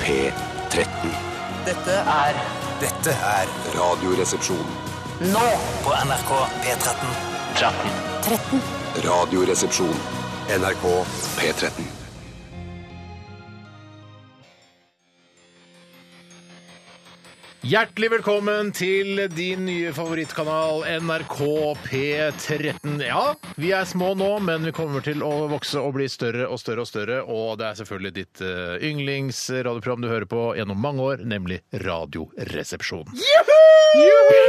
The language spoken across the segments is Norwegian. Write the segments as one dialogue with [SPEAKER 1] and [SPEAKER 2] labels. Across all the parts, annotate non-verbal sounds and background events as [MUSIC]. [SPEAKER 1] P13.
[SPEAKER 2] Dette er
[SPEAKER 3] Dette er
[SPEAKER 1] Radioresepsjon.
[SPEAKER 2] nå
[SPEAKER 3] på NRK P13.
[SPEAKER 2] 13.
[SPEAKER 1] Radioresepsjon. NRK P13.
[SPEAKER 4] Hjertelig velkommen til din nye favorittkanal NRK P13. Ja, vi er små nå, men vi kommer til å vokse og bli større og større og større. Og det er selvfølgelig ditt eh, yndlingsradioprogram du hører på gjennom mange år, nemlig Radioresepsjonen. Juhu!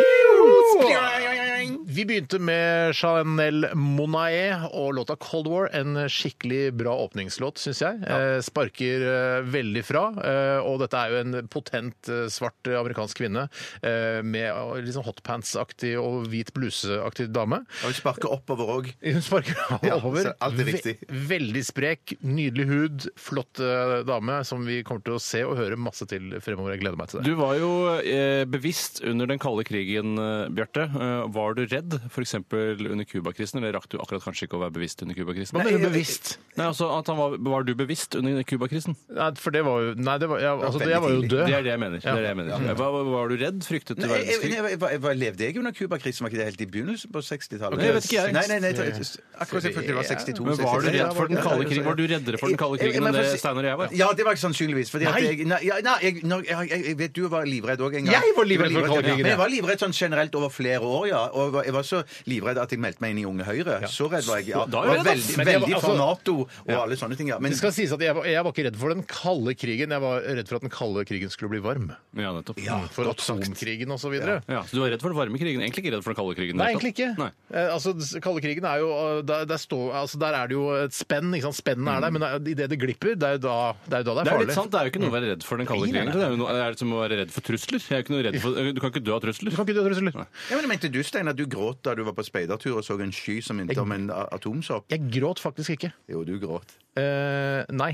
[SPEAKER 4] Vi begynte med Chanel Monae og låta Cold War. En skikkelig bra åpningslåt, syns jeg. Eh, Sparker eh, veldig fra. eh, Og dette er jo en potent eh, svart eh, amerikansk kvinne eh, med eh, liksom hotpants-aktig og hvit bluse-aktig dame.
[SPEAKER 5] Og vi sparker oppover òg.
[SPEAKER 4] Hun sparker [LAUGHS]
[SPEAKER 5] Ja,
[SPEAKER 4] over.
[SPEAKER 5] så alt er riktig.
[SPEAKER 4] Ve veldig sprek, nydelig hud, flott eh, dame som vi kommer til å se og høre masse til fremover. Jeg gleder meg til det.
[SPEAKER 6] Du var jo eh, bevisst under den kalde krigen, eh, Bjarte. Eh, var du redd f.eks. under Cubakrisen? Eller rakk du akkurat kanskje ikke å være bevisst under Cubakrisen?
[SPEAKER 4] Hva mener du bevisst?
[SPEAKER 6] Nei, altså, at han var, var du bevisst under Cubakrisen?
[SPEAKER 4] Nei, for det var jo Nei, det var, ja, altså,
[SPEAKER 5] veldig
[SPEAKER 4] jeg var jo
[SPEAKER 5] tidlig.
[SPEAKER 4] død.
[SPEAKER 6] Det er det jeg mener. Det er det jeg mener. Hva, hva- var du redd? Fryktet du
[SPEAKER 5] Nei, jeg,
[SPEAKER 6] verdenskrig?
[SPEAKER 5] jeg, jeg, jeg, jeg levde jeg under Cuba-krisen? Var ikke det helt i begynnelsen på 60-tallet?
[SPEAKER 6] Ok, jeg vet ikke, jeg.
[SPEAKER 5] Nei, nei, nei, jeg tror- akkurat jeg følte det var 62.
[SPEAKER 6] Men var du
[SPEAKER 5] 63.
[SPEAKER 6] redd for den kalde krigen? Var du reddere for den kalde
[SPEAKER 5] Jeg- jeg-
[SPEAKER 6] krigen enn
[SPEAKER 5] jeg-
[SPEAKER 6] det Steinar og jeg var?
[SPEAKER 5] Ja, det var ikke sannsynligvis. Fordi at
[SPEAKER 4] Nei.
[SPEAKER 5] jeg, nei, ja, nei jeg, når- jeg, jeg, jeg vet du var livredd òg en gang.
[SPEAKER 4] Jeg var livredd
[SPEAKER 5] Du
[SPEAKER 4] for kalde krigen,
[SPEAKER 5] Men
[SPEAKER 4] ja.
[SPEAKER 5] jeg var livredd sånn generelt over flere år, ja. Og jeg var, jeg var så livredd at jeg meldte meg inn i Unge Høyre. Så redd var jeg. Ja.
[SPEAKER 6] Da er
[SPEAKER 5] var
[SPEAKER 6] jeg redd,
[SPEAKER 5] veldig
[SPEAKER 4] Men jeg var-
[SPEAKER 5] veldig for
[SPEAKER 4] altså-
[SPEAKER 5] Nato og alle sånne ting. Ja. Men
[SPEAKER 4] Det skal sies at jeg var, jeg var ikke redd for den kalde krigen, jeg var redd for at den kalde krigen skulle bli varm.
[SPEAKER 6] Ja, nettopp.
[SPEAKER 4] For atomkrigen og så videre.
[SPEAKER 6] Ja, så du var redd for den varme krigen? Egentlig ikke redd for den kalde krigen?
[SPEAKER 4] Nei,
[SPEAKER 6] i det hele
[SPEAKER 4] egentlig ikke.
[SPEAKER 6] tatt? Nei.
[SPEAKER 4] Eh, altså, s- kalde krigen er jo eh, der, der, står, altså, der er det jo et spenn. Ikke sant? Spennene er der, men idet det glipper, det er jo da det er, jo da det er
[SPEAKER 6] Mm. Det er jo
[SPEAKER 4] farlig.
[SPEAKER 6] litt sant, det er jo ikke noe å være redd for den kalde
[SPEAKER 4] Nei, nei,
[SPEAKER 6] krigen.
[SPEAKER 4] nei.
[SPEAKER 6] Det er jo noe, det er som å være redd for trusler. Jeg er jo ikke noe redd for, du kan ikke dø av trusler.
[SPEAKER 4] Du kan ikke dø av trusler.
[SPEAKER 5] Ja, men jeg mente du, Steinar, du gråt da du var på speidertur og så en sky som minnet om en a- atomsopp.
[SPEAKER 4] Jeg gråt faktisk ikke.
[SPEAKER 5] Jo, du gråt.
[SPEAKER 4] Eh, [LAUGHS] nei.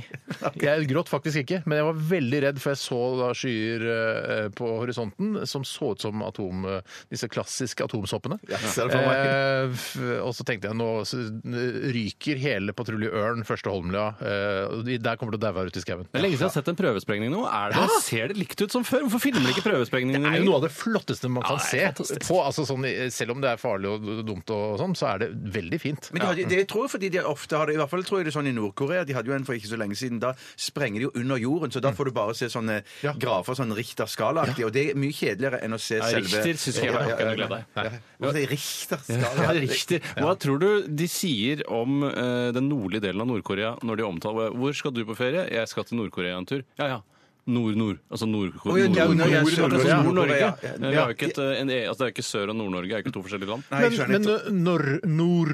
[SPEAKER 4] Jeg gråt faktisk ikke, men jeg var veldig redd, for jeg så da skyer eh, på horisonten som så ut som atom, eh, disse klassiske atomsoppene.
[SPEAKER 5] Ja, ser det for meg.
[SPEAKER 4] Eh, f- og så tenkte jeg nå s- n- ryker hele Patrulje Ørn, Første Holmlia. eh, og de- der kommer det til å daue her ute i skauen.
[SPEAKER 6] Det er lenge siden jeg har sett en prøvesprengning nå. Er det, Ser det likt ut som før? Hvorfor filmer de ikke prøvesprengningen?
[SPEAKER 4] Det er jo noe av det flotteste man kan
[SPEAKER 6] det er
[SPEAKER 4] se.
[SPEAKER 6] fantastisk.
[SPEAKER 4] På, altså sånn, i- selv om det er farlig og dumt, og sånn, så er det veldig fint.
[SPEAKER 5] Men de hadde, det tror jeg fordi de ofte har det, i hvert fall tror jeg det er sånn i Nord-Korea, de hadde jo en for ikke så lenge siden, da sprenger de jo under jorden, så da
[SPEAKER 6] Mm.
[SPEAKER 5] får du bare se sånne
[SPEAKER 4] Ja.
[SPEAKER 5] grafer, sånn Richter-skala-aktig, og det er mye kjedeligere enn å se
[SPEAKER 6] Ja,
[SPEAKER 5] selve...
[SPEAKER 6] Richter synes jeg
[SPEAKER 5] Ja,
[SPEAKER 6] var
[SPEAKER 5] ja,
[SPEAKER 6] ikke noe
[SPEAKER 5] ja.
[SPEAKER 6] glede av.
[SPEAKER 5] Ja. Hvorfor sier Richter-skala?
[SPEAKER 6] [LAUGHS] Ja, riktig. Hva tror du de sier om eh, den nordlige delen av Nord-Korea når de omtaler Hvor skal du på ferie? Jeg skal til Nord-Korea en tur. Ja, ja. Nord-Nord. Altså
[SPEAKER 5] Å,
[SPEAKER 6] Nord-Korea.
[SPEAKER 5] ja,
[SPEAKER 6] Nord-
[SPEAKER 5] Nord-
[SPEAKER 6] Nord-
[SPEAKER 5] Nord-
[SPEAKER 6] altså
[SPEAKER 5] Nord-
[SPEAKER 6] Nord-Norge.
[SPEAKER 5] Ja, ja.
[SPEAKER 6] Vi har jo ikke et, eh, en, e- altså, det er jo ikke Sør- og Nord-Norge. Det er jo ikke to forskjellige land.
[SPEAKER 5] Nei,
[SPEAKER 4] Men,
[SPEAKER 5] jeg skjønner
[SPEAKER 4] men
[SPEAKER 5] ikke.
[SPEAKER 4] nor, nord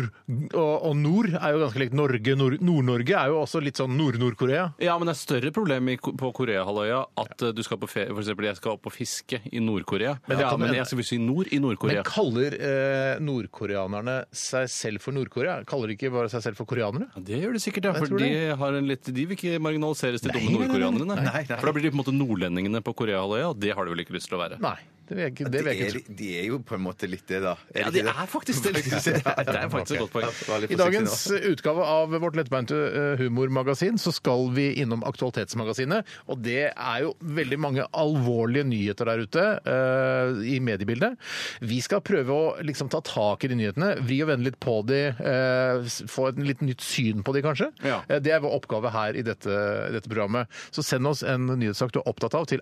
[SPEAKER 4] og, og nord er jo ganske likt Norge. Nord- Nord-Norge er jo også litt sånn Nord-Nord-Korea.
[SPEAKER 6] Ja, men det er større problem i, Ko- på Koreahalvøya at eh, du skal på ferie For eksempel, jeg skal opp og fiske i Nord-Korea.
[SPEAKER 4] Men det-
[SPEAKER 6] Ja, men jeg skal fiske i nord i
[SPEAKER 4] Men
[SPEAKER 6] Nord-Korea.
[SPEAKER 4] kaller eh, nordkoreanerne seg selv for Nord-Korea? Kaller de ikke bare seg selv for koreanere?
[SPEAKER 6] Ja, Det gjør de sikkert, ja.
[SPEAKER 4] Jeg
[SPEAKER 6] For
[SPEAKER 4] tror
[SPEAKER 6] de,
[SPEAKER 4] det.
[SPEAKER 6] har en litt, de vil ikke marginaliseres til
[SPEAKER 4] Nei,
[SPEAKER 6] dumme
[SPEAKER 4] nei, nei, nei.
[SPEAKER 6] nordkoreanerne.
[SPEAKER 5] Nei, nei.
[SPEAKER 6] For da blir de på en måte nordlendingene på Koreahalvøya, og det har de vel ikke lyst til å være.
[SPEAKER 4] Nei, det vil jeg ikke, det vil jeg ikke
[SPEAKER 5] De er,
[SPEAKER 4] tro.
[SPEAKER 5] de er jo på en måte litt det da.
[SPEAKER 6] Ja, det er faktisk det.
[SPEAKER 5] Faktisk [LAUGHS] det.
[SPEAKER 6] Ja, Det er faktisk et godt poeng.
[SPEAKER 4] I dagens utgave av vårt lettbeinte eh, humormagasin så skal vi innom Aktualitetsmagasinet. Og det er jo veldig mange alvorlige nyheter der ute eh, i mediebildet. Vi skal prøve å liksom ta tak i de nyhetene, vri og vende litt på de, eh, s- få et litt nytt syn på de kanskje.
[SPEAKER 6] Ja.
[SPEAKER 4] Eh, Det er vår oppgave her i dette, i dette programmet. Så send oss en nyhetssak du er opptatt av til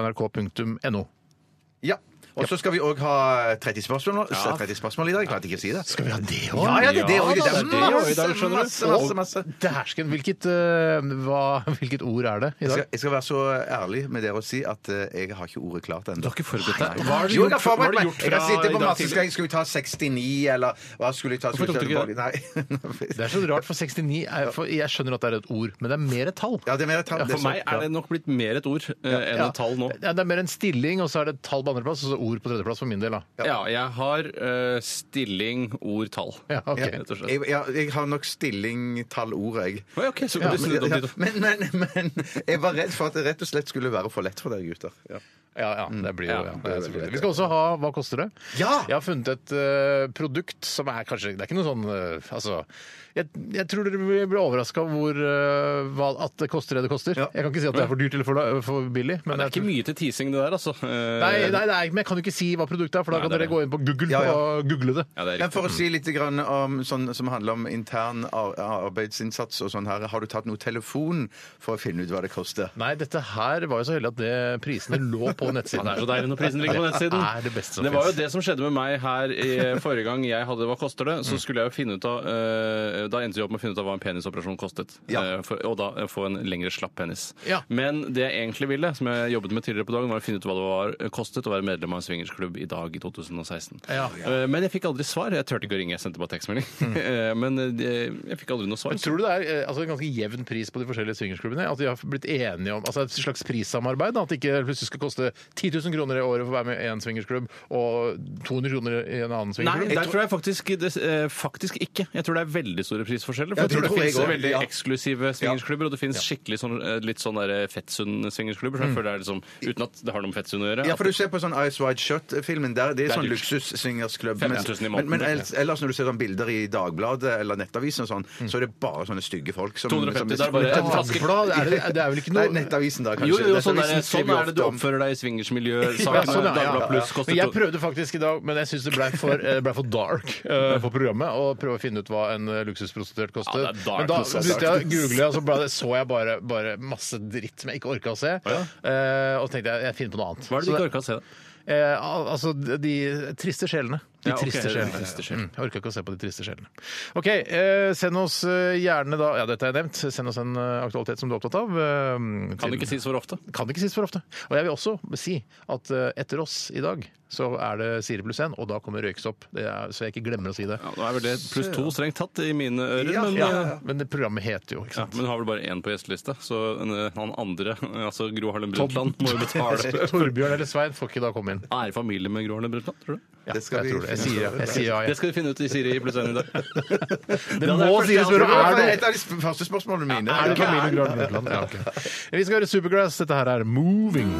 [SPEAKER 4] rr.krøllalfa.nrk.no.
[SPEAKER 5] Ja. Og så skal vi òg ha 30 spørsmål, nå. 30 spørsmål i dag. Jeg klarte ikke å si det. Ah,
[SPEAKER 4] Skal vi ha det òg?
[SPEAKER 5] Ja, ja, det er det òg.
[SPEAKER 6] Ja,
[SPEAKER 5] Det
[SPEAKER 6] det er
[SPEAKER 5] er masse,
[SPEAKER 6] det også i dag, skjønner du.
[SPEAKER 5] masse, masse, masse.
[SPEAKER 4] Dæsken, hvilket, eh, hva- hvilket ord er det i
[SPEAKER 5] Jeg
[SPEAKER 4] dag?
[SPEAKER 5] skal, jeg skal være så ærlig med dere og si at eh, jeg har ikke ordet klart ennå.
[SPEAKER 6] Du har ikke forberedt deg?
[SPEAKER 5] Hva har du gjort,
[SPEAKER 6] hva har du
[SPEAKER 5] meg?
[SPEAKER 6] gjort
[SPEAKER 5] Jeg har
[SPEAKER 6] fra
[SPEAKER 5] sittet
[SPEAKER 6] i
[SPEAKER 5] på
[SPEAKER 6] dag
[SPEAKER 5] masse
[SPEAKER 6] tidlig?
[SPEAKER 5] skal, skal vi ta 69, eller hva skulle jeg ta? Skulle
[SPEAKER 6] Hvorfor
[SPEAKER 5] jeg
[SPEAKER 6] tok
[SPEAKER 5] ta
[SPEAKER 6] du
[SPEAKER 4] Det
[SPEAKER 5] Nei. [LAUGHS]
[SPEAKER 4] er så rart, for 69 er, for Jeg skjønner at det er et ord, men det er mer et tall.
[SPEAKER 5] Ja, det er mer et tall.
[SPEAKER 6] For meg er det nok blitt mer et ord eh, enn
[SPEAKER 4] Ja.
[SPEAKER 6] et tall nå.
[SPEAKER 4] Ja, det er mer en stilling, og så er det et tall på andreplass, og altså ord på tredjeplass for min del, da.
[SPEAKER 6] Ja, jeg har eh, stilling, ord, tall.
[SPEAKER 4] Ja, ok.
[SPEAKER 6] Rett og slett.
[SPEAKER 5] Jeg, jeg, jeg har nok stilling, tall, ord, jeg.
[SPEAKER 6] Oi, ok, så kan du snu det opp dit. da.
[SPEAKER 5] men, men, men jeg var redd for at det rett og slett skulle være for lett for dere gutter. Ja.
[SPEAKER 4] Ja, ja,
[SPEAKER 6] Mm.
[SPEAKER 4] det blir jo ja, det
[SPEAKER 5] det
[SPEAKER 4] er
[SPEAKER 5] er
[SPEAKER 4] selvfølgelig.
[SPEAKER 5] veldig
[SPEAKER 4] Vi skal også ha Hva koster det?
[SPEAKER 5] Ja!
[SPEAKER 4] Jeg har funnet et eh, produkt som er kanskje Det er ikke noe sånn eh, Altså Jeg, jeg tror dere blir blir overraska hvor eh, hva, at det koster det det koster.
[SPEAKER 5] Ja.
[SPEAKER 4] Jeg kan ikke si at det er for dyrt eller for, la- for billig. Men
[SPEAKER 6] Det er ikke
[SPEAKER 4] jeg-
[SPEAKER 6] mye til teasing, det der, altså. Eh,
[SPEAKER 4] Nei, nei, nei, men jeg kan jo ikke si hva produktet er, for da
[SPEAKER 6] Nei,
[SPEAKER 4] kan
[SPEAKER 6] det er
[SPEAKER 4] dere gå inn på Google
[SPEAKER 5] Ja, ja.
[SPEAKER 4] og google det.
[SPEAKER 6] Ja, det er
[SPEAKER 5] Men
[SPEAKER 6] riktig.
[SPEAKER 5] for å si litt grann om sånn som handler om intern ar arbeidsinnsats og sånn her, har du tatt noe telefon for å finne ut hva det koster?
[SPEAKER 4] Nei, dette her var jo så heldig at det, prisene lå på
[SPEAKER 6] [LAUGHS] Ja,
[SPEAKER 4] nettsiden.
[SPEAKER 6] det er så deilig når prisen ligger på nettsiden.
[SPEAKER 4] Det er det beste som
[SPEAKER 6] Det var jo
[SPEAKER 4] finnes.
[SPEAKER 6] det som skjedde med meg her i forrige gang jeg hadde Hva koster det? Så skulle jeg jo finne ut av eh, Da endte jeg opp med å finne ut av hva en penisoperasjon kostet.
[SPEAKER 5] Ja.
[SPEAKER 6] Eh, for, og da eh, få en lengre slapp penis.
[SPEAKER 4] Ja.
[SPEAKER 6] Men det jeg egentlig ville, som jeg jobbet med tidligere på dagen, var å finne ut hva det var eh, kostet å være medlem av en swingersklubb i dag i 2016.
[SPEAKER 4] Ja.
[SPEAKER 6] Eh, men jeg fikk aldri svar. Jeg turte ikke å ringe, jeg sendte bare tekstmelding.
[SPEAKER 4] Mm.
[SPEAKER 6] [LAUGHS] Eh, men eh, jeg fikk aldri noe svar.
[SPEAKER 4] Men Tror du det er eh, altså, en ganske jevn pris på de forskjellige swingersklubbene? At de har blitt enige om altså, et slags prissamarbeid? da, At det ikke plutselig skal koste 10 000 kroner i året for å være med i én swingersklubb og 200 kroner i en annen
[SPEAKER 6] Nei,
[SPEAKER 4] swingersklubb?
[SPEAKER 6] der tror jeg faktisk, det, eh, faktisk ikke. Jeg tror det er veldig store prisforskjeller.
[SPEAKER 5] Ja,
[SPEAKER 6] For jeg tror
[SPEAKER 5] det
[SPEAKER 6] det,
[SPEAKER 5] tror jeg
[SPEAKER 6] finnes
[SPEAKER 5] også,
[SPEAKER 6] veldig
[SPEAKER 5] ja.
[SPEAKER 6] eksklusive swingersklubber, og det finnes skikkelig sånn, eh, litt sånn der, eh, fettsund swingersklubber. Så jeg føler det er liksom, uten at det har noe med fettsund å gjøre.
[SPEAKER 5] Ja,
[SPEAKER 6] at
[SPEAKER 5] for du ser på sånn Ice Wide Shut-filmen der. Det er,
[SPEAKER 6] Det er
[SPEAKER 5] sånn
[SPEAKER 6] dyrt.
[SPEAKER 5] luksusswingersklubb.
[SPEAKER 6] 15 000 i måneden,
[SPEAKER 5] men, men
[SPEAKER 6] det er
[SPEAKER 5] ellers, ellers når du ser sånn bilder i Dagbladet eller Nettavisen og sånn, så er det bare sånne stygge folk som som,
[SPEAKER 6] 250, der bare-
[SPEAKER 5] Ja,
[SPEAKER 6] flaske-
[SPEAKER 4] Dagblad, er det, det er vel ikke
[SPEAKER 5] Nei,
[SPEAKER 4] noe
[SPEAKER 5] Nettavisen da, kanskje.
[SPEAKER 6] Jo, jo, sånn,
[SPEAKER 5] Nettavisen
[SPEAKER 6] er det- sånn
[SPEAKER 5] skriver jo
[SPEAKER 6] er det du
[SPEAKER 5] ofte om-
[SPEAKER 6] oppfører deg
[SPEAKER 4] Ja,
[SPEAKER 6] i [LAUGHS]
[SPEAKER 4] sånn,
[SPEAKER 6] swingersmiljøsakene.
[SPEAKER 4] ja, ja, ja.
[SPEAKER 6] Dagbladet Pluss kostet
[SPEAKER 4] Men jeg
[SPEAKER 6] to-
[SPEAKER 4] prøvde faktisk i dag, men jeg syns det ble for, eh, ble for dark eh, for programmet å prøve å finne ut hva en eh, luksusprostituert koster.
[SPEAKER 6] Ja, det er dark,
[SPEAKER 4] men da
[SPEAKER 6] altså.
[SPEAKER 4] begynte jeg å google, og så ble det, så jeg bare, bare masse dritt som jeg ikke orka å se. Eh, og så tenkte jeg jeg finner på noe annet.
[SPEAKER 6] Hva er det du ikke orka å se? da?
[SPEAKER 4] Eh, al- altså de, de triste sjelene. De
[SPEAKER 6] Ja, ok,
[SPEAKER 4] triste
[SPEAKER 6] de
[SPEAKER 4] sjelene.
[SPEAKER 6] triste sjelene.
[SPEAKER 4] Mm, jeg orka ikke å se på de triste sjelene. OK, eh, send oss eh, gjerne da Ja, dette har jeg nevnt. Send oss en eh, aktualitet som du er opptatt av. eh,
[SPEAKER 6] Kan
[SPEAKER 4] til-
[SPEAKER 6] det ikke sies for ofte.
[SPEAKER 4] kan det ikke sies for ofte. Og jeg vil også si at eh, etter oss i dag så er det Siri pluss 1, og da kommer Røyksopp. Det er, så jeg ikke glemmer å si det.
[SPEAKER 6] Ja, nå er vel det pluss to strengt tatt i mine ører, men
[SPEAKER 4] Ja,
[SPEAKER 6] eh,
[SPEAKER 4] Men det programmet heter jo, ikke
[SPEAKER 6] ja,
[SPEAKER 4] sant.
[SPEAKER 6] men har vel bare én på gjestelista, så eh, han andre, [LAUGHS] altså Gro Harlem Brundtland, må jo [LAUGHS] betale.
[SPEAKER 4] [LAUGHS] Torbjørn eller Svein får ikke da komme inn.
[SPEAKER 6] Er familie med Gro Harlem Brundtland, tror du?
[SPEAKER 4] Ja,
[SPEAKER 5] Det skal
[SPEAKER 4] jeg
[SPEAKER 5] vi
[SPEAKER 4] tror det. Jeg
[SPEAKER 5] finne
[SPEAKER 4] sier ja. Jeg sier ja,
[SPEAKER 6] Det
[SPEAKER 4] jeg.
[SPEAKER 6] skal vi finne ut i Siri pluss 1 i dag.
[SPEAKER 4] [LAUGHS] Det må sies for
[SPEAKER 5] Det var
[SPEAKER 4] er det
[SPEAKER 5] et av de sp- første spørsmålene mine.
[SPEAKER 4] Er det familie med Gro Harlem Brundtland? Ja, ok. Vi skal høre Supergrass. Dette her er Moving.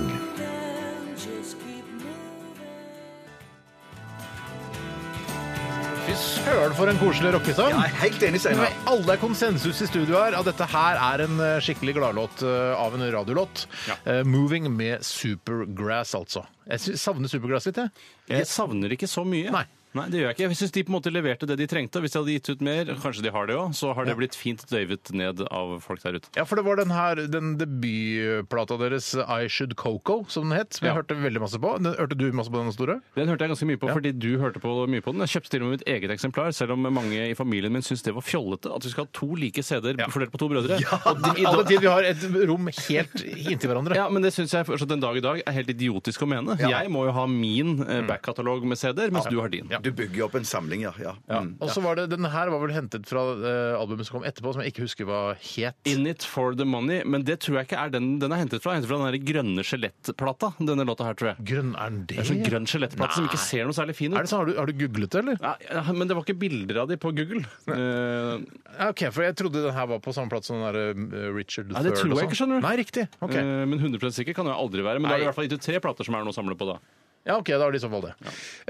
[SPEAKER 4] Fy søren for en koselig rockesang.
[SPEAKER 5] Jeg er helt enig,
[SPEAKER 4] Men
[SPEAKER 5] Steinar.
[SPEAKER 4] Alle er konsensus i studio her at dette her er en eh, skikkelig gladlåt eh, av en radiolåt. Eh, 'Moving' med Supergrass, altså. Jeg sy- savner Supergrass litt, jeg.
[SPEAKER 6] Jeg savner ikke så mye.
[SPEAKER 4] Nei.
[SPEAKER 6] det gjør jeg ikke. Jeg syns de på en måte leverte det de trengte. Hvis de hadde gitt ut mer, kanskje de har det òg, så har det blitt fint døyvet ned av folk der ute.
[SPEAKER 4] Ja, for det var den her, den debutplata deres, 'I Should Coco', som den het. Som jeg
[SPEAKER 6] Ja.
[SPEAKER 4] hørte veldig masse på. Den, hørte du masse på den store?
[SPEAKER 6] Den hørte jeg ganske mye på fordi du hørte på mye på den. Jeg kjøpte til og med mitt eget eksemplar, selv om mange i familien min syns det var fjollete at vi skal ha to like CD-er fordelt på to brødre. Og de, i
[SPEAKER 4] All den
[SPEAKER 6] dag-
[SPEAKER 4] tid vi har et rom helt inntil hverandre.
[SPEAKER 6] [LAUGHS] ja, men det syns jeg fortsatt den dag i dag er helt idiotisk å mene. Jeg må jo ha min eh, backkatalog med CD-er, mens du har din.
[SPEAKER 4] Ja.
[SPEAKER 5] Du bygger opp en samling, ja. ja. Mm.
[SPEAKER 4] Og så var det, Den her var vel hentet fra eh, albumet som kom etterpå, som jeg ikke husker hva het.
[SPEAKER 6] In it for the money, men det tror jeg ikke er den den er hentet fra. Den er hentet fra den der grønne skjelettplata, denne låta her, tror jeg.
[SPEAKER 4] Grønn er den det?
[SPEAKER 6] Det er sånn grønn skjelettplate som ikke
[SPEAKER 4] Nei.
[SPEAKER 6] ser noe særlig fin ut.
[SPEAKER 4] Er det sånn, har, du, har du googlet det, eller?
[SPEAKER 6] Nei, ja, men det var ikke bilder av de på Google. Eh,
[SPEAKER 4] Ja, Ok, for Jeg trodde den her var på samme plass som den der, eh, Richard III.
[SPEAKER 6] Nei, det tror
[SPEAKER 4] og
[SPEAKER 6] jeg
[SPEAKER 4] sånn.
[SPEAKER 6] ikke, skjønner du.
[SPEAKER 4] Nei, riktig. Ok,
[SPEAKER 6] eh, men 100 sikker kan jeg aldri være. Men da
[SPEAKER 4] Nei.
[SPEAKER 6] er det i hvert fall gitt ut tre plater som er noe å samle på, da.
[SPEAKER 4] ja, ok, da er det i så fall det.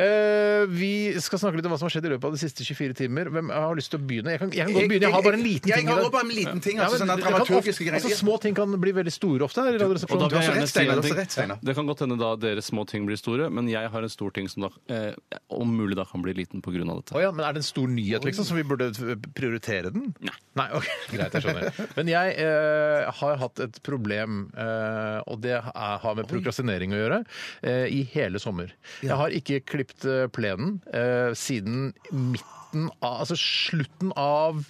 [SPEAKER 4] Eh, vi skal snakke litt om hva som har skjedd i løpet av de siste 24 timer. Hvem har lyst til å begynne? Jeg kan, jeg kan godt begynne. Jeg har bare en liten
[SPEAKER 5] jeg,
[SPEAKER 4] ting.
[SPEAKER 5] Jeg
[SPEAKER 4] i
[SPEAKER 5] har
[SPEAKER 4] dag.
[SPEAKER 5] også bare en liten ting,
[SPEAKER 4] Ja,
[SPEAKER 5] altså,
[SPEAKER 4] men
[SPEAKER 5] sånne
[SPEAKER 4] det kan
[SPEAKER 5] dramaturgiske
[SPEAKER 4] ofte-
[SPEAKER 5] greier.
[SPEAKER 4] Altså, små ting kan bli veldig store ofte her i
[SPEAKER 6] Og da
[SPEAKER 4] Radioresepsjonen.
[SPEAKER 6] vil jeg
[SPEAKER 5] så
[SPEAKER 6] gjerne
[SPEAKER 5] rett,
[SPEAKER 6] si
[SPEAKER 5] Steinar,
[SPEAKER 6] en
[SPEAKER 5] du har så
[SPEAKER 6] ting.
[SPEAKER 5] rett, Steinar.
[SPEAKER 6] Det kan godt hende da deres små ting blir store, men jeg har en stor ting som da eh, om mulig da kan bli liten pga. dette.
[SPEAKER 4] Å ja, men Er det en stor nyhet, liksom, så vi burde prioritere den? Nei. ok, [LAUGHS] Greit, jeg skjønner. Men jeg eh, har hatt et problem, eh, og det er, har med prokrastinering å gjøre, eh, i hele sommer. Jeg har ikke klippet eh, plenen eh, siden midten av Altså slutten av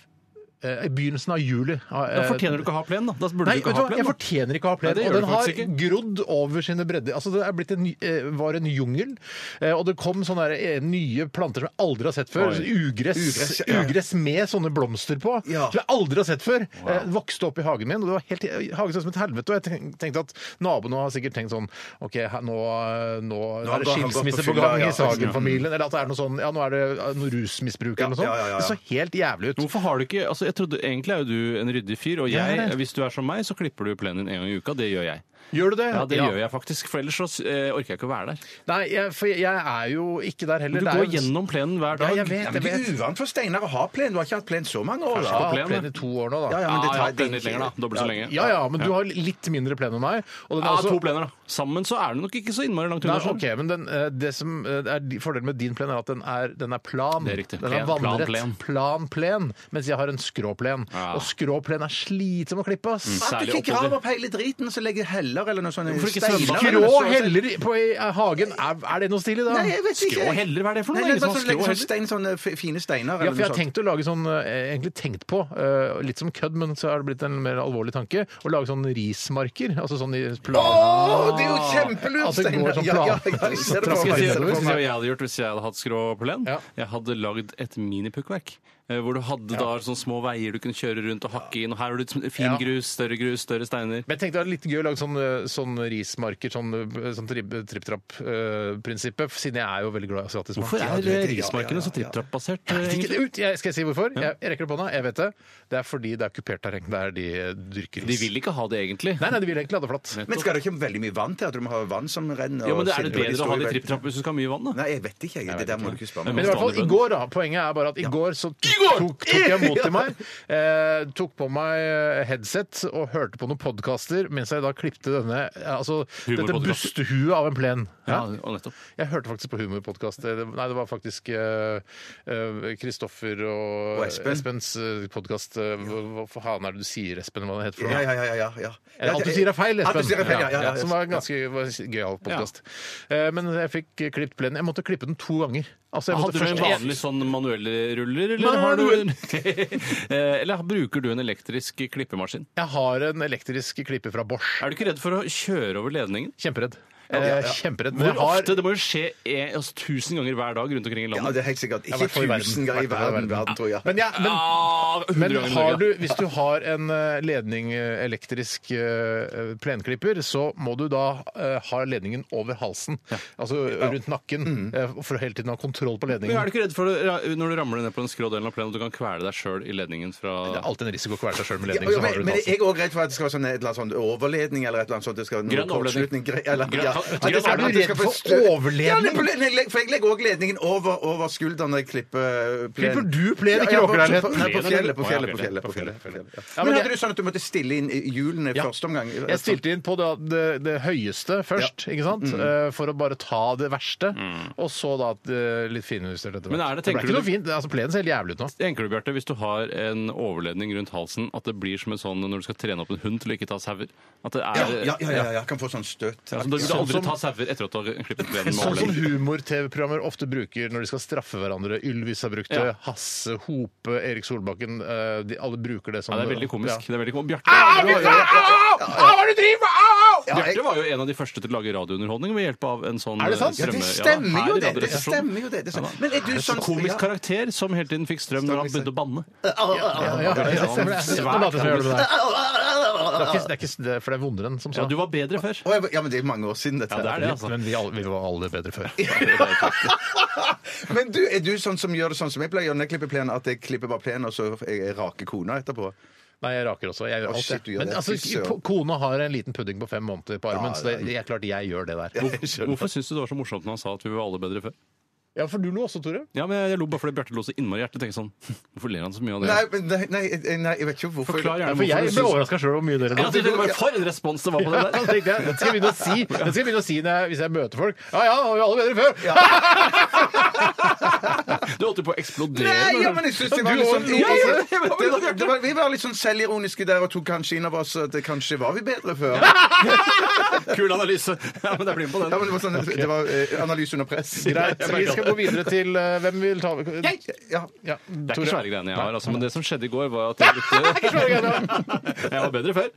[SPEAKER 4] eh, i begynnelsen av eh, juli.
[SPEAKER 6] Da fortjener du ikke å ha plen, da. Da burde
[SPEAKER 4] Nei,
[SPEAKER 6] du ikke
[SPEAKER 4] vet du
[SPEAKER 6] ha
[SPEAKER 4] hva?
[SPEAKER 6] plen.
[SPEAKER 4] jeg
[SPEAKER 6] da.
[SPEAKER 4] fortjener ikke å ha plen.
[SPEAKER 6] Nei, det
[SPEAKER 4] og
[SPEAKER 6] gjør
[SPEAKER 4] den
[SPEAKER 6] du
[SPEAKER 4] har
[SPEAKER 6] faktisk ikke.
[SPEAKER 4] grodd over sine bredder. Altså, det er blitt en, ny- eh, var en jungel, eh, og det kom sånne der, eh, nye planter som jeg aldri har sett før.
[SPEAKER 6] Oi.
[SPEAKER 4] Så Ugress, ugress,
[SPEAKER 5] Ugress, ja.
[SPEAKER 4] med sånne blomster på,
[SPEAKER 5] Ja.
[SPEAKER 4] som jeg aldri har sett før. Eh, vokste opp i hagen min, og det var helt, eh, hagen så ut som et helvete. Og jeg tenk- tenkte at naboene har sikkert tenkt sånn OK, her, nå, eh, nå, er det
[SPEAKER 5] har han gått på
[SPEAKER 4] skilsmisse på
[SPEAKER 5] fylla,
[SPEAKER 4] gang
[SPEAKER 5] ja,
[SPEAKER 4] i Sagen-familien, eller at det er noe sånn Ja, nå er det eh, noe rusmisbruk eller noe sånt.
[SPEAKER 5] Ja, ja, ja, ja.
[SPEAKER 4] Det så helt jævlig ut.
[SPEAKER 6] Hvorfor har du ikke altså jeg trodde, Egentlig er jo du en ryddig fyr, og
[SPEAKER 4] Jeg er
[SPEAKER 6] jeg,
[SPEAKER 4] det.
[SPEAKER 6] hvis du er som meg, så klipper du plenen din en gang i uka. Det gjør jeg.
[SPEAKER 4] Gjør du det?
[SPEAKER 6] Ja, det gjør jeg faktisk, for ellers så eh, orker jeg ikke å være der.
[SPEAKER 4] Nei, jeg, for jeg er jo ikke der heller.
[SPEAKER 6] Men du
[SPEAKER 4] Det er
[SPEAKER 6] går
[SPEAKER 4] jo-
[SPEAKER 6] gjennom plenen hver
[SPEAKER 4] Ja,
[SPEAKER 6] dag.
[SPEAKER 4] jeg vet,
[SPEAKER 5] Ja, men
[SPEAKER 4] jeg
[SPEAKER 5] det
[SPEAKER 4] vet.
[SPEAKER 5] er uvant for Steinar å ha plen. Du har ikke hatt plen så mange år.
[SPEAKER 6] Kanskje
[SPEAKER 5] da.
[SPEAKER 6] på
[SPEAKER 4] Jeg har hatt plen i to år nå, da.
[SPEAKER 5] Ja,
[SPEAKER 4] Ja,
[SPEAKER 5] ja,
[SPEAKER 6] Ja,
[SPEAKER 5] men det
[SPEAKER 6] jeg har
[SPEAKER 5] tar
[SPEAKER 6] hatt den litt lenger, da. Dobbelt så lenge.
[SPEAKER 4] ja, men du har litt mindre plen enn meg. Og den er
[SPEAKER 6] Ja,
[SPEAKER 4] også-
[SPEAKER 6] to plener, da. Sammen så er sånn. det nok ikke så innmari langt unna.
[SPEAKER 4] Nei,
[SPEAKER 6] skjønner du.
[SPEAKER 4] ok, men den, eh, det som eh, er di- Fordelen med din plen er at den er, den er plan.
[SPEAKER 6] Det er riktig.
[SPEAKER 4] Den er
[SPEAKER 6] Plen, plan,
[SPEAKER 4] vannrett. Plan,
[SPEAKER 6] plen.
[SPEAKER 4] plen. Mens jeg har en skråplen.
[SPEAKER 6] Ja.
[SPEAKER 4] Og
[SPEAKER 6] Mm.
[SPEAKER 4] skråplen er slitsom å klippe, ass.
[SPEAKER 5] At du
[SPEAKER 6] Særlig
[SPEAKER 5] ikke graver
[SPEAKER 6] oppover.
[SPEAKER 5] opp hele driten, så legger heller eller noe sånt
[SPEAKER 6] Hvorfor ikke
[SPEAKER 5] steiner
[SPEAKER 6] svømme?
[SPEAKER 5] eller noe
[SPEAKER 4] Skrå
[SPEAKER 5] sånt.
[SPEAKER 4] heller i- på i eh, hagen. Er, er det noe stilig, da?
[SPEAKER 5] Nei, jeg vet ikke.
[SPEAKER 6] Skrå heller, hva er det for noe?
[SPEAKER 5] Nei,
[SPEAKER 6] Ingen som
[SPEAKER 5] bare
[SPEAKER 6] har
[SPEAKER 5] sånn-
[SPEAKER 6] skrå
[SPEAKER 5] sånn
[SPEAKER 6] heller?
[SPEAKER 5] stein, sånne f- fine steiner
[SPEAKER 4] Ja,
[SPEAKER 5] eller
[SPEAKER 4] for jeg
[SPEAKER 5] noe
[SPEAKER 4] har
[SPEAKER 5] sånt.
[SPEAKER 4] tenkt å lage sånn eh, Egentlig tenkt på, eh, litt som kødd, men så har det blitt en mer alvorlig tanke, å lage sånn rismarker. Altså sånn i plan...
[SPEAKER 5] Å, det er jo kjempelurt,
[SPEAKER 4] At det går som
[SPEAKER 5] Ja, ja,
[SPEAKER 4] plan.
[SPEAKER 5] ja, jeg ser det på
[SPEAKER 4] Så
[SPEAKER 5] meg,
[SPEAKER 6] Skal jeg si,
[SPEAKER 5] jeg ser det
[SPEAKER 6] skal jeg
[SPEAKER 5] på
[SPEAKER 6] si hva
[SPEAKER 5] meg.
[SPEAKER 6] jeg hadde gjort hvis jeg hadde hatt skråplen?
[SPEAKER 4] Ja.
[SPEAKER 6] Jeg hadde lagd et minipukkverk. eh, Hvor du hadde da sånne små veier du kunne kjøre rundt og hakke inn. Og her har du et sm- fin
[SPEAKER 4] Ja.
[SPEAKER 6] grus, større grus, større steiner.
[SPEAKER 4] Men jeg tenkte det var litt gøy å lage sånn, eh, sånn rismarker, sånn, eh, sånn tripp-trapp-prinsippet, siden jeg er jo veldig glad i asiatisk mat.
[SPEAKER 6] Hvorfor
[SPEAKER 4] Ja,
[SPEAKER 6] er
[SPEAKER 4] du vet det, ja,
[SPEAKER 6] eh,
[SPEAKER 4] ja,
[SPEAKER 6] rismarkene
[SPEAKER 4] ja.
[SPEAKER 6] så tripp-trapp-basert? eh,
[SPEAKER 4] Jeg vet ikke
[SPEAKER 6] egentlig?
[SPEAKER 4] det ut. Jeg, skal jeg si hvorfor? Jeg, jeg rekker opp hånda, jeg vet det. Det er fordi det er kupert terreng der de eh, dyrker
[SPEAKER 6] De
[SPEAKER 4] ris.
[SPEAKER 6] vil ikke ha det, egentlig.
[SPEAKER 4] Nei, nei, de vil egentlig ha det flatt.
[SPEAKER 5] Men skal det ikke veldig mye vann til? At du må ha vann som renner?
[SPEAKER 6] Ja, men
[SPEAKER 5] og
[SPEAKER 6] det Er det
[SPEAKER 5] silver i
[SPEAKER 6] bedre å ha det i
[SPEAKER 5] store-
[SPEAKER 6] tripp-trapp hvis du skal ha mye vann? da?
[SPEAKER 5] Nei, jeg vet ikke. Jeg. Det der må du ikke spørre
[SPEAKER 4] Men
[SPEAKER 5] meg
[SPEAKER 4] i
[SPEAKER 5] om.
[SPEAKER 4] hvert fall i går, da. Poenget er bare at i går så tok, tok jeg mot til
[SPEAKER 5] [LAUGHS]
[SPEAKER 4] meg. Eh, tok på meg eh, headset og hørte på noen podkaster mens jeg da klipte denne eh, altså, dette
[SPEAKER 6] Humorpodcaster.
[SPEAKER 4] bustehuet av en plen.
[SPEAKER 6] Ja,
[SPEAKER 4] Ja.
[SPEAKER 6] og nettopp.
[SPEAKER 4] Jeg hørte faktisk på humorpodkast. Det- Nei, det var faktisk eh, eh, Kristoffer og,
[SPEAKER 5] Og Espen.
[SPEAKER 4] Espens eh, podkast. eh, Hva hva faen er det du sier, Espen? Hva det heter for noe?
[SPEAKER 5] Ja, ja, ja, ja, ja, ja.
[SPEAKER 4] Eller alt du sier er feil, Espen.
[SPEAKER 5] Alt du sier er feil, ja, ja, ja, ja.
[SPEAKER 4] Som var en ganske var en gøyal podkast. Eh, Men jeg fikk klippet plenen. Jeg måtte klippe den to ganger. Altså, jeg måtte
[SPEAKER 6] Hadde du en
[SPEAKER 4] først-
[SPEAKER 6] vanlig sånn manuelle ruller, eller, har du en... [LAUGHS] Eh, eller bruker du en elektrisk klippemaskin?
[SPEAKER 4] Jeg har en elektrisk klipper fra Bosch.
[SPEAKER 6] Er du ikke redd for å kjøre over ledningen?
[SPEAKER 4] Kjemperedd. Eh, Kjemperedd. Men
[SPEAKER 6] Hvor
[SPEAKER 4] jeg har
[SPEAKER 6] ofte? Det må jo skje en, altså, tusen ganger hver dag rundt omkring i
[SPEAKER 5] Ja,
[SPEAKER 6] landet.
[SPEAKER 5] det er helt sikkert.
[SPEAKER 4] Ja, i
[SPEAKER 5] Ikke
[SPEAKER 4] hvert fall i verden.
[SPEAKER 5] tusen ganger i verden, verden, tror jeg.
[SPEAKER 4] men, jeg- men,
[SPEAKER 6] Ah, 100
[SPEAKER 4] men
[SPEAKER 6] ganger i
[SPEAKER 4] har
[SPEAKER 6] Norge.
[SPEAKER 4] du, hvis du har en eh, ledning eh, elektrisk eh, plenklipper, så må du da eh, ha ledningen over halsen. Altså rundt nakken. eh, For å hele tiden ha kontroll på
[SPEAKER 6] Mm. Men er
[SPEAKER 4] ledningen.
[SPEAKER 6] du ikke redd for det, ra- når du ramler ned på den skrå delen av plenen at du kan kvele deg sjøl i ledningen fra
[SPEAKER 4] Det er alltid en risiko å kvele seg sjøl med
[SPEAKER 5] Ja,
[SPEAKER 4] ledning.
[SPEAKER 5] ja,
[SPEAKER 4] så har du
[SPEAKER 5] men,
[SPEAKER 4] den
[SPEAKER 5] men
[SPEAKER 4] halsen.
[SPEAKER 5] jeg er òg redd for at det skal være sånn, et eller annet sånn overledning eller et eller annet sånt. Det skal være noe
[SPEAKER 6] Grønn
[SPEAKER 5] kortslutning,
[SPEAKER 6] overledning.
[SPEAKER 5] gre- Eller,
[SPEAKER 6] [LAUGHS] Grønn-
[SPEAKER 5] ja. At det
[SPEAKER 4] Er
[SPEAKER 5] skal-
[SPEAKER 4] du
[SPEAKER 5] at det skal
[SPEAKER 4] redd for
[SPEAKER 5] få stø-
[SPEAKER 4] overledning?
[SPEAKER 5] Ja, det er på ledning. Jeg legger- for jeg legger òg ledningen over, over skulderen når jeg klipper plen.
[SPEAKER 4] Klipper du plen, ikke
[SPEAKER 5] på-
[SPEAKER 4] råkerleiligheten?
[SPEAKER 5] på- Nei, på fjellet. På
[SPEAKER 6] Plen, eller?
[SPEAKER 5] fjellet,
[SPEAKER 6] Å,
[SPEAKER 5] på
[SPEAKER 6] ja,
[SPEAKER 5] fjellet,
[SPEAKER 6] ok,
[SPEAKER 5] på fjellet,
[SPEAKER 6] det-
[SPEAKER 5] på fjellet.
[SPEAKER 4] Ja, men
[SPEAKER 5] men
[SPEAKER 4] jeg-
[SPEAKER 5] hadde du sånn at du måtte stille inn hjulene i
[SPEAKER 4] Ja.
[SPEAKER 5] første omgang? Altså-
[SPEAKER 4] Jeg stilte inn på det, det, det høyeste først, ikke sant?
[SPEAKER 6] Mm.
[SPEAKER 4] Eh, For å bare ta det verste. Og så da at det litt finjustert etter
[SPEAKER 6] Men
[SPEAKER 4] hvert.
[SPEAKER 6] er det-
[SPEAKER 4] det ble
[SPEAKER 6] tenker
[SPEAKER 4] ikke
[SPEAKER 6] du-
[SPEAKER 4] noe fint. Altså, plenen ser helt jævlig ut nå.
[SPEAKER 6] Tenker du, Bjarte, hvis du har en overledning rundt halsen, at det blir som en sånn når du skal trene opp en hund til å ikke ta sauer? At det
[SPEAKER 5] Ja,
[SPEAKER 6] er
[SPEAKER 5] ja, ja, ja, ja. Kan få sånn støt.
[SPEAKER 6] Altså, da vil du
[SPEAKER 4] Sånn
[SPEAKER 6] aldri
[SPEAKER 4] som-
[SPEAKER 6] ta sauer etter at du har klippet plenen med
[SPEAKER 4] Sånn som
[SPEAKER 6] overledning.
[SPEAKER 4] humor-TV-programmer ofte bruker når de skal straffe hverandre. Ylvis har brukt det,
[SPEAKER 6] Ja.
[SPEAKER 4] Hasse, Hope, Erik Solbakken. eh, De, alle bruker det som
[SPEAKER 6] Ja, det er veldig
[SPEAKER 4] Ja.
[SPEAKER 6] komisk. Det er veldig komisk. Bjarte,
[SPEAKER 4] Hva er det du driver med?! Au, au!
[SPEAKER 5] Ja, jeg-
[SPEAKER 6] Bjarte var jo en av de første til å lage radiounderholdning ved hjelp av en sånn
[SPEAKER 4] Er det sant?
[SPEAKER 6] eh,
[SPEAKER 5] Ja, det
[SPEAKER 6] strømme-
[SPEAKER 5] stemmer
[SPEAKER 6] her
[SPEAKER 5] jo,
[SPEAKER 6] i
[SPEAKER 5] det. Det
[SPEAKER 6] Radioresepsjonen.
[SPEAKER 5] stemmer jo, det. det stemmer. Men er du sånn
[SPEAKER 6] Komisk karakter som hele tiden fikk strøm når han begynte å banne.
[SPEAKER 4] Ja, ja, ja, det stemmer det. Nå later jeg som jeg gjør det med deg. Det er ikke- det er ikke- det er- For det er vondere enn som
[SPEAKER 6] Ja,
[SPEAKER 4] så.
[SPEAKER 6] du var bedre før.
[SPEAKER 5] [LAUGHS] Å, jeg- Ja, men det er mange år siden, dette.
[SPEAKER 6] Ja, det er det, altså.
[SPEAKER 4] Men vi, alle, vi var alle bedre før.
[SPEAKER 5] Men du, er du sånn som gjør det sånn som jeg pleier å gjøre når jeg klipper plenen, at jeg klipper bare plenen, og så jeg jeg raker kona etterpå?
[SPEAKER 4] Nei, jeg raker også. Jeg gjør
[SPEAKER 5] Å,
[SPEAKER 4] alt.
[SPEAKER 5] shit,
[SPEAKER 4] jeg.
[SPEAKER 5] du gjør
[SPEAKER 4] Men
[SPEAKER 5] det.
[SPEAKER 4] altså,
[SPEAKER 5] Fy søren.
[SPEAKER 4] ko- kona har en liten pudding på fem måneder på armen,
[SPEAKER 5] Ja,
[SPEAKER 4] så det, det er klart jeg gjør det der.
[SPEAKER 5] Jeg skjønner.
[SPEAKER 6] Hvorfor syns du det var så morsomt når han sa at vi var alle bedre før?
[SPEAKER 4] Ja, for du lo også, Tore.
[SPEAKER 6] Ja, men Jeg lo bare fordi Bjarte lo så innmari hjertelig. Tenkte sånn, [LAUGHS] Hvorfor ler han så mye av det?
[SPEAKER 5] Nei, men nei, nei, nei, jeg vet ikke hvorfor.
[SPEAKER 6] Forklar gjerne
[SPEAKER 4] For jeg
[SPEAKER 6] hvorfor du
[SPEAKER 4] ble
[SPEAKER 6] syns-
[SPEAKER 4] overraska sjøl hvor mye dere
[SPEAKER 6] Ja,
[SPEAKER 4] lo.
[SPEAKER 6] du tenkte bare, For en respons det var
[SPEAKER 5] [LAUGHS]
[SPEAKER 6] på det
[SPEAKER 4] Ja,
[SPEAKER 6] der!
[SPEAKER 4] det tenkte jeg. Dette skal jeg begynne å si, Dette skal jeg begynne å si når jeg, hvis jeg møter folk. Ja ja, var jo alle bedre før!
[SPEAKER 6] Du holdt jo på å eksplodere.
[SPEAKER 5] Nei,
[SPEAKER 6] når
[SPEAKER 5] ja,
[SPEAKER 6] du-
[SPEAKER 5] men jeg syns det
[SPEAKER 4] Ja,
[SPEAKER 5] var
[SPEAKER 4] du
[SPEAKER 5] litt sånn
[SPEAKER 4] også- Ja, ja,
[SPEAKER 6] jeg vet det,
[SPEAKER 5] det, det var, Vi var litt sånn selvironiske der og tok kanskje inn over oss at det kanskje var vi bedre før.
[SPEAKER 6] Kul analyse! Ja, men jeg blir med på
[SPEAKER 5] Ja,
[SPEAKER 6] den.
[SPEAKER 5] men det var, sånn, det var eh, analyse under press.
[SPEAKER 4] [LAUGHS] Greit. Vi skal skal gå videre til eh, Hvem vil ta Jeg!
[SPEAKER 5] Ja.
[SPEAKER 4] Ja,
[SPEAKER 6] Det er
[SPEAKER 4] Tore.
[SPEAKER 6] ikke svære greiene jeg har, altså, men det som skjedde i går, var at jeg [LAUGHS] brukte
[SPEAKER 4] Svære greier, ja.
[SPEAKER 6] [LAUGHS] Jeg var bedre før.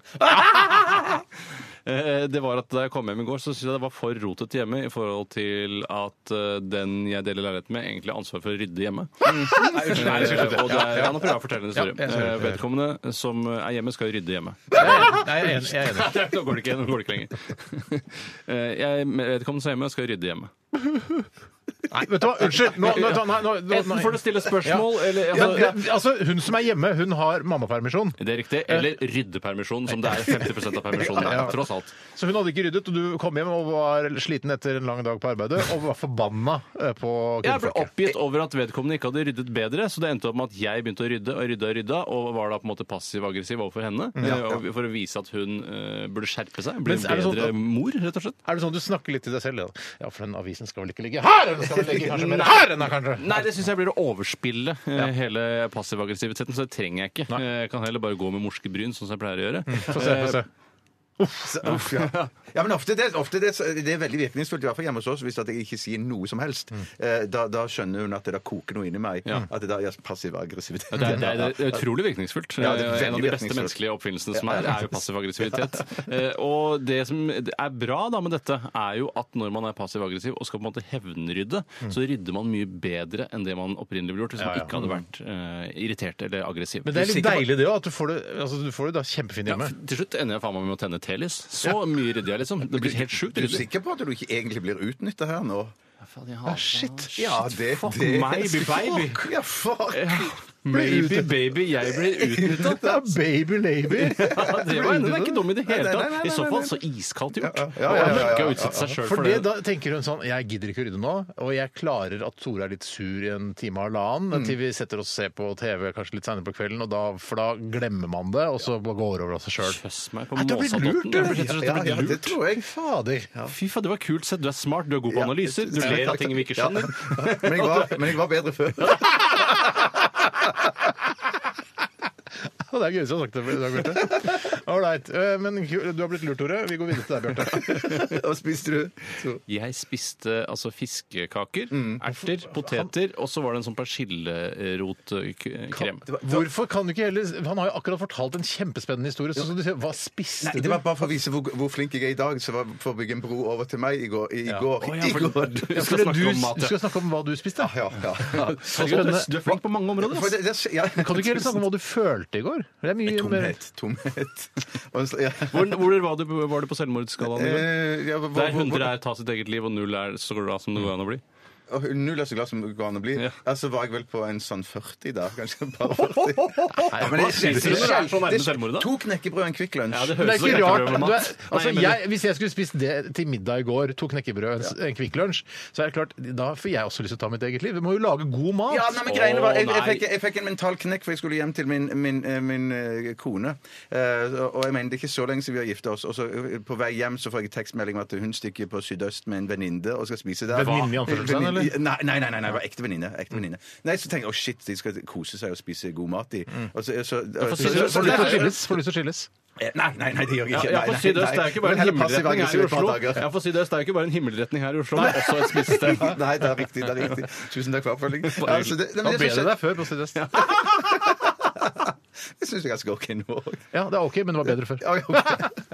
[SPEAKER 6] [LAUGHS] Eh, Det var at Da jeg kom hjem i går, så syntes jeg det var for rotete hjemme i forhold til at eh, den jeg deler leilighet med, egentlig har ansvar for å rydde [LAUGHS] hjemme.
[SPEAKER 4] Nei, unnskyld, nei,
[SPEAKER 6] Eh,
[SPEAKER 4] jeg skal slutte.
[SPEAKER 6] Og det er, ja, nå prøver jeg å fortelle en
[SPEAKER 4] Ja,
[SPEAKER 6] historie.
[SPEAKER 4] jeg skal
[SPEAKER 6] Eh,
[SPEAKER 4] gjøre det.
[SPEAKER 6] Vedkommende som er hjemme, skal rydde [LAUGHS] hjemme.
[SPEAKER 4] Nei, jeg er enig. Jeg er enig.
[SPEAKER 6] [LAUGHS] Nå går det ikke, nå går det ikke [LAUGHS] lenger. Eh, Jeg vedkommende som er hjemme, skal rydde hjemme.
[SPEAKER 4] Nei, vet du hva, unnskyld! Nå, nå, nei, nå, nå,
[SPEAKER 6] Enten får du stille spørsmål,
[SPEAKER 4] spørsmål,
[SPEAKER 6] eller
[SPEAKER 4] Ja, det- altså, hun som er hjemme, hun har mammapermisjon.
[SPEAKER 6] Det er riktig. Eller ryddepermisjon, som det er 50 av permisjonen.
[SPEAKER 4] Ja.
[SPEAKER 6] Tross alt.
[SPEAKER 4] Så hun hadde ikke ryddet, og du kom hjem og var sliten etter en lang dag på arbeidet og var forbanna eh, på
[SPEAKER 6] Jeg ble
[SPEAKER 4] kvinnfolket.
[SPEAKER 6] oppgitt over at vedkommende ikke hadde ryddet bedre, så det endte opp med at jeg begynte å rydde og rydda og rydda, og var da på en måte passiv-aggressiv overfor henne. eh, og For å vise at hun eh, burde skjerpe seg. Bli
[SPEAKER 4] Men
[SPEAKER 6] en
[SPEAKER 4] er det sånn
[SPEAKER 6] bedre
[SPEAKER 4] at-
[SPEAKER 6] mor, rett og slett.
[SPEAKER 4] Er det sånn du snakker litt til deg selv? Ja, ja for den avisen skal vel ikke ligge her! Den skal vel ligge kanskje mer her enn der, kanskje?
[SPEAKER 6] Nei, det syns jeg blir å overspille eh, hele passiv-aggressiviteten, så det trenger jeg ikke.
[SPEAKER 4] Nei.
[SPEAKER 6] Eh, Jeg kan heller bare gå med morske bryn, sånn som jeg pleier å gjøre.
[SPEAKER 4] Få se, få se.
[SPEAKER 5] Uff, ja. ja, men ofte, det, ofte det, det er veldig virkningsfullt, i hvert fall hjemme hos oss, hvis at jeg ikke sier noe som helst. Eh, Da, da skjønner hun at det da koker noe inni meg. At det da er passiv aggressivitet.
[SPEAKER 6] Det er, det, er, det er utrolig virkningsfullt.
[SPEAKER 5] Ja, det er
[SPEAKER 6] Eh, en av de
[SPEAKER 5] veldig
[SPEAKER 6] beste
[SPEAKER 5] virkningsfullt.
[SPEAKER 6] menneskelige oppfinnelsene som er, er jo passiv aggressivitet. Eh, Og det som er bra da med dette, er jo at når man er passiv aggressiv og skal på en måte hevnrydde, så rydder man mye bedre enn det man opprinnelig ville gjort hvis man ikke hadde vært eh, irritert eller
[SPEAKER 4] [LAUGHS]
[SPEAKER 6] aggressiv.
[SPEAKER 4] Men det er litt
[SPEAKER 5] sikker på-
[SPEAKER 4] deilig det òg, at du får det, altså, du får det da kjempefint
[SPEAKER 6] ja,
[SPEAKER 4] hjemme.
[SPEAKER 6] til slutt ender jeg faen meg med å tenne telys. Så mye rydder jeg, liksom. Det blir helt sjukt
[SPEAKER 5] Du er
[SPEAKER 6] ryddig.
[SPEAKER 5] sikker Ah, på at du ikke egentlig blir utnytta her nå?
[SPEAKER 6] Faen, jeg hater-
[SPEAKER 4] shit.
[SPEAKER 5] Ja, det,
[SPEAKER 6] Ah, Fuck
[SPEAKER 5] det-
[SPEAKER 6] meg,
[SPEAKER 5] [LAUGHS]
[SPEAKER 6] baby. Eh,
[SPEAKER 5] Fuck, Ja, fuck.
[SPEAKER 6] Ja, Maybe, baby, jeg blir utnytta.
[SPEAKER 4] [LAUGHS] [LAUGHS] Det er baby [LAUGHS] lady!
[SPEAKER 6] Ja, det var henne. Det er ikke dum i det
[SPEAKER 5] Nei,
[SPEAKER 6] hele
[SPEAKER 5] nei, nei,
[SPEAKER 6] tatt. I så
[SPEAKER 5] nei,
[SPEAKER 6] fall
[SPEAKER 5] nei.
[SPEAKER 6] så iskaldt gjort.
[SPEAKER 5] Ja, ja, ja, ja, ja, ja,
[SPEAKER 6] Og ikke
[SPEAKER 5] ja,
[SPEAKER 6] å
[SPEAKER 5] ja.
[SPEAKER 6] utsette seg sjøl
[SPEAKER 4] For
[SPEAKER 6] for
[SPEAKER 4] det,
[SPEAKER 6] det.
[SPEAKER 4] da tenker hun sånn Jeg gidder ikke å rydde nå, og jeg klarer at Tore er litt sur i en time og halvannen til vi setter oss og ser på TV kanskje litt seinere på kvelden, og da, for da glemmer man det, og så bare går det over av seg sjøl.
[SPEAKER 6] Kjøss meg på
[SPEAKER 4] Nei, det har blitt lurt,
[SPEAKER 6] måsadotten.
[SPEAKER 4] det.
[SPEAKER 6] Jeg blir rett og slett-
[SPEAKER 5] Ja,
[SPEAKER 6] jeg
[SPEAKER 5] ja,
[SPEAKER 6] blir
[SPEAKER 5] det
[SPEAKER 6] lurt.
[SPEAKER 5] tror jeg.
[SPEAKER 4] Fader.
[SPEAKER 6] Fy faen, det var kult sett. Du er smart, du er god på
[SPEAKER 5] Ja.
[SPEAKER 6] analyser. Du ler av ting vi ikke
[SPEAKER 5] Ja.
[SPEAKER 6] skjønner.
[SPEAKER 5] [LAUGHS] Men jeg var, men jeg var bedre
[SPEAKER 6] [LAUGHS]
[SPEAKER 5] før.
[SPEAKER 4] Ja, det er gøy som har sagt det i dag, [LAUGHS] Bjarte. Ålreit. eh, Men ku- du har blitt lurt, Tore. Vi går videre til deg, Bjarte.
[SPEAKER 5] Og spiste du? Så-
[SPEAKER 6] Jeg spiste altså fiskekaker,
[SPEAKER 5] Mm.
[SPEAKER 6] erter, poteter, og så var det en sånn persillerotkrem.
[SPEAKER 4] Hvorfor kan du ikke heller Han har jo akkurat fortalt en kjempespennende historie. Så skal du si hva spiste
[SPEAKER 5] Nei,
[SPEAKER 4] du?
[SPEAKER 5] det var bare for å vise hvor, hvor flink jeg er i dag, så var for å bygge en bro over til meg i går. I, går.
[SPEAKER 6] Å, ja,
[SPEAKER 5] I
[SPEAKER 6] for-
[SPEAKER 5] går.
[SPEAKER 6] Vi skal
[SPEAKER 4] Fordi
[SPEAKER 6] snakke
[SPEAKER 4] du,
[SPEAKER 6] om mat,
[SPEAKER 4] du
[SPEAKER 6] ja.
[SPEAKER 4] skal snakke om hva du spiste?
[SPEAKER 5] Ah, Ja, ja.
[SPEAKER 4] Så
[SPEAKER 6] Du
[SPEAKER 4] spennende.
[SPEAKER 6] er- du er flink på mange områder.
[SPEAKER 5] For
[SPEAKER 6] ass.
[SPEAKER 5] det, det, ja.
[SPEAKER 4] Kan du ikke heller snakke om hva du følte i går? Det er mye mer
[SPEAKER 5] [LAUGHS] Tomhet. Tomhet. [LAUGHS] Og en sl- ja.
[SPEAKER 6] Hvor, hvor var, du, var du på selvmordsskalaen? i går?
[SPEAKER 5] Eh, ja, hvor-
[SPEAKER 6] Der
[SPEAKER 5] hvor-
[SPEAKER 6] 100 er ta sitt eget liv, og 0 er så bra som det går an å bli.
[SPEAKER 5] Og Null er så glad som det går an å bli.
[SPEAKER 6] Ja.
[SPEAKER 5] Ja. så var jeg vel på en sånn 40 da. Kanskje bare 40. Ja, men det
[SPEAKER 6] Hva synes du når det er så nærme
[SPEAKER 5] det
[SPEAKER 6] selvmord, da?
[SPEAKER 5] To knekkebrød og en Kvikk Lunsj.
[SPEAKER 6] Ja, det
[SPEAKER 4] Men
[SPEAKER 6] høres
[SPEAKER 4] det er
[SPEAKER 6] ut
[SPEAKER 4] ikke rart.
[SPEAKER 6] som et
[SPEAKER 4] Du
[SPEAKER 6] problem med
[SPEAKER 4] er,
[SPEAKER 6] mat.
[SPEAKER 4] altså,
[SPEAKER 6] Nei, men-
[SPEAKER 4] jeg, hvis jeg skulle spist det til middag i går, to knekkebrød og en Kvikk Lunsj, så er det klart, da får jeg også lyst til å ta mitt eget liv. Vi må jo lage god mat.
[SPEAKER 5] Ja, nei, men greiene var, jeg, jeg,
[SPEAKER 6] Å, nei.
[SPEAKER 5] fikk, jeg fikk en mental knekk, for jeg skulle hjem til min, min, eh, min eh, kone. Eh, og og jeg mener, Det er ikke så lenge siden vi har gifta oss. Og så eh, På vei hjem så får jeg tekstmelding om at hun stikker på Sydøst med en venninne og skal spise der.
[SPEAKER 4] Venninne i anførselstegn, eller?
[SPEAKER 5] Venninne- Nei, nei, nei, nei, nei, det var ekte venninne.
[SPEAKER 6] Mm.
[SPEAKER 5] Ekte venninne. Nei, Så tenkte jeg å shit, de skal kose seg og spise god mat, de. Og så, eh, så,
[SPEAKER 6] Mm. for
[SPEAKER 4] Får du
[SPEAKER 5] så, så,
[SPEAKER 4] lyst
[SPEAKER 5] så,
[SPEAKER 4] til å skilles? Får du lyst til å skilles?
[SPEAKER 5] Eh, Nei, nei, nei, det gjør jeg
[SPEAKER 6] Ja,
[SPEAKER 5] ikke.
[SPEAKER 6] ja,
[SPEAKER 5] Nei,
[SPEAKER 6] for
[SPEAKER 5] nei,
[SPEAKER 6] Sydøst
[SPEAKER 5] nei.
[SPEAKER 6] det er ikke bare
[SPEAKER 5] Men
[SPEAKER 6] en
[SPEAKER 5] heller
[SPEAKER 6] himmelretning her i
[SPEAKER 5] passiv-aggressiv et par
[SPEAKER 6] Oslo.
[SPEAKER 5] dager.
[SPEAKER 6] Ja, for Sydøst det er jo ikke bare en himmelretning her i Oslo, men også et spisested.
[SPEAKER 5] [LAUGHS] Nei, det er riktig. det er
[SPEAKER 4] [LAUGHS]
[SPEAKER 5] riktig. Tusen takk for oppfølgingen.
[SPEAKER 6] Bare
[SPEAKER 5] Altså, det- nei,
[SPEAKER 4] Da
[SPEAKER 5] men det
[SPEAKER 4] ble
[SPEAKER 5] som
[SPEAKER 4] det
[SPEAKER 5] skjedde-
[SPEAKER 4] deg før på Sydøst. Ja.
[SPEAKER 5] Det syns [LAUGHS] jeg er ganske OK nå òg.
[SPEAKER 4] det er OK, men det var bedre før.
[SPEAKER 5] Ja,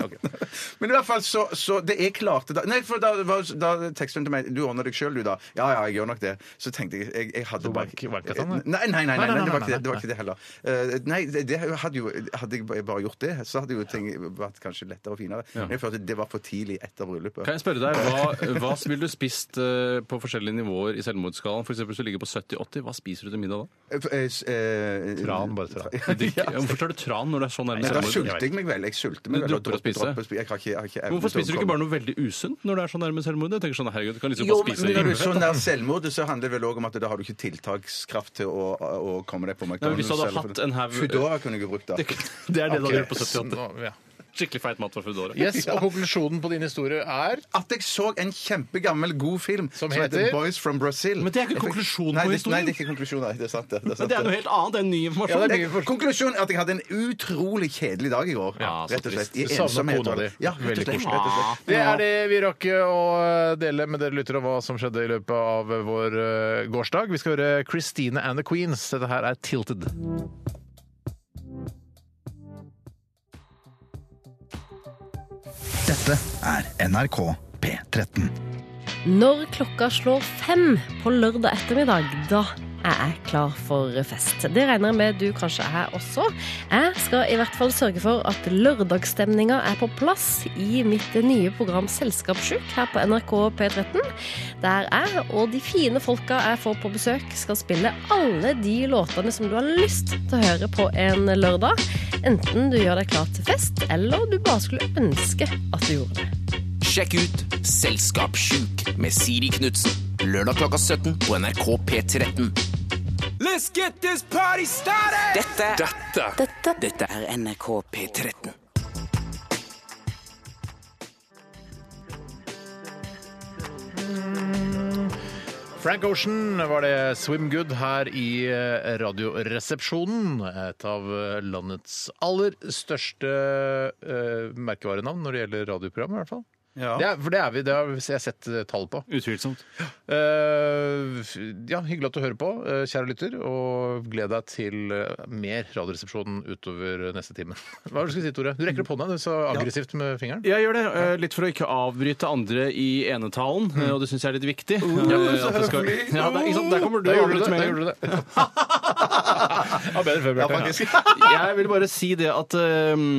[SPEAKER 4] [LAUGHS]
[SPEAKER 5] ok. [LAUGHS] Men i hvert fall så, så det jeg klarte da Nei, for da, var- da teksten til meg Du ordner deg sjøl, du, da. Ja, ja, jeg gjør nok det. Så tenkte jeg Jeg, jeg hadde
[SPEAKER 4] Så
[SPEAKER 5] bare Eh,
[SPEAKER 4] vank- vanket han, sånn, da?
[SPEAKER 5] nei, nei, nei, nei,
[SPEAKER 4] Nei, nei,
[SPEAKER 5] nei, det var
[SPEAKER 4] nei,
[SPEAKER 5] ikke det, det,
[SPEAKER 4] nei,
[SPEAKER 5] var ikke det heller. Eh, nei, det, det hadde jo Hadde jeg bare gjort det, så hadde jo ting vært kanskje lettere og finere. Men jeg følte det var for tidlig etter bryllupet.
[SPEAKER 6] Kan jeg spørre deg, Hva, hva ville du spist eh, på forskjellige nivåer i selvmordsskalaen? For eksempel, hvis du ligger på 70-80, hva spiser du til middag da?
[SPEAKER 5] Eh, eh, eh,
[SPEAKER 4] Tran, bare tran.
[SPEAKER 5] [LAUGHS]
[SPEAKER 6] Drikk- ja, Hvorfor tar du tran når du er så nærme
[SPEAKER 5] Men da
[SPEAKER 6] selvmord?
[SPEAKER 5] sulter jeg meg vel. Jeg sulter meg
[SPEAKER 6] Du
[SPEAKER 5] vel. og
[SPEAKER 6] dropper å spise?
[SPEAKER 5] dropper å spi- Jeg har ikke, jeg har ikke evne
[SPEAKER 6] Hvorfor
[SPEAKER 5] til å
[SPEAKER 6] spiser du
[SPEAKER 5] komme-
[SPEAKER 6] ikke bare noe veldig usunt når du er så nærme selvmord? Jeg tenker sånn, herregud, du kan liksom
[SPEAKER 5] Jo,
[SPEAKER 6] bare
[SPEAKER 5] men
[SPEAKER 6] spise
[SPEAKER 5] når du er
[SPEAKER 6] rimelig.
[SPEAKER 5] så nær selvmordet, så handler det vel òg om at da har du ikke tiltakskraft til å, å komme deg på
[SPEAKER 6] Nei, men
[SPEAKER 5] McDonald's.
[SPEAKER 6] hvis du hadde
[SPEAKER 5] eller-
[SPEAKER 6] hatt en haug- [LAUGHS]
[SPEAKER 5] Foodora kunne jeg jo brukt, da.
[SPEAKER 6] Det er det du hadde gjort på 70-80.
[SPEAKER 4] Nå- ja.
[SPEAKER 6] Skikkelig feit mat fra Foodora.
[SPEAKER 4] Yes, Og konklusjonen på din historie er
[SPEAKER 5] At jeg så en kjempegammel, god film som,
[SPEAKER 4] heter?
[SPEAKER 5] heter Boys from Brazil.
[SPEAKER 6] Men det er ikke konklusjonen
[SPEAKER 5] nei,
[SPEAKER 6] på
[SPEAKER 5] det-
[SPEAKER 6] historien.
[SPEAKER 5] Nei, det er ikke konklusjonen. Nei, det er sant. Det, det er sant,
[SPEAKER 6] Men det er noe helt annet. Det er ny informasjon.
[SPEAKER 4] Ja, det
[SPEAKER 5] Det er- Konklusjonen er at jeg hadde en utrolig kjedelig dag i går.
[SPEAKER 6] Ja, så
[SPEAKER 5] rett og slett. I
[SPEAKER 4] Du savner
[SPEAKER 5] ensomhet.
[SPEAKER 4] kona di.
[SPEAKER 5] Ja, rett og
[SPEAKER 4] Veldig
[SPEAKER 5] slett.
[SPEAKER 4] koselig.
[SPEAKER 5] Rett og slett.
[SPEAKER 4] Det er det vi rakk å dele med dere lyttere om hva som skjedde i løpet av vår eh, gårsdag. Vi skal høre Christine and the Queens. Dette her er Tilted.
[SPEAKER 3] Dette er NRK P13.
[SPEAKER 7] Når klokka slår fem på lørdag ettermiddag, da er jeg klar for fest. Det regner jeg med du kanskje er også. Jeg skal i hvert fall sørge for at lørdagsstemninga er på plass i mitt nye program Selskapssjuk her på NRK P13. Der jeg og de fine folka jeg får på besøk, skal spille alle de låtene som du har lyst til å høre på en lørdag. Enten du gjør deg klar til fest, eller du bare skulle ønske at du gjorde det.
[SPEAKER 8] Sjekk ut Selskapssjuk med Siri Knutsen. Lørdag klokka 17 på NRK P13. Let's get this party started! Dette, dette, dette, er NRK P13.
[SPEAKER 4] Frank Ocean var det Swim Good her i eh, Radioresepsjonen. Et av eh, landets aller største eh, merkevarenavn når det gjelder radioprogram, i hvert fall.
[SPEAKER 5] Ja.
[SPEAKER 4] Det er, for det er vi, det har jeg sett eh, tall på.
[SPEAKER 6] Utvilsomt.
[SPEAKER 4] Eh, ja, hyggelig at du hører på, eh, kjære lytter, og gled deg til eh, mer Radioresepsjonen utover eh, neste time. [LAUGHS] Hva var det du skulle si, Tore? Du rekker opp hånda, du så aggressivt med fingeren.
[SPEAKER 6] Jeg gjør det, eh, litt for å ikke avbryte andre i enetalen,
[SPEAKER 4] Mm.
[SPEAKER 6] eh, og det syns jeg er litt viktig. Ja, at det skal... ja, det, er- ikke sant? Der kommer
[SPEAKER 4] Oh,
[SPEAKER 6] du
[SPEAKER 4] Da
[SPEAKER 6] og
[SPEAKER 4] gjorde du
[SPEAKER 6] avbryter
[SPEAKER 4] det! Da
[SPEAKER 6] med en gang.
[SPEAKER 4] gjorde du det. [LAUGHS] ja, bedre før, Bjarte.
[SPEAKER 6] Jeg vil bare si det at eh,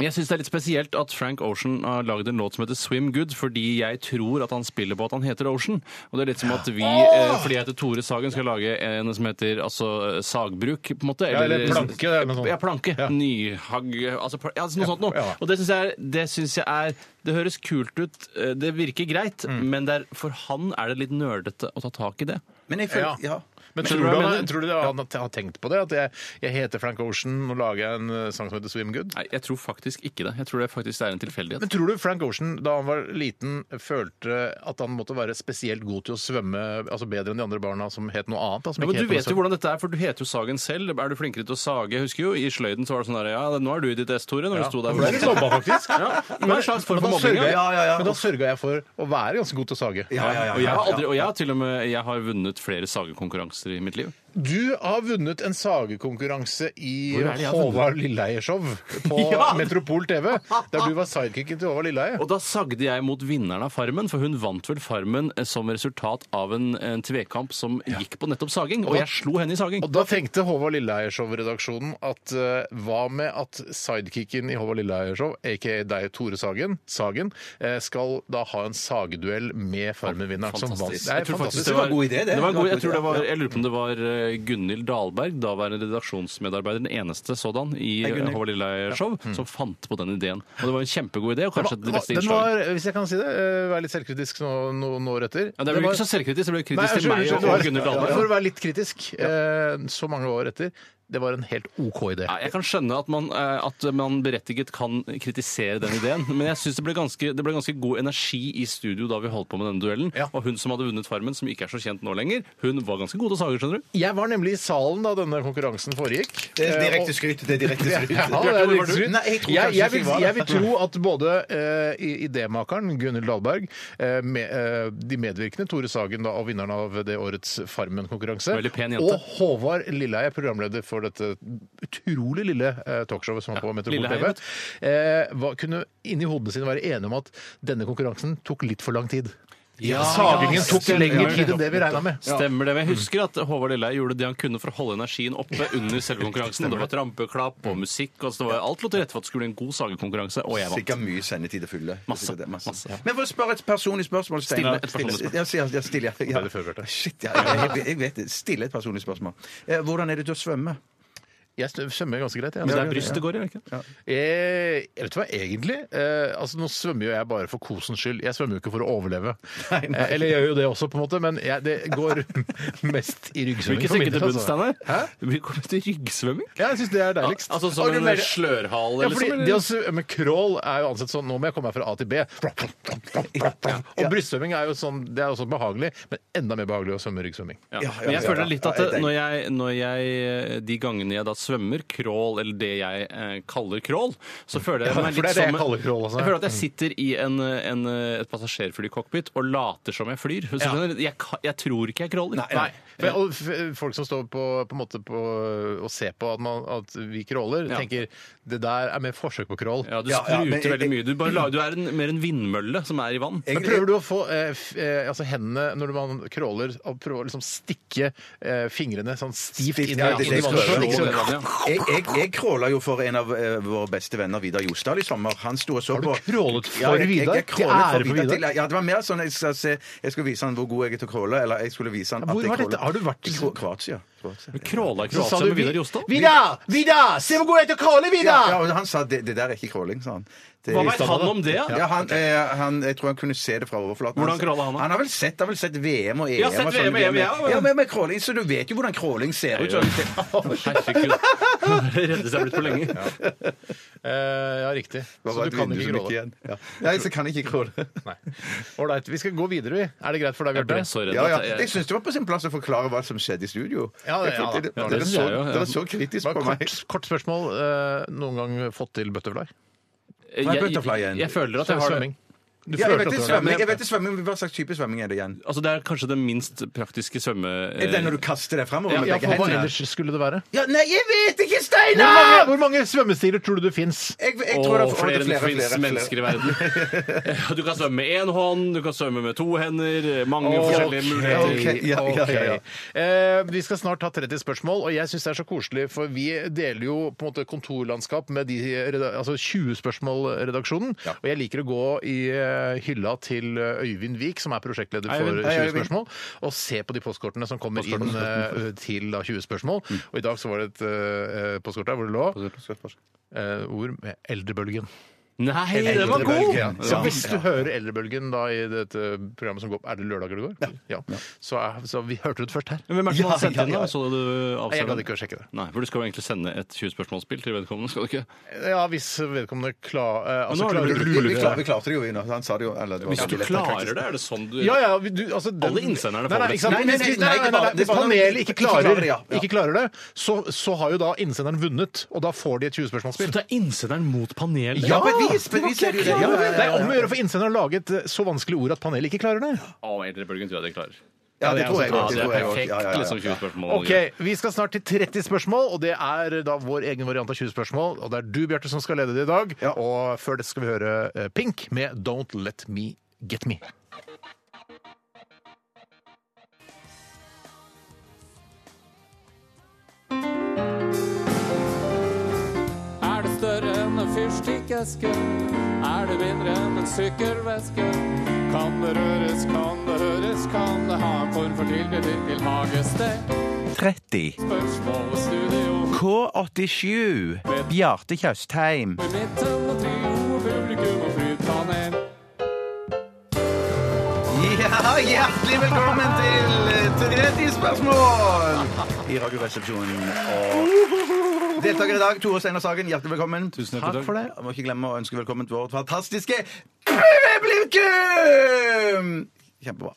[SPEAKER 6] jeg syns det er litt spesielt at Frank Ocean har lagd en låt som heter Swim Good, fordi jeg tror at han spiller på at han heter Ocean. Og det er litt som at vi, eh, fordi jeg heter Tore Sagen, skal lage en som heter altså sagbruk, på en måte.
[SPEAKER 4] Ja, eller planke, det er noe sånt.
[SPEAKER 6] Ja, planke. Nyhagg Altså pla- ja, noe sånt noe.
[SPEAKER 4] ja.
[SPEAKER 6] Og det syns jeg, er- det synes jeg er Det høres kult ut, eh, det virker greit,
[SPEAKER 4] Mm.
[SPEAKER 6] men det er, for han er det litt nerdete å ta tak i det.
[SPEAKER 5] Men jeg føler, ja.
[SPEAKER 4] Men
[SPEAKER 6] Men
[SPEAKER 4] tror du,
[SPEAKER 6] hva
[SPEAKER 4] han,
[SPEAKER 6] mener-
[SPEAKER 4] tror du det, han har tenkt på det? At jeg, jeg heter Frank Ocean og lager jeg en eh, sang som heter Swim Good?
[SPEAKER 6] Nei, jeg tror faktisk ikke det. Jeg tror det faktisk er en tilfeldighet.
[SPEAKER 4] Men tror du Frank Ocean da han var liten, følte at han måtte være spesielt god til å svømme altså bedre enn de andre barna som het noe annet? Da, som
[SPEAKER 6] Ja,
[SPEAKER 4] ikke
[SPEAKER 6] men Du
[SPEAKER 4] het noe
[SPEAKER 6] vet jo
[SPEAKER 4] svøm-
[SPEAKER 6] hvordan dette er, for du heter jo Sagen selv. Er du flinkere til å sage? Jeg husker jo I sløyden så var det sånn der, ja, nå er du i ditt ess, Tore. Når du sto
[SPEAKER 4] Da
[SPEAKER 6] der.
[SPEAKER 4] ble jeg litt mobba,
[SPEAKER 6] [LAUGHS]
[SPEAKER 4] faktisk.
[SPEAKER 6] Det var en slags form
[SPEAKER 4] Men da
[SPEAKER 6] for mobbing.
[SPEAKER 4] sørga jeg,
[SPEAKER 6] Ja.
[SPEAKER 5] ja, ja.
[SPEAKER 4] men da sørget jeg for å være ganske god til å sage.
[SPEAKER 5] Ja, ja, ja,
[SPEAKER 6] Og jeg, har
[SPEAKER 5] ja.
[SPEAKER 6] aldri, og jeg har til og med jeg har vunnet flere sagekonkurranser i mitt liv.
[SPEAKER 4] Du har vunnet en sagekonkurranse i
[SPEAKER 6] Hvor er det jeg har vunnet?
[SPEAKER 4] Håvard Lilleheie-show på
[SPEAKER 6] [LAUGHS] Ja!
[SPEAKER 4] Metropol TV, der du var sidekicken til Håvard Lilleheie.
[SPEAKER 6] Og da sagde jeg mot vinneren av Farmen, for hun vant vel Farmen eh, som resultat av en, en tvekamp som gikk på nettopp saging. Og jeg slo henne i saging.
[SPEAKER 4] Og da tenkte Håvard Lilleheie-show-redaksjonen at eh, hva med at sidekicken i Håvard Lilleheie-show, aka deg, Tore Sagen, Sagen eh, skal da ha en sageduell med Farmen-vinneren som vant?
[SPEAKER 6] Fantastisk.
[SPEAKER 4] Det er
[SPEAKER 6] Jeg tror faktisk
[SPEAKER 4] fantastisk.
[SPEAKER 5] Det var en god idé, det.
[SPEAKER 6] Det var en god, jeg,
[SPEAKER 5] Det var
[SPEAKER 6] tror det
[SPEAKER 5] en god
[SPEAKER 6] var,
[SPEAKER 5] idé,
[SPEAKER 6] jeg lurer på om det var eh, Gunhild Dahlberg, daværende redaksjonsmedarbeider, den eneste sådan i eh,
[SPEAKER 5] Gunhild.
[SPEAKER 6] Håvard Lilleheie-show,
[SPEAKER 4] Mm.
[SPEAKER 6] som fant på den ideen. Og det var en kjempegod idé, og kanskje
[SPEAKER 4] Den
[SPEAKER 6] det
[SPEAKER 4] var-
[SPEAKER 6] beste
[SPEAKER 4] den
[SPEAKER 6] innslaget.
[SPEAKER 4] var, hvis jeg kan si det, eh, vær litt selvkritisk nå, nå, nå etter.
[SPEAKER 6] Ja, det ble ikke så selvkritisk, det ble kritisk til
[SPEAKER 4] unnskyld,
[SPEAKER 6] meg og,
[SPEAKER 4] unnskyld,
[SPEAKER 6] og
[SPEAKER 4] det
[SPEAKER 6] Gunhild
[SPEAKER 4] var-
[SPEAKER 6] Dahlberg.
[SPEAKER 4] For å være litt kritisk, eh, så mange år etter, det var en helt OK idé.
[SPEAKER 6] Ja, jeg kan skjønne at man, eh, at man berettiget kan kritisere den ideen, men jeg syns det, ble ganske- det ble ganske god energi i studio da vi holdt på med denne duellen.
[SPEAKER 4] Ja.
[SPEAKER 6] Og hun som hadde vunnet Farmen, som ikke er så kjent nå lenger, hun var ganske god til å sage, skjønner du.
[SPEAKER 4] Jeg var nemlig i salen da denne konkurransen foregikk.
[SPEAKER 5] Det er
[SPEAKER 4] eh, og-
[SPEAKER 5] direkte skryt. Det er direkte
[SPEAKER 4] [LAUGHS]
[SPEAKER 5] skryt.
[SPEAKER 4] Ja, det
[SPEAKER 5] Bjarte,
[SPEAKER 4] er
[SPEAKER 5] hvor var
[SPEAKER 4] litt
[SPEAKER 5] du?
[SPEAKER 4] skryt.
[SPEAKER 5] Nei, jeg tror
[SPEAKER 4] jeg,
[SPEAKER 5] kanskje
[SPEAKER 4] jeg,
[SPEAKER 5] ikke
[SPEAKER 4] vil,
[SPEAKER 5] var det.
[SPEAKER 4] jeg vil tro at både eh, i- idémakeren Gunhild Dahlberg, eh, med, eh, de medvirkende Tore Sagen da, og vinneren av det årets Farmen-konkurranse,
[SPEAKER 6] Veldig pen jente.
[SPEAKER 4] og Håvard Lilleheie, programleder for dette utrolig lille eh, talkshowet som var på Metropol
[SPEAKER 6] Lilleheie,
[SPEAKER 4] TV, eh, var, kunne inni hodene sine være enige om at denne konkurransen tok litt for lang tid. Sagingen tok lengre tid enn det vi regna med.
[SPEAKER 6] Stemmer det. Men jeg husker at Håvard Lilleheie gjorde det han kunne for å holde energien oppe under selve konkurransen. Det var et rampeklapp og musikk, og så det var alt lå til rette for at det skulle bli en god sagekonkurranse, og jeg vant.
[SPEAKER 5] Sikkert mye sendetid å fylle.
[SPEAKER 6] Masse,
[SPEAKER 5] Sikkert det,
[SPEAKER 6] masse, ja.
[SPEAKER 5] Men for å spørre et personlig spørsmål,
[SPEAKER 6] Stille
[SPEAKER 5] Steinar
[SPEAKER 6] et personlig spørsmål.
[SPEAKER 5] Ja, stille, ja, stille, ja.
[SPEAKER 4] Ble det før, Bjarte?
[SPEAKER 5] Shit, ja, jeg, jeg, jeg vet det. Stille et personlig spørsmål. Eh, Hvordan er det til å svømme?
[SPEAKER 4] Jeg stø- svømmer ganske greit. jeg.
[SPEAKER 6] Men det er bryst det går i, er det ikke?
[SPEAKER 4] Eh, jeg vet du hva, egentlig? Eh, altså, nå svømmer jo jeg bare for kosens skyld. Jeg svømmer jo ikke for å overleve. Eh, eller jeg gjør jo det også, på en måte, men jeg, det går [LAUGHS] mest i
[SPEAKER 6] Du vil
[SPEAKER 4] ryggsvømming.
[SPEAKER 6] ikke
[SPEAKER 4] for min
[SPEAKER 6] senke
[SPEAKER 4] del,
[SPEAKER 6] til bunns,
[SPEAKER 4] altså.
[SPEAKER 6] Steinar?
[SPEAKER 4] Hæ?
[SPEAKER 6] Vi kommer til ryggsvømming.
[SPEAKER 4] Ja, jeg syns det er deiligst.
[SPEAKER 6] Altså
[SPEAKER 4] Og
[SPEAKER 6] som
[SPEAKER 4] du
[SPEAKER 6] en
[SPEAKER 4] mener-
[SPEAKER 6] slørhale?
[SPEAKER 4] ja,
[SPEAKER 6] eller
[SPEAKER 4] fordi
[SPEAKER 6] som en-
[SPEAKER 4] det å svømme crawl er jo ansett sånn Nå må jeg komme meg fra A til B. Og brystsvømming er jo sånn, det er også behagelig, men enda mer behagelig å svømme ryggsvømming.
[SPEAKER 5] Ja,
[SPEAKER 6] Ja.
[SPEAKER 5] ja,
[SPEAKER 6] Men jeg
[SPEAKER 5] ja,
[SPEAKER 6] føler
[SPEAKER 5] ja.
[SPEAKER 6] litt at
[SPEAKER 5] Ja,
[SPEAKER 6] eh,
[SPEAKER 5] det-
[SPEAKER 6] når jeg, når jeg eh, De gangene jeg da svømmer crawl, eller det jeg eh, kaller crawl, så føler jeg
[SPEAKER 4] Ja,
[SPEAKER 6] meg
[SPEAKER 4] for
[SPEAKER 6] litt
[SPEAKER 4] det er det jeg
[SPEAKER 6] som
[SPEAKER 4] kaller crawl også.
[SPEAKER 6] Jeg føler at jeg sitter i en, en, eh, et passasjerflycockpit og later som jeg flyr. Hvis du
[SPEAKER 4] Ja.
[SPEAKER 6] skjønner? Jeg, ka- jeg tror ikke jeg crawler. Eh,
[SPEAKER 4] Nei. Men, og f- folk som står på, på en måte på, og ser på at, man, at vi crawler,
[SPEAKER 6] Ja.
[SPEAKER 4] tenker det der er mer forsøk på crawl.
[SPEAKER 6] Ja, du
[SPEAKER 5] Ja, ja,
[SPEAKER 6] spruter
[SPEAKER 5] men jeg-
[SPEAKER 6] veldig mye. Du, bare, la- du er en, mer en vindmølle som er i vann.
[SPEAKER 4] Men prøver du å få eh, f, eh, altså hendene når man crawler, og prøver å liksom stikke eh, fingrene sånn stivt
[SPEAKER 5] Stivt,
[SPEAKER 4] inn i
[SPEAKER 5] ja, det-
[SPEAKER 4] inn i
[SPEAKER 5] det-
[SPEAKER 4] vannet?
[SPEAKER 5] det-
[SPEAKER 4] Ikke
[SPEAKER 5] det-
[SPEAKER 4] sånn-
[SPEAKER 5] Jeg, jeg, jeg crawla jo for en av eh, våre beste venner, Vidar Jostad, i sommer. Han sto og så
[SPEAKER 4] Har du
[SPEAKER 5] på
[SPEAKER 4] crawlet for
[SPEAKER 5] jeg- jeg-
[SPEAKER 4] Vidar?
[SPEAKER 5] jeg
[SPEAKER 4] Til
[SPEAKER 5] crawlet for
[SPEAKER 4] ære for Vidar?
[SPEAKER 5] til- Ja, det var mer sånn jeg skal se Jeg skulle vise han hvor god jeg er til å crawle. Eller jeg skulle vise han
[SPEAKER 4] Hvor
[SPEAKER 5] at jeg
[SPEAKER 4] var dette?
[SPEAKER 5] crawler.
[SPEAKER 4] Har du vært-
[SPEAKER 5] I Kro- Kroatia. Kroatia.
[SPEAKER 6] Crawla i
[SPEAKER 4] Så sa
[SPEAKER 6] Kroatia
[SPEAKER 4] du
[SPEAKER 6] med Vidar Jostad?
[SPEAKER 4] Vidar! Vidar! Se hvor god jeg er til å crawle,
[SPEAKER 5] Ja,
[SPEAKER 4] Vidar!
[SPEAKER 5] ja, og han sa det, det der er ikke crawling, sa han. Det,
[SPEAKER 6] Hva veit han om det? da?
[SPEAKER 5] Ja, han, eh, han, jeg tror han kunne se det fra overflaten.
[SPEAKER 6] Hvordan
[SPEAKER 5] Han-
[SPEAKER 6] crawler han, da?
[SPEAKER 5] Han har vel sett, har vel sett VM og EM.
[SPEAKER 6] Ja, sett
[SPEAKER 5] og sånne
[SPEAKER 6] VM og EM, ja, men-
[SPEAKER 5] ja, men, men crawling, så du vet jo hvordan crawling ser ut.
[SPEAKER 6] Ja,
[SPEAKER 5] så-
[SPEAKER 6] Herregud. Det reddes jeg blitt for lenge.
[SPEAKER 4] Eh, ja, riktig.
[SPEAKER 5] Det var
[SPEAKER 4] Så
[SPEAKER 5] bare
[SPEAKER 4] du
[SPEAKER 5] et
[SPEAKER 4] kan
[SPEAKER 5] vindu
[SPEAKER 4] ikke
[SPEAKER 5] som gikk
[SPEAKER 4] crawle.
[SPEAKER 5] igjen. Ja. Nei, så kan jeg ikke crawle.
[SPEAKER 4] Nei. Ålreit, vi skal gå videre, vi. Er det greit for deg,
[SPEAKER 6] Jeg ble
[SPEAKER 4] Bjarte?
[SPEAKER 6] så redd.
[SPEAKER 5] Ja,
[SPEAKER 6] at
[SPEAKER 5] ja.
[SPEAKER 6] jeg-
[SPEAKER 5] Jeg syns det var på sin plass å forklare hva som skjedde i studio.
[SPEAKER 4] Ja, det- ja,
[SPEAKER 5] Dere-
[SPEAKER 4] det-
[SPEAKER 5] dere,
[SPEAKER 6] det synes
[SPEAKER 5] så,
[SPEAKER 6] jeg jo, ja.
[SPEAKER 5] dere så kritisk
[SPEAKER 4] Bare
[SPEAKER 5] på meg.
[SPEAKER 4] Kort, kort spørsmål. Eh, noen gang fått til butterfly?
[SPEAKER 5] Nei,
[SPEAKER 6] jeg,
[SPEAKER 5] butterfly
[SPEAKER 6] jeg,
[SPEAKER 5] igjen.
[SPEAKER 6] jeg føler at jeg har det.
[SPEAKER 4] Svømming. Du
[SPEAKER 5] Ja,
[SPEAKER 4] følte
[SPEAKER 5] jeg vet det,
[SPEAKER 4] at du var-
[SPEAKER 5] svømming, jeg vet det, svømming, men Hva slags type svømming er det igjen?
[SPEAKER 6] Altså, det er kanskje den minst praktiske svømme...
[SPEAKER 5] Er det når du kaster deg framover
[SPEAKER 4] Ja,
[SPEAKER 5] med
[SPEAKER 4] ja,
[SPEAKER 5] begge
[SPEAKER 4] for hva
[SPEAKER 5] hendene?
[SPEAKER 4] ellers skulle det være?
[SPEAKER 5] Ja, nei, jeg vet ikke,
[SPEAKER 4] Hvor mange,
[SPEAKER 5] Steinar!
[SPEAKER 4] hvor mange svømmestiler tror du det fins?
[SPEAKER 5] Jeg, jeg
[SPEAKER 6] og
[SPEAKER 5] tror det er
[SPEAKER 6] flere
[SPEAKER 5] flere,
[SPEAKER 6] enn det
[SPEAKER 5] flere,
[SPEAKER 6] finnes
[SPEAKER 5] flere,
[SPEAKER 6] mennesker i verden.
[SPEAKER 5] [LAUGHS]
[SPEAKER 6] Ja, Du kan svømme med én hånd, du kan svømme med to hender, mange forskjellige muligheter.
[SPEAKER 5] ok. Ja, ja, ja,
[SPEAKER 4] Eh, vi skal snart ta 30 spørsmål, og jeg syns det er så koselig, for vi deler jo på en måte kontorlandskap med de reda- altså 20-spørsmål-redaksjonen. Og jeg liker å gå i eh, hylla til Øyvind Vik, som er prosjektleder for
[SPEAKER 6] Øyvind.
[SPEAKER 4] 20 spørsmål, og se på de postkortene som kommer inn eh, til da 20 spørsmål.
[SPEAKER 5] Mm.
[SPEAKER 4] Og i dag så var det et eh, postkort der hvor det lå eh, ord med eldrebølgen.
[SPEAKER 6] Nei, den var god!
[SPEAKER 4] Eldrebølgen. Så
[SPEAKER 6] Ja.
[SPEAKER 4] hvis du hører Eldrebølgen da i dette programmet som går Er det lørdager det går? Ja. Så, er, så vi hørte det først her.
[SPEAKER 6] Men Hvem er det som har sendt inn, da? Så du
[SPEAKER 4] Nei, Jeg gadd
[SPEAKER 6] avsender?
[SPEAKER 4] ikke å sjekke det.
[SPEAKER 6] Nei, for du skal jo egentlig sende et 20-spørsmålsspill til vedkommende, skal du ikke?
[SPEAKER 4] Ja, hvis vedkommende klar, eh, altså,
[SPEAKER 6] nå har du
[SPEAKER 4] klarer
[SPEAKER 5] Vi, vi,
[SPEAKER 6] Mulig.
[SPEAKER 5] klar, vi klarte det jo, vi nå. Han sa det jo. Eller, det var-
[SPEAKER 6] Hvis du
[SPEAKER 5] Ja,
[SPEAKER 6] klarer det, er det sånn du
[SPEAKER 4] Ja, ja, vi- du, altså, den-
[SPEAKER 6] Alle innsenderne
[SPEAKER 4] nei,
[SPEAKER 6] får
[SPEAKER 4] nei,
[SPEAKER 6] det.
[SPEAKER 4] ikke sant?
[SPEAKER 5] Nei, nei, nei,
[SPEAKER 4] Hvis-
[SPEAKER 5] nei,
[SPEAKER 4] nei, nei,
[SPEAKER 5] bare-
[SPEAKER 4] nei, Hvis
[SPEAKER 5] bare-
[SPEAKER 4] panelet ikke klarer,
[SPEAKER 5] ikke klarer, ja, ja.
[SPEAKER 4] ikke klarer det, så, så har jo da innsenderen vunnet, og da får de et 20-spørsmålsspill.
[SPEAKER 6] det er innsenderen mot panelet?
[SPEAKER 5] Ja, bevis, bevis er det jo det. Ja, ja, ja,
[SPEAKER 4] Det er om å gjøre for innsenderen å lage et eh, så vanskelig ord at panelet ikke klarer det.
[SPEAKER 6] Å, eldrebølgen tror jeg det klarer.
[SPEAKER 5] ja, det tror jeg
[SPEAKER 6] Ja,
[SPEAKER 5] også,
[SPEAKER 6] det er
[SPEAKER 5] tror jeg også.
[SPEAKER 6] perfekt,
[SPEAKER 5] Ja, ja, ja, ja.
[SPEAKER 6] liksom, 20-spørsmål.
[SPEAKER 4] Ok, Vi skal snart til 30 spørsmål, og det er da vår egen variant av 20 spørsmål. Og det er du, Bjarte, som skal lede det i dag.
[SPEAKER 5] Ja.
[SPEAKER 4] Og før det skal vi høre eh, Pink med 'Don't Let Me Get Me'.
[SPEAKER 9] Er det større enn en fyrstikkeske? Er det mindre enn en sykkelveske? Kan det røres, kan det høres, kan det ha en form for tilknytning til hagested?
[SPEAKER 10] 30.
[SPEAKER 9] Spørsmål og studio
[SPEAKER 10] K87. Bjarte Tjøstheim.
[SPEAKER 9] i midten og trio og publikum og flytpanel.
[SPEAKER 5] Ja, hjertelig velkommen til 30 spørsmål i Radioresepsjonen. Og deltaker i dag, Tore Steinar Sagen, hjertelig velkommen. Tusen
[SPEAKER 6] takk.
[SPEAKER 5] for det. Jeg må ikke glemme å ønske velkommen til vårt fantastiske publikum! Kjempebra.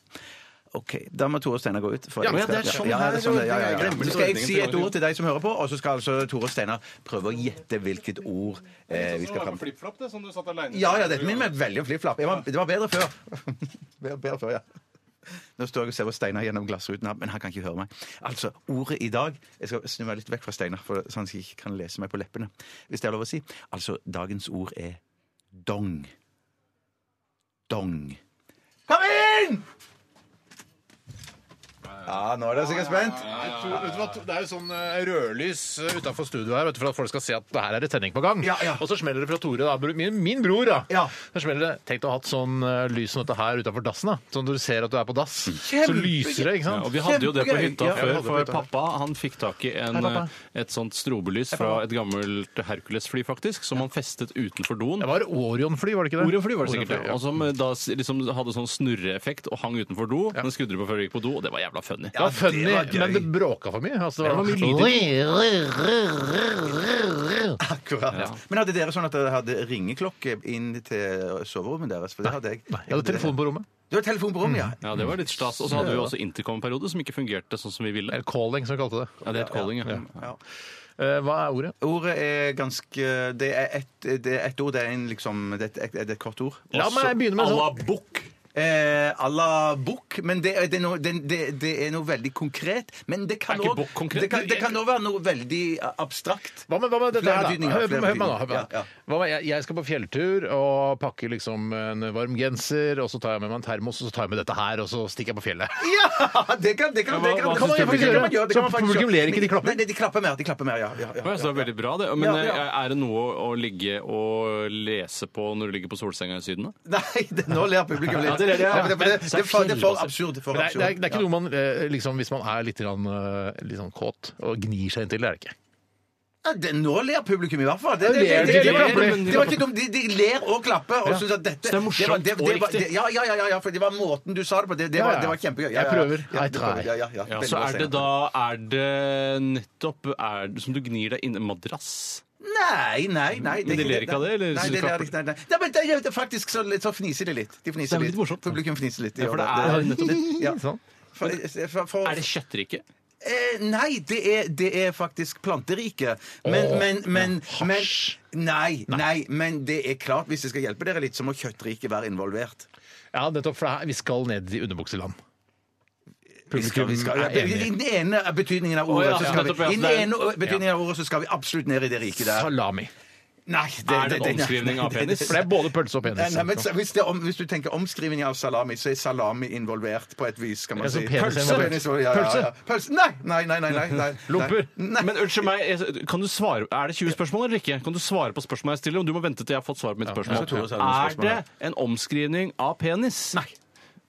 [SPEAKER 5] OK, da må Tore Steinar gå ut. for
[SPEAKER 4] Ja,
[SPEAKER 5] jeg
[SPEAKER 4] ja, det er
[SPEAKER 5] skal-
[SPEAKER 4] sånn
[SPEAKER 5] ja, ja, det er sånn, ja, ja, ja.
[SPEAKER 4] Glemmer
[SPEAKER 5] Så skal jeg si et ord til deg som hører på, og så skal altså Tore Steinar prøve å gjette hvilket ord eh, vi skal fram til. Ja, ja, dette minner meg veldig om flipflapp. Jeg var- Det var bedre før. [LAUGHS] bedre, bedre før, ja. Nå står jeg og ser på Steinar gjennom glassruten, her, men han kan ikke høre meg. Altså, ordet i dag Jeg skal snu meg litt vekk fra Steinar, for- så han ikke kan lese meg på leppene. Hvis det er lov å si. Altså, dagens ord er dong. Dong. Kom inn! Ja, nå er dere sikkert spent.
[SPEAKER 4] Nei, to- vet du hva, to- Det er jo sånn eh, rødlys utafor studioet her vet du, for at folk skal se at det her er det tenning på gang.
[SPEAKER 5] Ja, ja.
[SPEAKER 4] Og så smeller det fra Tore, da, bro- min, min bror. da.
[SPEAKER 5] Ja.
[SPEAKER 4] Så smeller det, Tenk deg å ha hatt sånn eh, lys som dette her utafor dassen. da. Sånn at du ser at du er på dass. så
[SPEAKER 5] Kjempe-
[SPEAKER 4] lyser det, ikke
[SPEAKER 6] Ja,
[SPEAKER 4] sant?
[SPEAKER 6] og vi hadde jo det på
[SPEAKER 5] Kjempegøy.
[SPEAKER 6] hytta
[SPEAKER 5] Ja, vi
[SPEAKER 6] før,
[SPEAKER 4] hadde det på
[SPEAKER 6] for
[SPEAKER 4] hytta.
[SPEAKER 6] pappa han fikk tak i en,
[SPEAKER 5] pappa.
[SPEAKER 6] eh, et sånt strobelys fra et gammelt Hercules-fly, faktisk, som han festet utenfor doen.
[SPEAKER 4] Det var Orion-fly, var det ikke det?
[SPEAKER 6] Orion-fly var det sikkert,
[SPEAKER 4] Orion-fly,
[SPEAKER 6] ja. Og som eh, da s- liksom hadde sånn snurreeffekt og hang utenfor do. Den skrudde du på før du gikk på do, og det var jævla funny.
[SPEAKER 4] Det var funny,
[SPEAKER 5] det var gøy.
[SPEAKER 4] men det bråka for mye. Altså,
[SPEAKER 6] Det var mye
[SPEAKER 5] Akkurat. Men hadde dere sånn at dere hadde ringeklokke inn til soverommet deres? For det hadde jeg.
[SPEAKER 4] Nei, jeg hadde telefon på rommet.
[SPEAKER 5] Du hadde telefon på rommet, ja.
[SPEAKER 6] Ja, det var litt stas. Og så hadde vi jo også intercom-periode som ikke fungerte sånn som vi ville.
[SPEAKER 4] Eller calling, som vi kalte det.
[SPEAKER 6] Ja, det het calling, ja.
[SPEAKER 5] ja.
[SPEAKER 4] Eh, hva er ordet?
[SPEAKER 5] Ordet er ganske Det er ett et ord. Det er, en, liksom, det er, et, det er et kort ord.
[SPEAKER 4] La meg begynne med sånn.
[SPEAKER 5] Eh, à la bukk. Men det, er- det, er noe, det, det, det er noe veldig konkret. Men det kan
[SPEAKER 6] Er ikke
[SPEAKER 5] også-
[SPEAKER 6] bukk konkret?
[SPEAKER 5] Det kan- det kan òg være noe veldig eh, abstrakt.
[SPEAKER 4] Hva med, hva med dette
[SPEAKER 5] Flere
[SPEAKER 4] her, da?
[SPEAKER 5] betydninger,
[SPEAKER 4] Hør på
[SPEAKER 5] flere
[SPEAKER 4] meg, hør på meg nå, hør på
[SPEAKER 5] betydninger.
[SPEAKER 4] meg.
[SPEAKER 5] Ja, ja.
[SPEAKER 4] Hva med, jeg, jeg skal på fjelltur og pakke liksom en varm genser, og så tar jeg med meg en termos, og så tar jeg med dette her, og så stikker jeg på fjellet.
[SPEAKER 5] Ja! Det kan, det kan, det kan,
[SPEAKER 6] hva
[SPEAKER 5] det
[SPEAKER 6] synes
[SPEAKER 5] kan,
[SPEAKER 4] publikum
[SPEAKER 5] det kan man
[SPEAKER 4] gjør?
[SPEAKER 5] gjøre. Det kan man
[SPEAKER 4] Så
[SPEAKER 5] faktisk
[SPEAKER 4] publikum
[SPEAKER 5] gjøre.
[SPEAKER 4] ler ikke, de klapper?
[SPEAKER 5] Nei, Nei, de klapper mer. De klapper mer, ja. ja, ja,
[SPEAKER 6] Ja, så det
[SPEAKER 5] ja,
[SPEAKER 6] er veldig bra, det. Men
[SPEAKER 5] Ja, ja.
[SPEAKER 6] eh, er det noe å ligge og lese på når du ligger på solsenga i Syden? da?
[SPEAKER 5] Nei, [LAUGHS] det, nå ler publikum litt.
[SPEAKER 6] Ja, det er det, ja.
[SPEAKER 5] for det, det, er for- det er for absurd. For
[SPEAKER 4] Men Det er, det er, det er
[SPEAKER 5] absurd.
[SPEAKER 4] ikke noe man eh, liksom, Hvis man er litt, grann, eh, litt sånn kåt og gnir seg inntil, det er det ikke.
[SPEAKER 5] Ja, det, nå ler publikum i hvert fall. Det,
[SPEAKER 4] Ja,
[SPEAKER 5] det, det,
[SPEAKER 4] ler,
[SPEAKER 5] det, det,
[SPEAKER 4] de
[SPEAKER 5] var-
[SPEAKER 4] klapper.
[SPEAKER 5] det var ikke dumt. De, de ler og klapper og syns at dette
[SPEAKER 6] Så det er morsomt
[SPEAKER 5] var- det- det
[SPEAKER 6] og
[SPEAKER 5] var- det-
[SPEAKER 6] riktig.
[SPEAKER 5] Ja, ja, ja, ja, ja, for det var måten du sa det på. Det, det,
[SPEAKER 4] Ja,
[SPEAKER 5] var,
[SPEAKER 4] ja.
[SPEAKER 5] det var kjempegøy. Ja,
[SPEAKER 4] Jeg
[SPEAKER 5] ja,
[SPEAKER 4] prøver.
[SPEAKER 5] Ja,
[SPEAKER 4] Jeg
[SPEAKER 5] du
[SPEAKER 4] try.
[SPEAKER 5] prøver. Ja, ja, ja.
[SPEAKER 6] Ja,
[SPEAKER 5] Veldig
[SPEAKER 6] så
[SPEAKER 5] bra
[SPEAKER 6] er det
[SPEAKER 5] scene.
[SPEAKER 6] da Er det nettopp er, det- som du gnir deg inn Madrass?
[SPEAKER 5] Nei, nei, nei.
[SPEAKER 6] Men de ler ikke av det, eller
[SPEAKER 5] Nei,
[SPEAKER 6] synes
[SPEAKER 5] de
[SPEAKER 6] de
[SPEAKER 5] ler
[SPEAKER 6] klapper?
[SPEAKER 5] ikke, nei, nei. nei men det, er- det, er faktisk så, litt- så fniser de litt. De
[SPEAKER 6] Det er
[SPEAKER 5] fniser
[SPEAKER 6] litt morsomt, da.
[SPEAKER 5] Publikum fniser litt. de
[SPEAKER 6] Ja, for
[SPEAKER 5] gjør
[SPEAKER 6] det er nettopp-
[SPEAKER 5] litt- ja.
[SPEAKER 4] Sånn.
[SPEAKER 5] For, for, for,
[SPEAKER 6] Er det kjøttriket?
[SPEAKER 5] Eh, nei, det er, det er faktisk planteriket. Men, men, men, men Nei, nei, men det er klart, hvis det skal hjelpe dere litt, så må kjøttriket være involvert.
[SPEAKER 4] Ja, nettopp, for det er- vi skal ned i underbukseland.
[SPEAKER 5] Vi skal, vi skal,
[SPEAKER 4] Publikum er
[SPEAKER 5] I
[SPEAKER 4] enig.
[SPEAKER 5] den ene betydningen av ordet,
[SPEAKER 6] Å, ja,
[SPEAKER 5] så skal
[SPEAKER 6] nettopp, ja.
[SPEAKER 5] vi, i den ene betydningen av ordet så skal vi absolutt ned i det riket der.
[SPEAKER 4] Salami.
[SPEAKER 5] Nei,
[SPEAKER 6] Er det en omskrivning av
[SPEAKER 5] nei,
[SPEAKER 6] penis?
[SPEAKER 4] For det er både pølse og
[SPEAKER 5] Nei,
[SPEAKER 4] penis.
[SPEAKER 5] nei, men så- hvis, det er om, hvis du tenker omskrivning av salami, så er salami involvert på et vis. kan man
[SPEAKER 4] Ja, så
[SPEAKER 5] si.
[SPEAKER 4] penis er involvert.
[SPEAKER 5] Penis, ja, ja, ja. Pølse? Nei, nei, nei. nei, nei, nei.
[SPEAKER 4] Lomper?
[SPEAKER 5] Nei.
[SPEAKER 6] Men unnskyld meg, jeg- kan du svare, er det 20 spørsmål eller ikke? Kan du svare på spørsmålet jeg stiller? Om du må vente til jeg har fått svar på mitt
[SPEAKER 5] jeg tror det er
[SPEAKER 6] spørsmål.
[SPEAKER 5] noen
[SPEAKER 6] Er
[SPEAKER 5] spørsmål, ja.
[SPEAKER 6] det en omskrivning av penis? Nei.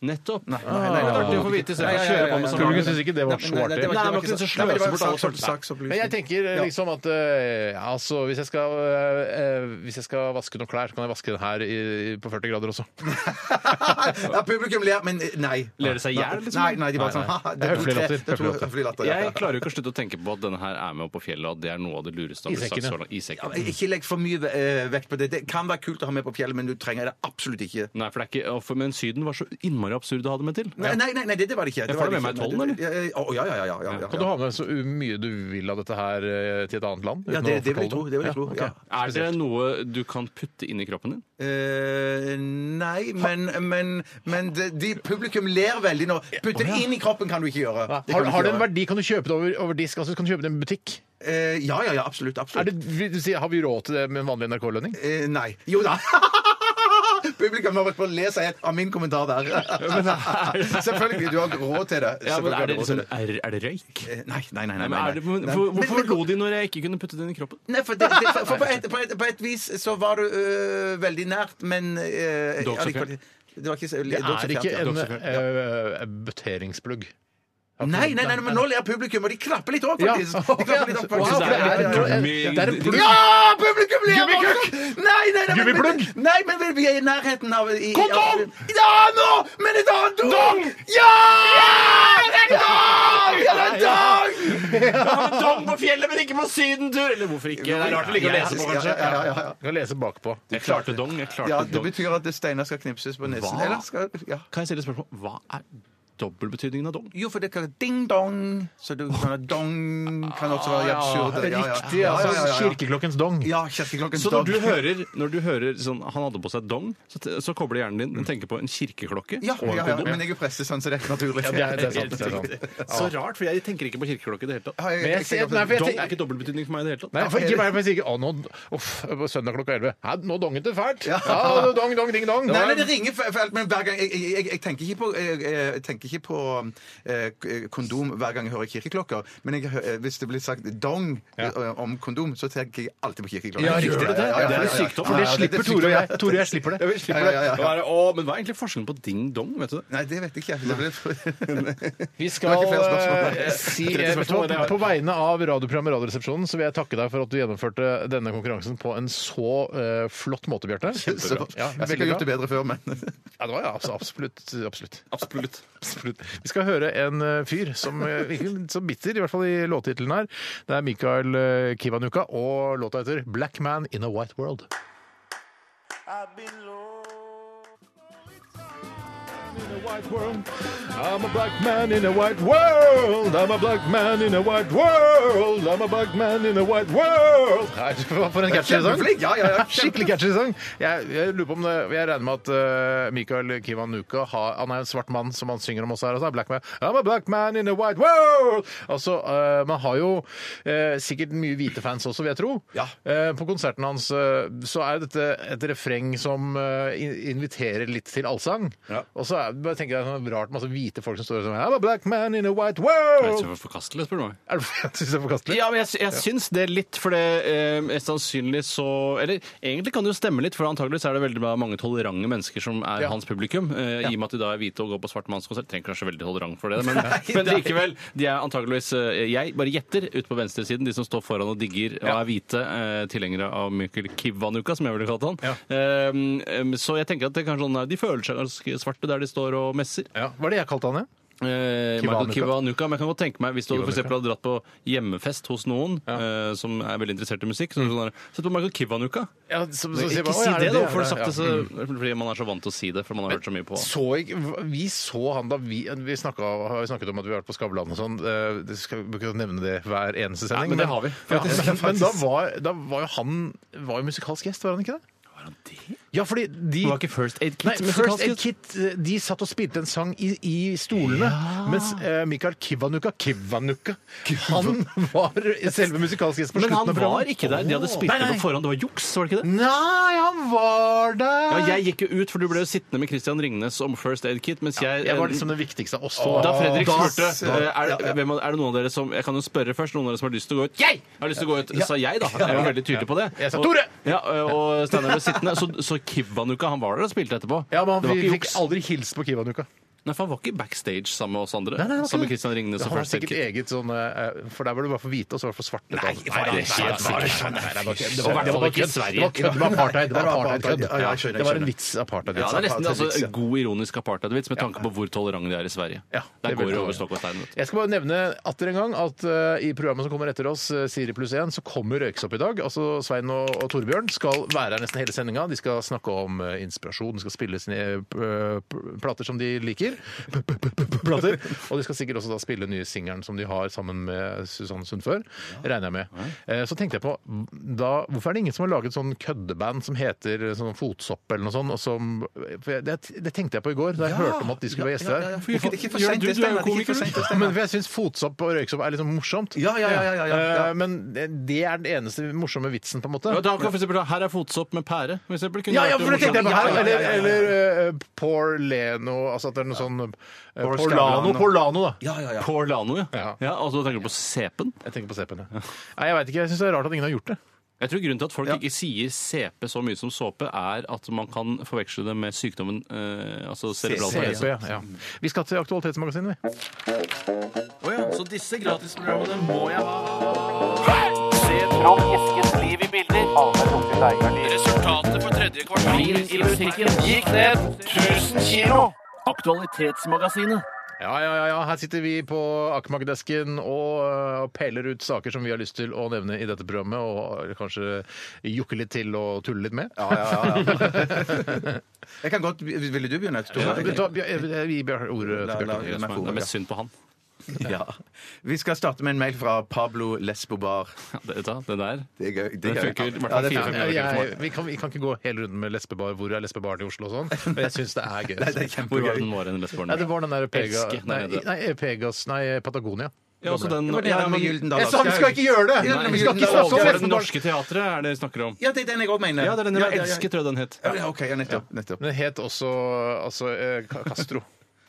[SPEAKER 6] Nettopp.
[SPEAKER 5] Nei, nei, nei,
[SPEAKER 6] Ah, det er artig å
[SPEAKER 5] nei.
[SPEAKER 6] få vite i stedet
[SPEAKER 5] Nei,
[SPEAKER 6] for
[SPEAKER 5] ja, ja,
[SPEAKER 6] å kjøre
[SPEAKER 5] ja,
[SPEAKER 6] på
[SPEAKER 5] ja.
[SPEAKER 6] med sånn.
[SPEAKER 4] Publikum syns ikke det var så artig.
[SPEAKER 6] Nei, man kunne så
[SPEAKER 5] sånn.
[SPEAKER 6] sløse bort alle
[SPEAKER 4] Men jeg tenker eh, liksom at eh, ja, altså, hvis, jeg skal, eh, eh, hvis jeg skal vaske noen klær, så kan jeg vaske den her i, på 40 grader også.
[SPEAKER 5] ja, publikum ler, men eh, nei.
[SPEAKER 6] Ler de seg i hjel, liksom?
[SPEAKER 5] Nei, nei, de bare sånn haha, Det er to-
[SPEAKER 4] Høflig
[SPEAKER 5] tre-
[SPEAKER 4] latter,
[SPEAKER 5] det er to
[SPEAKER 4] høflig latter.
[SPEAKER 5] høflige latter. ja.
[SPEAKER 6] Jeg klarer jo ikke å slutte å tenke på at denne her er med opp på fjellet, og at det er noe av det lureste. jeg har blitt sagt så langt.
[SPEAKER 5] Ja,
[SPEAKER 6] Isekken.
[SPEAKER 5] men Ikke legg for mye eh, vekt på det. Det kan være kult å ha med på fjellet, men du trenger det absolutt ikke.
[SPEAKER 6] Nei, for det er ikke, og for- men Syden var så innmari absurd å ha det med til.
[SPEAKER 5] Nei, nei, nei, nei det, det var det ikke.
[SPEAKER 6] Jeg
[SPEAKER 5] var
[SPEAKER 6] får det
[SPEAKER 5] det
[SPEAKER 6] med
[SPEAKER 5] ikke.
[SPEAKER 6] meg i tollen,
[SPEAKER 5] Ja, ja, ja, ja, ja, ja, ja,
[SPEAKER 4] Kan du ha med så mye du vil av dette her eh, til et annet land?
[SPEAKER 5] ja,
[SPEAKER 4] uten å
[SPEAKER 5] det, det vil jeg
[SPEAKER 4] forkalle
[SPEAKER 5] tro. Det vil jeg tro ja.
[SPEAKER 6] Er det noe du kan putte inn i kroppen din?
[SPEAKER 5] Eh, nei, men, men, men de, de publikum ler veldig nå. Putte det inn i kroppen kan du ikke gjøre.
[SPEAKER 4] Ja.
[SPEAKER 5] Det kan
[SPEAKER 4] Har,
[SPEAKER 5] du ikke
[SPEAKER 4] har det en
[SPEAKER 5] gjøre.
[SPEAKER 4] verdi? Kan du kjøpe det over, over disk? Altså, kan du kjøpe det i en butikk?
[SPEAKER 5] Eh, ja, ja, ja, absolutt.
[SPEAKER 4] Er
[SPEAKER 5] absolutt.
[SPEAKER 4] det, vil du si, har vi råd til det med en vanlig NRK-lønning?
[SPEAKER 5] Eh, nei. Jo da. [LAUGHS] Publikum har vært på å le seg helt av min kommentar der. [LAUGHS] Selvfølgelig. Du har ikke råd til det.
[SPEAKER 6] Ja, men
[SPEAKER 5] Selvfølgelig har du
[SPEAKER 6] er det,
[SPEAKER 5] råd til
[SPEAKER 6] liksom,
[SPEAKER 5] det.
[SPEAKER 6] er, er det røyk?
[SPEAKER 5] Eh, Nei, nei, nei. nei,
[SPEAKER 6] Nei, men
[SPEAKER 5] nei,
[SPEAKER 6] er det, men,
[SPEAKER 5] nei.
[SPEAKER 6] for,
[SPEAKER 5] Men-
[SPEAKER 6] hvorfor
[SPEAKER 5] men-
[SPEAKER 6] lo de når jeg ikke kunne putte det inn i kroppen?
[SPEAKER 5] Nei, for, det, det, for, for på, et, på, et, på et vis så var du øh, veldig nært, men øh,
[SPEAKER 6] Dog så
[SPEAKER 5] allikevel- Det var ikke så
[SPEAKER 4] Det er ikke en
[SPEAKER 5] ja.
[SPEAKER 4] eh, bøteringsplugg.
[SPEAKER 5] Nei, nei, nei, men nå ler publikum, og de klapper litt opp,
[SPEAKER 4] Ja.
[SPEAKER 5] faktisk. De klapper litt opp,
[SPEAKER 4] Wow,
[SPEAKER 5] faktisk.
[SPEAKER 4] det er
[SPEAKER 5] Ja,
[SPEAKER 4] en-
[SPEAKER 5] ja, ja.
[SPEAKER 4] det er en plugg.
[SPEAKER 5] Ja! Publikum ler!
[SPEAKER 4] Gummikukk!
[SPEAKER 5] voldsomt. Nei, nei, nei, men-
[SPEAKER 4] Gummiplugg!
[SPEAKER 5] Nei, men vi- vi er i nærheten av i,
[SPEAKER 4] Kondom!
[SPEAKER 5] av- Ja, nå! Men et annet ord! Ja! Det er dong! Ja, det er dong!
[SPEAKER 6] [LAUGHS] Dong på fjellet, men ikke på sydentur! Eller hvorfor ikke? Det er rart å ligge og lese på,
[SPEAKER 5] Ja,
[SPEAKER 6] kanskje.
[SPEAKER 5] ja, ja, ja, ja.
[SPEAKER 4] Du kan lese bakpå.
[SPEAKER 6] Jeg klarte dong. jeg klarte
[SPEAKER 5] Ja, det
[SPEAKER 6] dong.
[SPEAKER 5] betyr at Steinar skal knipses på nesen.
[SPEAKER 6] Hva?
[SPEAKER 5] Eller skal Ja.
[SPEAKER 6] Kan jeg stille et spørsmål? Hva er dobbeltbetydningen av dong?
[SPEAKER 5] Jo, for det kan være ding-dong. Så du kan ha dong kan også være i absurd. Ja, ja.
[SPEAKER 4] Riktig. Altså, Kirkeklokkens dong.
[SPEAKER 5] Ja, kirkeklokken
[SPEAKER 6] Så når du hører, når du hører sånn, han hadde på seg dong, så, te- så kobler hjernen din den tenker på en kirkeklokke [LAUGHS]
[SPEAKER 5] ja,
[SPEAKER 6] og
[SPEAKER 5] ja,
[SPEAKER 6] en
[SPEAKER 5] ja,
[SPEAKER 6] kondom.
[SPEAKER 5] men jeg er pressesans, så det er helt naturlig.
[SPEAKER 4] Ja, det er- det er sant, det er sant.
[SPEAKER 6] Så rart, for jeg tenker ikke på kirkeklokke i det hele tatt.
[SPEAKER 5] Ja, jeg-
[SPEAKER 4] Men jeg
[SPEAKER 5] jeg-
[SPEAKER 4] ser- nei, for jeg
[SPEAKER 6] Dong
[SPEAKER 4] tenker-
[SPEAKER 6] er ikke dobbeltbetydning for meg i det hele tatt.
[SPEAKER 4] Nei, for ikke vær med å si ikke, «Å, nå- uff, på søndag klokka 11. Hæ, nå donget det fælt! Ja,
[SPEAKER 5] Ja.
[SPEAKER 4] dong, dong, ding, dong.
[SPEAKER 5] Nei, nei, det ringer fælt, men hver gang Jeg, jeg, jeg, jeg tenker ikke på, jeg, jeg tenker tenker ikke på eh, k- kondom hver gang jeg hører kirkeklokker, men jeg, hø- eh, hvis det blir sagt dong eh, om kondom, så tenker jeg alltid på kirkeklokker.
[SPEAKER 4] Ja, riktig. Det,
[SPEAKER 5] Ja, ja, ja,
[SPEAKER 4] det er
[SPEAKER 5] ja, ja.
[SPEAKER 4] en sykdom.
[SPEAKER 5] Ja,
[SPEAKER 4] For det
[SPEAKER 5] ja,
[SPEAKER 4] slipper
[SPEAKER 5] er
[SPEAKER 4] Tore og jeg.
[SPEAKER 5] sykdom,
[SPEAKER 4] Tore og jeg slipper det.
[SPEAKER 5] Ja, ja, ja, ja.
[SPEAKER 6] Hva er det- å, men hva er egentlig forskjellen på ding dong? vet du det?
[SPEAKER 5] Nei, det vet jeg ikke. Det ble...
[SPEAKER 4] Vi
[SPEAKER 5] Det
[SPEAKER 4] skal
[SPEAKER 5] var ikke flere spørsmål.
[SPEAKER 4] [LAUGHS] eh, si
[SPEAKER 5] Tretti
[SPEAKER 4] eh, vet du
[SPEAKER 5] spørsmål, det
[SPEAKER 4] hva, På vegne av radioprogrammet Radioresepsjonen så vil jeg takke deg for at du gjennomførte denne konkurransen på en så eh, flott måte, Bjarte.
[SPEAKER 5] Så,
[SPEAKER 4] Ja,
[SPEAKER 5] jeg skulle
[SPEAKER 4] veldig
[SPEAKER 5] gjort det
[SPEAKER 4] bra.
[SPEAKER 5] bedre før, men
[SPEAKER 4] Ja, det var ja, altså, absolutt, absolutt.
[SPEAKER 6] Absolutt.
[SPEAKER 4] absolutt. Vi skal høre en eh, fyr som eh, virker litt så bitter, i hvert fall i låttittelen her. Det er Mikael eh, Kivanuka, og låta heter 'Black Man in a White World'. I'm a black man in a white world. I'm a black man in a white world. I'm a black man in a white world. Nei, [LAUGHS] hva for en catchy sang.
[SPEAKER 5] Kjempeflink, ja, ja, ja,
[SPEAKER 4] [LAUGHS]
[SPEAKER 5] kjempe-
[SPEAKER 4] Skikkelig catchy sang. Jeg, jeg lurer på om det, jeg regner med at eh, Mikael Kiwanuka har, han er en svart mann som han synger om også her. Altså, black man. I'm a black man in a white world. Altså, eh, man har jo eh, sikkert mye hvite fans også, vil jeg tro.
[SPEAKER 5] Ja.
[SPEAKER 4] Eh, på konserten hans eh, så er dette et refreng som eh, in- inviterer litt til allsang.
[SPEAKER 5] Ja.
[SPEAKER 4] Og så er, bare tenker jeg sånn rart masse hvite folk som står og sånn I'm a black man in a white
[SPEAKER 6] Det er
[SPEAKER 4] world!
[SPEAKER 6] ikke forkastelig, spør du meg.
[SPEAKER 4] Er det, [LAUGHS] jeg synes det er forkastelig.
[SPEAKER 6] Ja, men jeg, jeg syns det er litt, for det eh, er sannsynlig så Eller egentlig kan det jo stemme litt, for antageligvis er det veldig bra mange tolerante mennesker som er
[SPEAKER 4] Ja.
[SPEAKER 6] hans publikum. Eh, I og med at de da er hvite og går på svart manns konsert, trenger kanskje veldig tolerant for det, men, men likevel. De er antageligvis, eh, jeg bare gjetter, ute på venstresiden, de som står foran og digger og er hvite, eh, tilhengere av Mikkel Kivanuka, som jeg ville kalt han. Eh, em, så jeg tenker at det er kanskje sånn eh, de føler seg ganske svarte der de står og messer.
[SPEAKER 4] Ja, Hva er det jeg kalte han, ja?
[SPEAKER 6] Eh, Michael
[SPEAKER 4] Kiwanuka.
[SPEAKER 6] Kiwanuka. Men jeg kan godt tenke meg, hvis du hadde, for
[SPEAKER 4] Kiwanuka.
[SPEAKER 6] eksempel hadde dratt på hjemmefest hos noen eh, som er veldig interessert i musikk, så er det sånn der, sett på Michael Kiwanuka.
[SPEAKER 4] ja Mm. så, så, sier
[SPEAKER 6] Ikke
[SPEAKER 4] man, «Å,
[SPEAKER 6] si
[SPEAKER 4] er
[SPEAKER 6] det, da,
[SPEAKER 4] er
[SPEAKER 6] for det
[SPEAKER 4] ja.
[SPEAKER 6] sakte, så, fordi man er så vant til å si det, for man har hørt så mye på.
[SPEAKER 4] så ikke, vi så han da vi, vi snakka, har jo snakket om at vi har vært på Skavlan og sånn. eh, Det skal vi ikke nevne det hver eneste sending.
[SPEAKER 6] men det har vi, [LAUGHS] faktisk.
[SPEAKER 4] Ja, men men da, var, da var jo han var jo musikalsk gjest, var han ikke det? Ja, fordi de
[SPEAKER 6] Det var ikke First Aid Kit
[SPEAKER 4] Nei,
[SPEAKER 6] som
[SPEAKER 4] First
[SPEAKER 6] musikalsk
[SPEAKER 4] Aid Kit eh, de satt og spilte en sang i, i stolene, mens eh, Mikael Kivanuka Kivanuka Han var selve musikalsk gjest på
[SPEAKER 6] Men
[SPEAKER 4] slutten av
[SPEAKER 6] han var
[SPEAKER 4] programmet.
[SPEAKER 6] ikke der. De hadde spilt
[SPEAKER 4] Nei,
[SPEAKER 6] det
[SPEAKER 4] nei.
[SPEAKER 6] på forhånd. Det var juks, var det ikke det?
[SPEAKER 4] Nei, han var der!
[SPEAKER 6] Ja, jeg gikk jo ut, for du ble jo sittende med Christian Ringnes om First Aid Kit, mens jeg
[SPEAKER 4] Jeg var liksom den viktigste av oss to.
[SPEAKER 6] Da Fredrik
[SPEAKER 4] Da-
[SPEAKER 6] spurte eh, er, det- hvem, av- er det noen av dere som Jeg kan jo spørre først. Noen av dere som har lyst til å gå ut? Jeg har lyst til å gå ut, sa jeg, da. Jeg var veldig tydelig på det.
[SPEAKER 4] Jeg sa,
[SPEAKER 6] Og-
[SPEAKER 4] «Tore!»
[SPEAKER 6] Ja, eh, og Steinar ble sittende. Så, så Kiwanuka, han var der og spilte etterpå.
[SPEAKER 4] Ja, men
[SPEAKER 6] det var
[SPEAKER 4] han
[SPEAKER 6] ikke
[SPEAKER 4] fikk
[SPEAKER 6] juks.
[SPEAKER 4] aldri hilst på Kivanuka.
[SPEAKER 6] Nei, for han var ikke backstage sammen med oss andre.
[SPEAKER 4] nei, han var
[SPEAKER 6] sammen
[SPEAKER 4] ikke
[SPEAKER 6] med
[SPEAKER 4] det.
[SPEAKER 6] Christian Ringnes og
[SPEAKER 4] Han har
[SPEAKER 6] First Aid
[SPEAKER 4] sikkert
[SPEAKER 6] Kit.
[SPEAKER 4] eget sånn eh, For der var det bare for hvite, og så var det for svarte. Nei,
[SPEAKER 6] det er helt
[SPEAKER 4] det
[SPEAKER 6] sikkert. var i
[SPEAKER 4] var
[SPEAKER 6] hvert fall ikke i
[SPEAKER 4] Det
[SPEAKER 6] Sverige.
[SPEAKER 4] var kødd med apartheid. Det var apartheid
[SPEAKER 5] Ja, ja, jeg skjønner, jeg
[SPEAKER 4] Det var en
[SPEAKER 5] skjønner.
[SPEAKER 4] vits apartheid.
[SPEAKER 6] Ja, det er nesten
[SPEAKER 5] Apartheidvits, ja.
[SPEAKER 6] altså, god ironisk apartheidvits med tanke på hvor tolerante de er i Sverige.
[SPEAKER 4] Ja,
[SPEAKER 6] Der
[SPEAKER 4] det
[SPEAKER 6] går
[SPEAKER 4] vil
[SPEAKER 6] det
[SPEAKER 4] jeg
[SPEAKER 6] over
[SPEAKER 4] tro.
[SPEAKER 6] stokk og stein. vet du.
[SPEAKER 4] Jeg skal bare nevne atter en gang at eh, i programmet som kommer etter oss, eh, Siri pluss 1, så kommer Røyksopp i dag. Altså Svein og, og Torbjørn skal være her nesten hele sendinga. De skal snakke om eh, inspirasjon, de skal spille sine eh, p- p- plater som de liker. P- p- p- p- Plater. Og de skal sikkert også da spille nye singelen som de har sammen med Susanne Sundfør, regner jeg med. Eh, Så tenkte jeg på, da, hvorfor er det ingen som har laget sånn køddeband som heter sånn Fotsopp eller noe sånt? Og som, eh, for jeg, det, det tenkte jeg på i går da jeg hørte om at de skulle være gjester her.
[SPEAKER 5] Ikke ikke for
[SPEAKER 6] Gjør
[SPEAKER 5] seint,
[SPEAKER 6] du-
[SPEAKER 5] det,
[SPEAKER 6] du er jo
[SPEAKER 5] Steinar. Ikke for
[SPEAKER 6] komiker,
[SPEAKER 5] sent, det,
[SPEAKER 6] du.
[SPEAKER 4] Ja, men
[SPEAKER 5] Steinar.
[SPEAKER 4] for jeg syns fotsopp og røyksopp er liksom morsomt.
[SPEAKER 5] Ja, ja, ja, ja, ja, ja.
[SPEAKER 4] Eh, Men det det er den eneste morsomme vitsen, på en måte.
[SPEAKER 6] Ja, da kan for eksempel, da, her er fotsopp med pære. For eksempel, kunne
[SPEAKER 4] Ja,
[SPEAKER 6] vært
[SPEAKER 4] ja, for det tenkte jeg på her!
[SPEAKER 6] morsomt.
[SPEAKER 4] Eller, eller eh, Porleno Altså at det er noe sånn eh, Porlano,
[SPEAKER 5] Skavlan.
[SPEAKER 4] Porlano, da.
[SPEAKER 5] Ja, ja, ja.
[SPEAKER 6] Porlano, ja.
[SPEAKER 4] Ja.
[SPEAKER 6] ja. Altså, tenker du på sepen?
[SPEAKER 4] Jeg tenker på CP-en. ja. Nei, jeg veit ikke. Jeg syns det er rart at ingen har gjort det.
[SPEAKER 6] Jeg tror grunnen til at folk ikke sier CP så mye som såpe, er at man kan forveksle det med sykdommen eh, altså cerebral parese.
[SPEAKER 4] CP, ja. ja. Vi skal til Aktualitetsmagasinet, vi.
[SPEAKER 6] Så disse gratisprogrammene må jeg ha. Resultatet på tredje kvartal i musikken gikk ned 1000 kilo. Aktualitetsmagasinet.
[SPEAKER 4] Ja, ja, ja, ja. Her sitter vi på Akmag-desken og eh, peller ut saker som vi har lyst til å nevne i dette programmet, og kanskje jukke litt til og tulle litt med.
[SPEAKER 5] Ja, ja, ja, [LAUGHS] ja. Jeg kan godt Ville du begynne? Tore?
[SPEAKER 4] Vet du hva, eh, Bjør- jeg- jeg gir ordet
[SPEAKER 5] La-
[SPEAKER 4] til
[SPEAKER 5] la-
[SPEAKER 4] Bjarte.
[SPEAKER 5] la meg få
[SPEAKER 6] Det er
[SPEAKER 5] ordet.
[SPEAKER 6] mest synd på han.
[SPEAKER 5] Ja. Vi skal starte med en mail fra Pablo Lesbobar.
[SPEAKER 6] Ja, det, vet du hva, det der.
[SPEAKER 5] Det er gøy. Det
[SPEAKER 6] Den
[SPEAKER 5] er gøy.
[SPEAKER 6] funker i hvert fall
[SPEAKER 5] Ja, det
[SPEAKER 6] fire,
[SPEAKER 5] funker.
[SPEAKER 6] fem ganger.
[SPEAKER 4] Jeg, vi, kan, vi kan ikke gå hele runden med lesbebar. Hvor er lesbebaren i Oslo og sånn? [LAUGHS] Men jeg syns det er gøy.
[SPEAKER 5] Nei, det er
[SPEAKER 6] Hvor var det
[SPEAKER 5] kjempegøy.
[SPEAKER 6] den var? Den lesbaren?
[SPEAKER 4] Nei, det var den der Pega,
[SPEAKER 6] Elsker,
[SPEAKER 4] nei,
[SPEAKER 6] nei, det-
[SPEAKER 4] nei, Pegas, nei, Patagonia.
[SPEAKER 6] ja, også den,
[SPEAKER 5] Det var
[SPEAKER 6] ja,
[SPEAKER 5] den med
[SPEAKER 6] men-
[SPEAKER 5] Gyldendal
[SPEAKER 4] Jeg sa vi skal
[SPEAKER 5] Aschehoug.
[SPEAKER 4] ikke gjøre det!
[SPEAKER 5] Ja, men
[SPEAKER 4] Vi skal ikke snakke om
[SPEAKER 5] Gyldendal Aschehoug.
[SPEAKER 6] For det
[SPEAKER 4] lesbebarn.
[SPEAKER 6] norske teatret er det vi snakker om.
[SPEAKER 5] Ja, det er den jeg òg mener.
[SPEAKER 6] Ja, det er den
[SPEAKER 5] Ja,
[SPEAKER 6] jeg
[SPEAKER 5] ja, ja.
[SPEAKER 6] elsker, tror jeg den het.
[SPEAKER 5] Ja, OK. Ja, nettopp. nettopp.
[SPEAKER 4] Den het også altså, eh, Ka- Castro.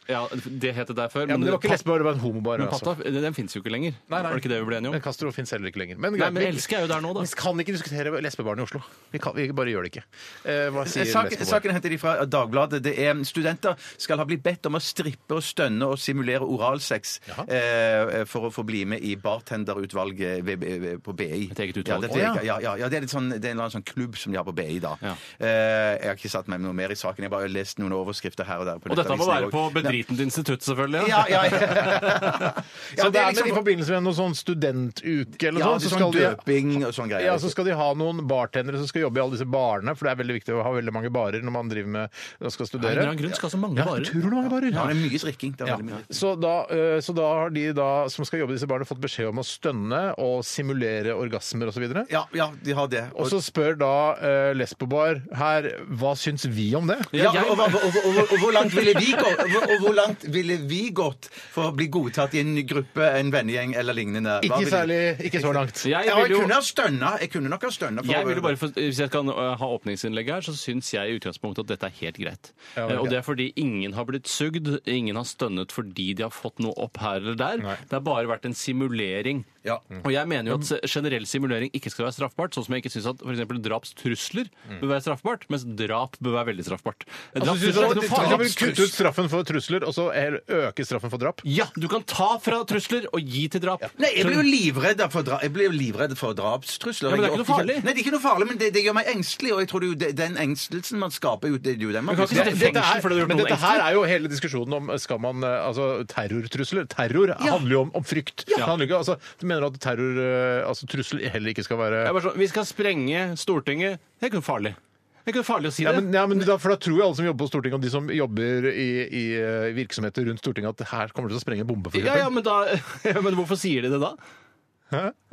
[SPEAKER 6] Ja, det het det der før.
[SPEAKER 4] Ja, men det var ikke
[SPEAKER 6] pat-
[SPEAKER 4] lesbebar, det var en homobar.
[SPEAKER 6] men
[SPEAKER 4] Altså.
[SPEAKER 6] Pata, den den fins jo ikke lenger.
[SPEAKER 4] Nei, nei.
[SPEAKER 6] Var det ikke det vi ble enige om?
[SPEAKER 4] Men Castro fins heller ikke lenger.
[SPEAKER 6] Nei,
[SPEAKER 4] greit,
[SPEAKER 6] men
[SPEAKER 4] vi-
[SPEAKER 6] Elske er jo der nå, da.
[SPEAKER 4] Vi kan ikke diskutere lesbebaren i Oslo. Vi, kan, vi bare gjør det ikke. Eh, hva sier
[SPEAKER 5] Saken,
[SPEAKER 4] lesbebarn?
[SPEAKER 5] saken henter de fra Dagbladet. Det er Studenter skal ha blitt bedt om å strippe og stønne og simulere oralsex eh, for å få bli med i bartenderutvalget ved- ved- på BI.
[SPEAKER 6] Et eget utvalg.
[SPEAKER 5] Ja, det,
[SPEAKER 6] Å,
[SPEAKER 5] det,
[SPEAKER 6] ja.
[SPEAKER 5] ja, ja, ja, det er litt sånn, det er en eller annen sånn klubb som de har på BI, da.
[SPEAKER 6] Ja.
[SPEAKER 5] Eh, jeg har ikke satt meg noe mer i saken. Jeg har bare lest noen overskrifter her og der. på
[SPEAKER 6] Og dette må
[SPEAKER 5] Nettavisen i dag.
[SPEAKER 6] være på bedritent institutt, selvfølgelig.
[SPEAKER 5] Ja,
[SPEAKER 6] [LAUGHS]
[SPEAKER 5] ja, ja.
[SPEAKER 4] Så
[SPEAKER 5] Ja,
[SPEAKER 4] det er
[SPEAKER 5] liksom-
[SPEAKER 4] med, i forbindelse med noen sånn studentuke eller
[SPEAKER 5] ja,
[SPEAKER 4] noe sånt, så skal de
[SPEAKER 5] døping og sånn greier.
[SPEAKER 4] ja, så skal de ha noen bartendere som skal jobbe i alle disse barene, for det er veldig viktig å ha veldig mange barer når man driver med og skal
[SPEAKER 6] Av en
[SPEAKER 4] studere.
[SPEAKER 6] eller annen grunn skal så mange
[SPEAKER 4] Ja,
[SPEAKER 6] barer.
[SPEAKER 4] utrolig mange barer.
[SPEAKER 5] Ja, det er mye drikking. Det er veldig mye drikking.
[SPEAKER 4] Så da, eh, så da har de da, som skal jobbe i disse barene, fått beskjed om å stønne og simulere orgasmer osv. Og,
[SPEAKER 5] Ja, ja, de har det.
[SPEAKER 4] og så spør da eh, Lesbobar her hva syns vi om det?
[SPEAKER 5] Ja, og, og, og, og, og, og hvor langt ville vi gått, og, og hvor langt ville vi gått for å bli godtatt i en gruppe, en vennegjeng eller lignende? Hva
[SPEAKER 4] Ikke
[SPEAKER 5] ville-
[SPEAKER 4] særlig, ikke så langt.
[SPEAKER 6] Jeg
[SPEAKER 5] Ja,
[SPEAKER 6] vil
[SPEAKER 5] jeg
[SPEAKER 6] jo-
[SPEAKER 5] kunne ha stønna. Jeg kunne nok ha stønna. for-
[SPEAKER 6] Jeg vil jo bare, få- Hvis jeg kan øh, ha åpningsinnlegg her, så syns jeg i utgangspunktet at dette er helt greit.
[SPEAKER 4] Ja, ok.
[SPEAKER 6] Eh, Og det er fordi ingen har blitt sugd, ingen har stønnet fordi de har fått noe opp her eller der. Det har bare vært en simulering.
[SPEAKER 5] Ja.
[SPEAKER 6] Og jeg mener jo at se- generell simulering ikke skal være straffbart, sånn som jeg ikke syns at for eksempel drapstrusler
[SPEAKER 5] Mm.
[SPEAKER 6] bør være straffbart, mens drap bør være veldig straffbart. Eh,
[SPEAKER 4] Altså,
[SPEAKER 6] Drapstrusler er ikke noe
[SPEAKER 4] Kan vi
[SPEAKER 6] farlig.
[SPEAKER 4] kutte ut straffen for trusler, og så hel- øke straffen for drap?
[SPEAKER 6] Ja, du kan ta fra trusler og gi til drap.
[SPEAKER 5] Nei, jeg blir jo livredd for, dra jeg blir jo livredd for drapstrusler.
[SPEAKER 6] Ja, men det er ikke
[SPEAKER 5] Jeg
[SPEAKER 6] noe
[SPEAKER 5] orker
[SPEAKER 6] farlig.
[SPEAKER 5] Nei, det er ikke noe farlig, men det, det gjør meg engstelig, og jeg tror det er jo det, den engstelsen man skaper, jo, det er jo den man
[SPEAKER 6] Men kan ikke
[SPEAKER 5] blir-
[SPEAKER 6] dette-
[SPEAKER 4] Dette
[SPEAKER 6] fengsel
[SPEAKER 4] er,
[SPEAKER 6] fordi du har gjort
[SPEAKER 4] men
[SPEAKER 6] noen
[SPEAKER 4] dette her er jo hele diskusjonen om skal man, eh, altså, terrortrusler. Terror handler jo om, om frykt. Det handler ikke, altså, du mener at terror, eh, altså, trussel heller ikke skal være
[SPEAKER 6] Jeg er bare sånn, Vi skal sprenge Stortinget. Det er ikke noe farlig. Det er ikke noe farlig å si
[SPEAKER 4] ja,
[SPEAKER 6] det.
[SPEAKER 4] men, ja, men da, for da tror jo alle som jobber på Stortinget, og de som jobber i, i eh, virksomheter rundt Stortinget, at her kommer det til å sprenge en bombe, for
[SPEAKER 6] Ja, ja,
[SPEAKER 4] eksempel.
[SPEAKER 6] men, da, [LAUGHS] ja, men hvorfor sier de det da?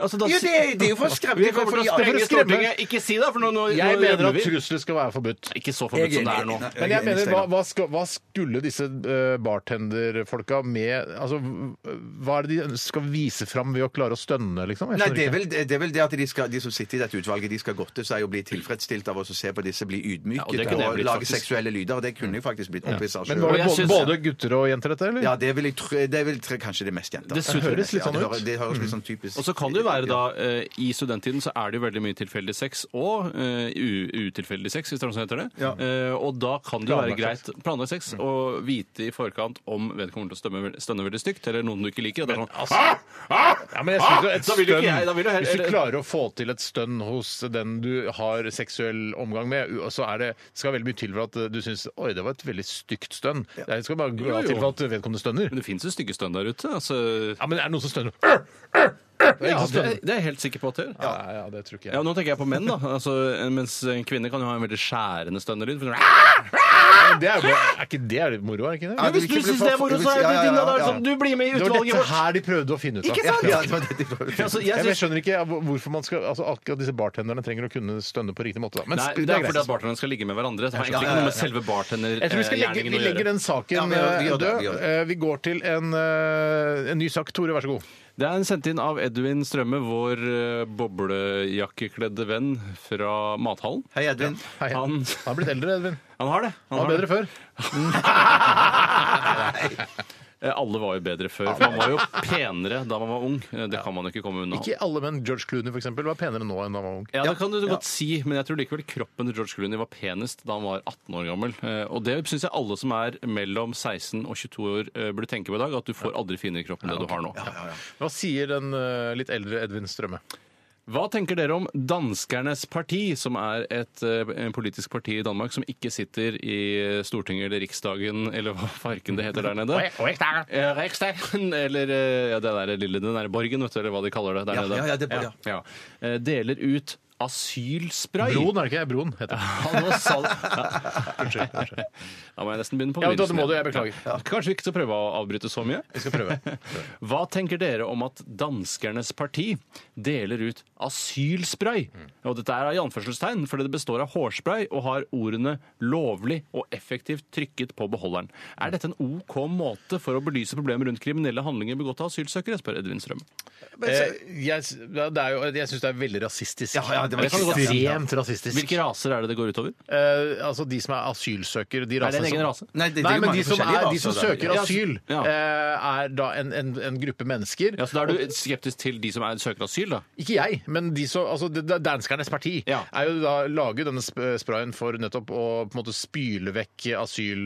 [SPEAKER 6] Altså, da
[SPEAKER 5] Jo, det, er- det er jo for
[SPEAKER 6] vi
[SPEAKER 5] skremmende. for-
[SPEAKER 6] kommer til å
[SPEAKER 5] for-
[SPEAKER 6] sprenge
[SPEAKER 4] for å skremme.
[SPEAKER 6] Stortinget. Ikke si det, for nå, nå,
[SPEAKER 4] Jeg
[SPEAKER 6] nå
[SPEAKER 4] mener
[SPEAKER 6] gjemmer
[SPEAKER 4] at
[SPEAKER 6] vi.
[SPEAKER 4] trusler skal være forbudt.
[SPEAKER 6] Ikke så
[SPEAKER 5] Sånn
[SPEAKER 6] forbudt som det er nå.
[SPEAKER 5] Nei,
[SPEAKER 4] Men jeg
[SPEAKER 5] er enig,
[SPEAKER 4] mener, hva,
[SPEAKER 5] Steinar.
[SPEAKER 4] hva, skal, hva skulle disse eh, bartenderfolka med Altså, hva er det de skal vise fram ved å klare å stønne, liksom? Jeg
[SPEAKER 5] Nei,
[SPEAKER 4] skjønner
[SPEAKER 5] det er
[SPEAKER 4] ikke.
[SPEAKER 5] vel det, er vel det at de, skal, de som sitter i dette utvalget, de skal godte seg og bli tilfredsstilt av oss å se på disse bli
[SPEAKER 6] Ja, og
[SPEAKER 5] ydmyket
[SPEAKER 6] det
[SPEAKER 5] og,
[SPEAKER 6] kunne jeg blitt,
[SPEAKER 5] lage
[SPEAKER 6] faktisk.
[SPEAKER 5] seksuelle lyder. Og det kunne jeg faktisk blitt opphisset av
[SPEAKER 4] Men
[SPEAKER 5] selv.
[SPEAKER 4] var
[SPEAKER 6] Og
[SPEAKER 4] det
[SPEAKER 6] jeg
[SPEAKER 4] både,
[SPEAKER 6] synes-
[SPEAKER 4] både gutter og jenter, dette, eller?
[SPEAKER 5] Ja, det vil jeg tro, det vil jeg tro kanskje det er mest jenter.
[SPEAKER 6] Dessuten-
[SPEAKER 4] høres litt sånn
[SPEAKER 5] ja, det
[SPEAKER 4] ut.
[SPEAKER 5] høres- Det høres litt sånn typisk
[SPEAKER 6] Mm. Og så kan det jo være da, eh, I studenttiden så er det jo veldig mye tilfeldig sex og eh, u- utilfeldig sex, hvis det er noe som heter det. Eh, og da kan det jo være
[SPEAKER 4] Planlagt
[SPEAKER 6] greit planlagt sex Mm. og vite i forkant om vedkommende kommer til å stømme, stønne veldig stygt, eller noen du ikke liker. og Det er sånn,
[SPEAKER 4] Ja, men jeg synes jo et
[SPEAKER 6] Ah! Da vil jo ikke
[SPEAKER 4] stønn-
[SPEAKER 6] jeg, da vil jo heller-
[SPEAKER 4] Hvis du klarer å få til et stønn hos den du har seksuell omgang med, u- så er det, skal veldig mye til for at eh, du syns Oi, det var et veldig stygt stønn. Jeg skal bare
[SPEAKER 6] Jo,
[SPEAKER 4] gå
[SPEAKER 6] jo.
[SPEAKER 4] til for at vedkommende stønner.
[SPEAKER 6] Men det fins jo stygge stønn der ute. Altså,
[SPEAKER 4] Ja, men er det noen som stønner? Øh, Det er ingen
[SPEAKER 6] ja,
[SPEAKER 4] som
[SPEAKER 6] det,
[SPEAKER 4] stønner.
[SPEAKER 6] det er jeg helt sikker på at det gjør.
[SPEAKER 4] Ja, ja, det tror ikke jeg.
[SPEAKER 6] Ja, nå tenker jeg på menn, da. Altså, mens en kvinne kan jo ha en veldig skjærende stønnelyd. for eksempel,
[SPEAKER 4] Men det er, jo bare- er ikke det er litt moro, er ikke det?
[SPEAKER 5] Ja,
[SPEAKER 6] Men hvis
[SPEAKER 5] det
[SPEAKER 6] du
[SPEAKER 5] vil ikke bli
[SPEAKER 6] syns
[SPEAKER 5] for-
[SPEAKER 6] det er moro, så er
[SPEAKER 5] Ja, ja,
[SPEAKER 6] det
[SPEAKER 5] ja,
[SPEAKER 6] din. Da, da er det
[SPEAKER 5] ja.
[SPEAKER 6] sånn, du blir med
[SPEAKER 4] Det
[SPEAKER 6] i
[SPEAKER 4] var
[SPEAKER 6] utvalget
[SPEAKER 4] dette
[SPEAKER 6] vårt!
[SPEAKER 4] her de prøvde å finne ut av.
[SPEAKER 6] Ikke
[SPEAKER 5] Ja,
[SPEAKER 6] sant?
[SPEAKER 5] ja, det var det de prøvde.
[SPEAKER 6] Altså,
[SPEAKER 4] Ja,
[SPEAKER 6] jeg
[SPEAKER 4] men jeg
[SPEAKER 6] synes,
[SPEAKER 4] skjønner ikke ja, hvor- hvorfor man skal, altså akkurat disse bartenderne trenger å kunne stønne på riktig måte. Da. Men
[SPEAKER 6] nei,
[SPEAKER 4] det er greit.
[SPEAKER 6] fordi at bartenderne skal ligge med hverandre. Det har egentlig
[SPEAKER 5] ja, ja,
[SPEAKER 6] ikke noe med selve
[SPEAKER 4] Jeg tror vi,
[SPEAKER 5] Eh,
[SPEAKER 4] skal legge,
[SPEAKER 6] bartendergjerningen
[SPEAKER 4] vi
[SPEAKER 6] å
[SPEAKER 4] legger
[SPEAKER 6] gjøre.
[SPEAKER 4] den saken
[SPEAKER 5] Ja, vi gjør- vi gjør det,
[SPEAKER 4] eh,
[SPEAKER 5] vi
[SPEAKER 4] død.
[SPEAKER 5] gjør det.
[SPEAKER 4] Eh, Vi går til en, eh, en ny sak. Tore, vær så god.
[SPEAKER 6] Det er en sendt inn av Edvin Strømme, vår eh, boblejakkekledde venn fra mathallen.
[SPEAKER 5] Hei, Edvin.
[SPEAKER 4] Hei. Han
[SPEAKER 6] Han-
[SPEAKER 4] har blitt eldre, Edvin.
[SPEAKER 6] Han har det.
[SPEAKER 4] Han var bedre før.
[SPEAKER 6] Eh, Alle var jo bedre før. For man var jo penere da man var ung. Eh, Det kan man jo ikke komme unna.
[SPEAKER 4] Ikke alle, men George Clooney for eksempel, var penere nå enn da han var ung.
[SPEAKER 6] Ja, det kan du godt si, men jeg tror likevel kroppen til George Clooney var penest da han var 18 år gammel. Eh, Og det syns jeg alle som er mellom 16 og 22 år eh, burde tenke på i dag, at du får aldri finere kropp enn det du har nå.
[SPEAKER 4] Hva sier den eh, litt eldre Edvin Strømme?
[SPEAKER 6] Hva tenker dere om Danskernes parti, som er et eh, en politisk parti i Danmark som ikke sitter i Stortinget eller Riksdagen eller hva farken det heter der nede? Eh, Riksdagen, eller eh, ja, det der lille, den der borgen, vet du, eller hva de kaller det der
[SPEAKER 5] Ja,
[SPEAKER 6] nede.
[SPEAKER 5] ja, ja, det er-
[SPEAKER 6] ja. Eh, Deler ut asylspray.
[SPEAKER 4] Broen, er det ikke? Broen heter det.
[SPEAKER 6] [LAUGHS] Ja, nå sal- ja.
[SPEAKER 4] Unnskyld. unnskyld.
[SPEAKER 6] Da må jeg nesten begynne på
[SPEAKER 4] Ja, da må du,
[SPEAKER 6] igjen.
[SPEAKER 4] jeg beklager.
[SPEAKER 6] Ja. Kanskje vi ikke skal prøve å avbryte så mye?
[SPEAKER 4] Vi skal prøve.
[SPEAKER 5] [LAUGHS]
[SPEAKER 6] Hva tenker dere om at danskernes parti deler ut asylspray? Og dette er i anførselstegn, fordi det består av hårspray og har ordene 'lovlig' og 'effektivt' trykket på beholderen. Er dette en OK måte for å belyse problemet rundt kriminelle handlinger begått av asylsøkere? spør Edvin Strøm.
[SPEAKER 4] Eh, Jeg, s- ja, det er jo- jeg syns det er veldig rasistisk.
[SPEAKER 5] Ja, ja, Ja, det var
[SPEAKER 6] Jeg kan godt-
[SPEAKER 4] Ekstremt rasistisk.
[SPEAKER 6] Hvilke raser er det det går utover?
[SPEAKER 4] Eh, altså de som er asylsøkere. De
[SPEAKER 6] Er det en
[SPEAKER 4] rasene
[SPEAKER 6] egen
[SPEAKER 4] som-
[SPEAKER 6] rase?
[SPEAKER 5] Nei, det, det
[SPEAKER 4] Nei,
[SPEAKER 5] er jo
[SPEAKER 4] men
[SPEAKER 5] mange
[SPEAKER 4] de som,
[SPEAKER 5] forskjellige
[SPEAKER 4] er, de som
[SPEAKER 5] raser, da.
[SPEAKER 4] søker
[SPEAKER 6] Ja,
[SPEAKER 4] asyl,
[SPEAKER 6] ja.
[SPEAKER 4] eh, er da en, en, en gruppe mennesker.
[SPEAKER 6] Ja, Så da er du skeptisk til de som er søker asyl, da?
[SPEAKER 4] Ikke jeg, men de som, altså, det- det er danskernes parti
[SPEAKER 6] Ja.
[SPEAKER 4] er jo da lager denne sp- sprayen for nettopp å på en måte spyle vekk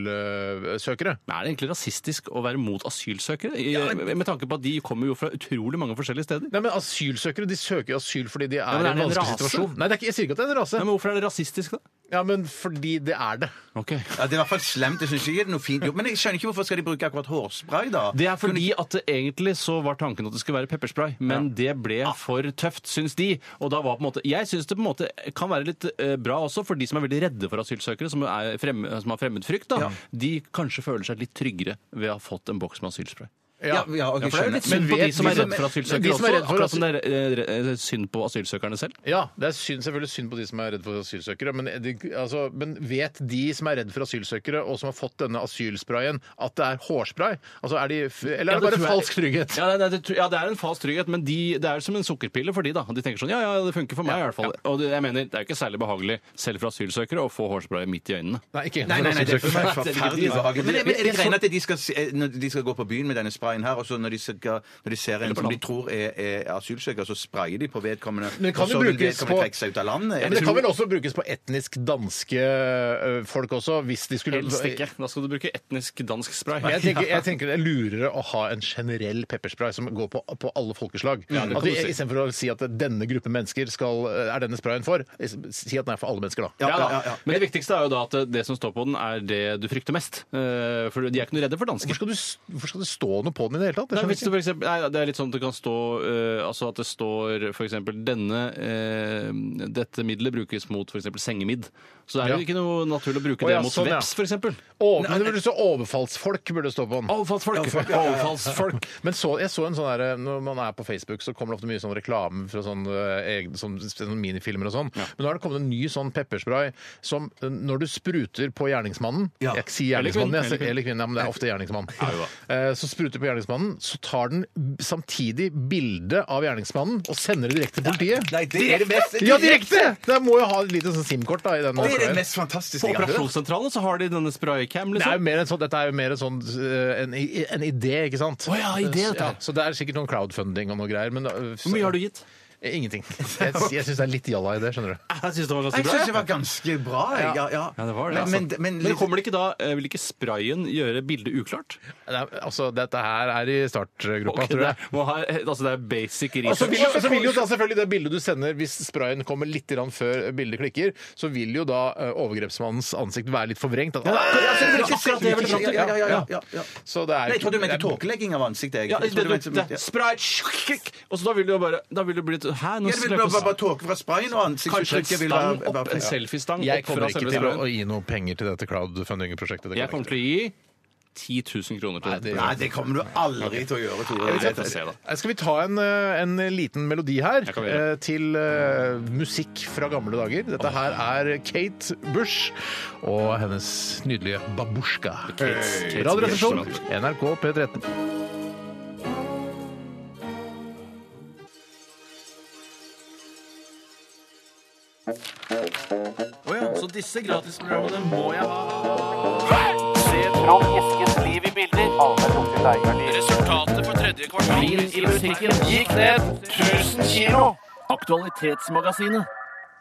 [SPEAKER 4] eh, asylsøkere.
[SPEAKER 6] Men er det egentlig rasistisk å være mot asylsøkere? I, Med tanke på at de kommer jo fra utrolig mange forskjellige steder.
[SPEAKER 4] Nei, men Asylsøkere de søker jo asyl fordi de er,
[SPEAKER 6] men
[SPEAKER 4] i
[SPEAKER 6] er
[SPEAKER 4] en
[SPEAKER 6] det en
[SPEAKER 4] vanskelig
[SPEAKER 6] rase?
[SPEAKER 4] situasjon. Nei, det er ikke, Jeg sier ikke at det er en rase,
[SPEAKER 6] Nei, men Hvorfor er det rasistisk, da?
[SPEAKER 4] ja, men fordi det er det.
[SPEAKER 6] Ok.
[SPEAKER 5] Ja, det er i hvert fall slemt. Jeg synes ikke det er noe fint gjort. Men jeg skjønner ikke hvorfor skal de bruke akkurat hårspray, da?
[SPEAKER 6] Det er fordi at det egentlig så var tanken at det skulle være pepperspray, men det ble for tøft, syns de. Og da var på en måte Jeg syns det på en måte kan være litt eh, bra også for de som er veldig redde for asylsøkere, som, er frem, som har fremmedfrykt, da. De kanskje føler seg litt tryggere ved å ha fått en boks med asylspray.
[SPEAKER 5] Ja, ja, ok,
[SPEAKER 6] Ja, for det er jo
[SPEAKER 5] skjønner. liksom-
[SPEAKER 6] litt synd
[SPEAKER 4] Men
[SPEAKER 6] på de
[SPEAKER 4] vet
[SPEAKER 6] som
[SPEAKER 4] de
[SPEAKER 6] er
[SPEAKER 4] som-
[SPEAKER 6] redd for
[SPEAKER 4] de
[SPEAKER 6] asylsøkere
[SPEAKER 4] som er
[SPEAKER 6] også,
[SPEAKER 4] redd for
[SPEAKER 6] akkurat som det er eh, eh, synd på asylsøkerne selv.
[SPEAKER 4] Ja, Det er synd, selvfølgelig synd på de som er redd for asylsøkere, men, er det- altså, men vet de som er redd for asylsøkere, og som har fått denne asylsprayen, at det er hårspray? Altså, er de, f- eller er
[SPEAKER 6] Ja,
[SPEAKER 4] det bare
[SPEAKER 6] tror jeg-
[SPEAKER 4] falsk trygghet?
[SPEAKER 6] Ja, det, det, tror- ja, det er en falsk trygghet, men de, det er som en sukkerpille for de, da. De tenker sånn ja, ja, det funker for meg i hvert fall. Og det, jeg mener, det er jo ikke særlig behagelig, selv for asylsøkere, å få hårspray midt i øynene.
[SPEAKER 4] Nei, ikke
[SPEAKER 5] Nei, nei, nei, det er forferdelig ubehagelig. Men er- men er det
[SPEAKER 4] Jeg så-
[SPEAKER 5] greia at de skal, se- eh, når de skal gå på byen med denne sprayen her, og så når de, skal, når de ser en som de tror er, er asylsøker, så sprayer de på vedkommende,
[SPEAKER 4] Men kan
[SPEAKER 5] og så
[SPEAKER 4] det
[SPEAKER 5] vil
[SPEAKER 4] brukes
[SPEAKER 5] vedkommende
[SPEAKER 4] på-
[SPEAKER 5] trekke seg ut av landet?
[SPEAKER 4] Men det kan vel også brukes på etnisk danske ø, folk også, hvis de skulle
[SPEAKER 6] Helst ikke. Da skal du bruke etnisk dansk spray.
[SPEAKER 4] Jeg
[SPEAKER 6] [LAUGHS]
[SPEAKER 4] tenker, jeg tenker det er lurere å ha en generell pepperspray som går på, på alle folkeslag. Altså,
[SPEAKER 6] det
[SPEAKER 4] At
[SPEAKER 6] kan
[SPEAKER 4] vi-
[SPEAKER 6] du si.
[SPEAKER 4] Istedenfor å si at denne gruppen mennesker skal, øh, er denne sprayen for, si at den er for alle mennesker, da.
[SPEAKER 6] Ja, da.
[SPEAKER 5] ja, ja, ja.
[SPEAKER 6] Men det viktigste er jo da at det som står på den, er det du frykter mest. Eh, For de er ikke noe redde for dansker.
[SPEAKER 4] Hvorfor skal, du, s- hvorfor skal det stå noe på den i det hele tatt? Det
[SPEAKER 6] Nei,
[SPEAKER 4] skjønner
[SPEAKER 6] hvis det,
[SPEAKER 4] jeg ikke.
[SPEAKER 6] for eksempel, nei, det er litt sånn at det kan stå eh, altså at det står for eksempel denne eh, dette middelet brukes mot for eksempel sengemidd. Så det er jo
[SPEAKER 4] Ja.
[SPEAKER 6] ikke noe naturlig å bruke
[SPEAKER 4] Å, ja,
[SPEAKER 6] det mot
[SPEAKER 4] sånn, ja.
[SPEAKER 6] veps, for eksempel.
[SPEAKER 4] Å, men det burde stå overfallsfolk burde det stå på den.
[SPEAKER 6] Overfallsfolk! Overfallsfolk.
[SPEAKER 4] Men så, jeg så en sånn der, Når man er på Facebook, så kommer det ofte mye sånn reklame fra sånn, eh, egen- sånn, sånn minifilmer og sånn. Men nå er det kommet en ny sånn pepperspray som eh, når du spruter på gjerningsmannen Jeg sier
[SPEAKER 6] Eller
[SPEAKER 4] gjerningsmannen,
[SPEAKER 6] kvinnen,
[SPEAKER 4] jeg,
[SPEAKER 6] eller
[SPEAKER 4] sier-
[SPEAKER 6] kvinnen.
[SPEAKER 4] eller kvinnen, ja, men det er ofte gjerningsmann. Eh, Så spruter du på gjerningsmannen, så tar den b- samtidig bilde av gjerningsmannen og sender det direkte til politiet.
[SPEAKER 5] Nei, det er det mest
[SPEAKER 4] Ja, direkte! Det må jo ha et lite sånn SIM-kort da i den.
[SPEAKER 5] Det er det
[SPEAKER 4] sprayen.
[SPEAKER 5] mest fantastiske
[SPEAKER 6] På
[SPEAKER 5] jeg har hørt.
[SPEAKER 6] operasjonssentralen så har de denne spraycam,
[SPEAKER 4] Det er jo
[SPEAKER 6] liksom.
[SPEAKER 4] mer en sånn, dette er jo mer en sånn eh, en, i- en idé, ikke sant? Eh,
[SPEAKER 6] Å ja, idé, dette
[SPEAKER 4] ja,
[SPEAKER 6] her.
[SPEAKER 4] så det er sikkert noen crowdfunding og noe greier. Men, eh,
[SPEAKER 6] Hvor mye har du gitt?
[SPEAKER 4] Ingenting. [LAUGHS] Jeg, jeg syns det er litt jalla i det, skjønner du.
[SPEAKER 6] Jeg syns det var
[SPEAKER 5] Jeg syns det var ganske bra. jeg. Ja, ja.
[SPEAKER 6] Ja, det var det.
[SPEAKER 5] Men,
[SPEAKER 6] altså.
[SPEAKER 5] men,
[SPEAKER 6] men, kommer det ikke da eh, Vil ikke sprayen gjøre bildet uklart?
[SPEAKER 4] Det er, altså, dette her er i startgropa,
[SPEAKER 6] Ok,
[SPEAKER 4] tror
[SPEAKER 6] det,
[SPEAKER 4] jeg.
[SPEAKER 6] er- må ha, altså, det er basic
[SPEAKER 4] Og så
[SPEAKER 6] research.
[SPEAKER 4] vil, jo- så vil jo da selvfølgelig det bildet du sender hvis sprayen kommer litt grann før bildet klikker, så vil jo da eh, overgrepsmannens ansikt være litt forvrengt. At,
[SPEAKER 6] akkurat det jeg ville fram til.
[SPEAKER 5] Ja, ja, ja, ja, ja.
[SPEAKER 4] Så det er
[SPEAKER 5] Nei, jeg trodde du mente tåkelegging av ansiktet. jeg.
[SPEAKER 6] Ja,
[SPEAKER 5] Jeg
[SPEAKER 6] det,
[SPEAKER 5] trodde du
[SPEAKER 6] det,
[SPEAKER 5] mente-
[SPEAKER 6] det, spray tsk, kikk. Og så da vil det jo bare Da vil det bli et
[SPEAKER 5] Ja, det
[SPEAKER 6] Hæ, nå
[SPEAKER 5] vil
[SPEAKER 6] slipper
[SPEAKER 5] bare, bare, bare tåke fra sprayen og
[SPEAKER 6] Kanskje en
[SPEAKER 5] ansiktsuttrykket vil
[SPEAKER 6] stang
[SPEAKER 5] være-
[SPEAKER 6] opp, en
[SPEAKER 5] være-
[SPEAKER 6] selfiestang
[SPEAKER 4] Jeg
[SPEAKER 6] opp
[SPEAKER 4] kommer
[SPEAKER 6] fra
[SPEAKER 4] ikke
[SPEAKER 6] selve
[SPEAKER 4] til å, å
[SPEAKER 6] sprayen.
[SPEAKER 4] gi noe penger til dette crowdfunding-prosjektet. det kommer
[SPEAKER 6] Jeg kommer til å gi 10 000 kroner til
[SPEAKER 4] det
[SPEAKER 6] dette.
[SPEAKER 4] gjør
[SPEAKER 5] Nei, det kommer du aldri til å gjøre, Tore.
[SPEAKER 6] Nei, jeg får se, da.
[SPEAKER 4] Eh, Skal vi ta en, eh, en liten melodi her
[SPEAKER 6] Jeg kan gjøre
[SPEAKER 4] eh, til eh, musikk fra gamle dager? Dette her er Kate Bush og hennes nydelige babusjka.
[SPEAKER 6] Kate
[SPEAKER 4] Radioresepsjon,
[SPEAKER 6] Bush.
[SPEAKER 4] NRK P13.
[SPEAKER 6] Så disse gratisprogrammene må jeg ha. Resultatet på tredje kvartal Vin i butikken gikk ned 1000 kilo. Aktualitetsmagasinet.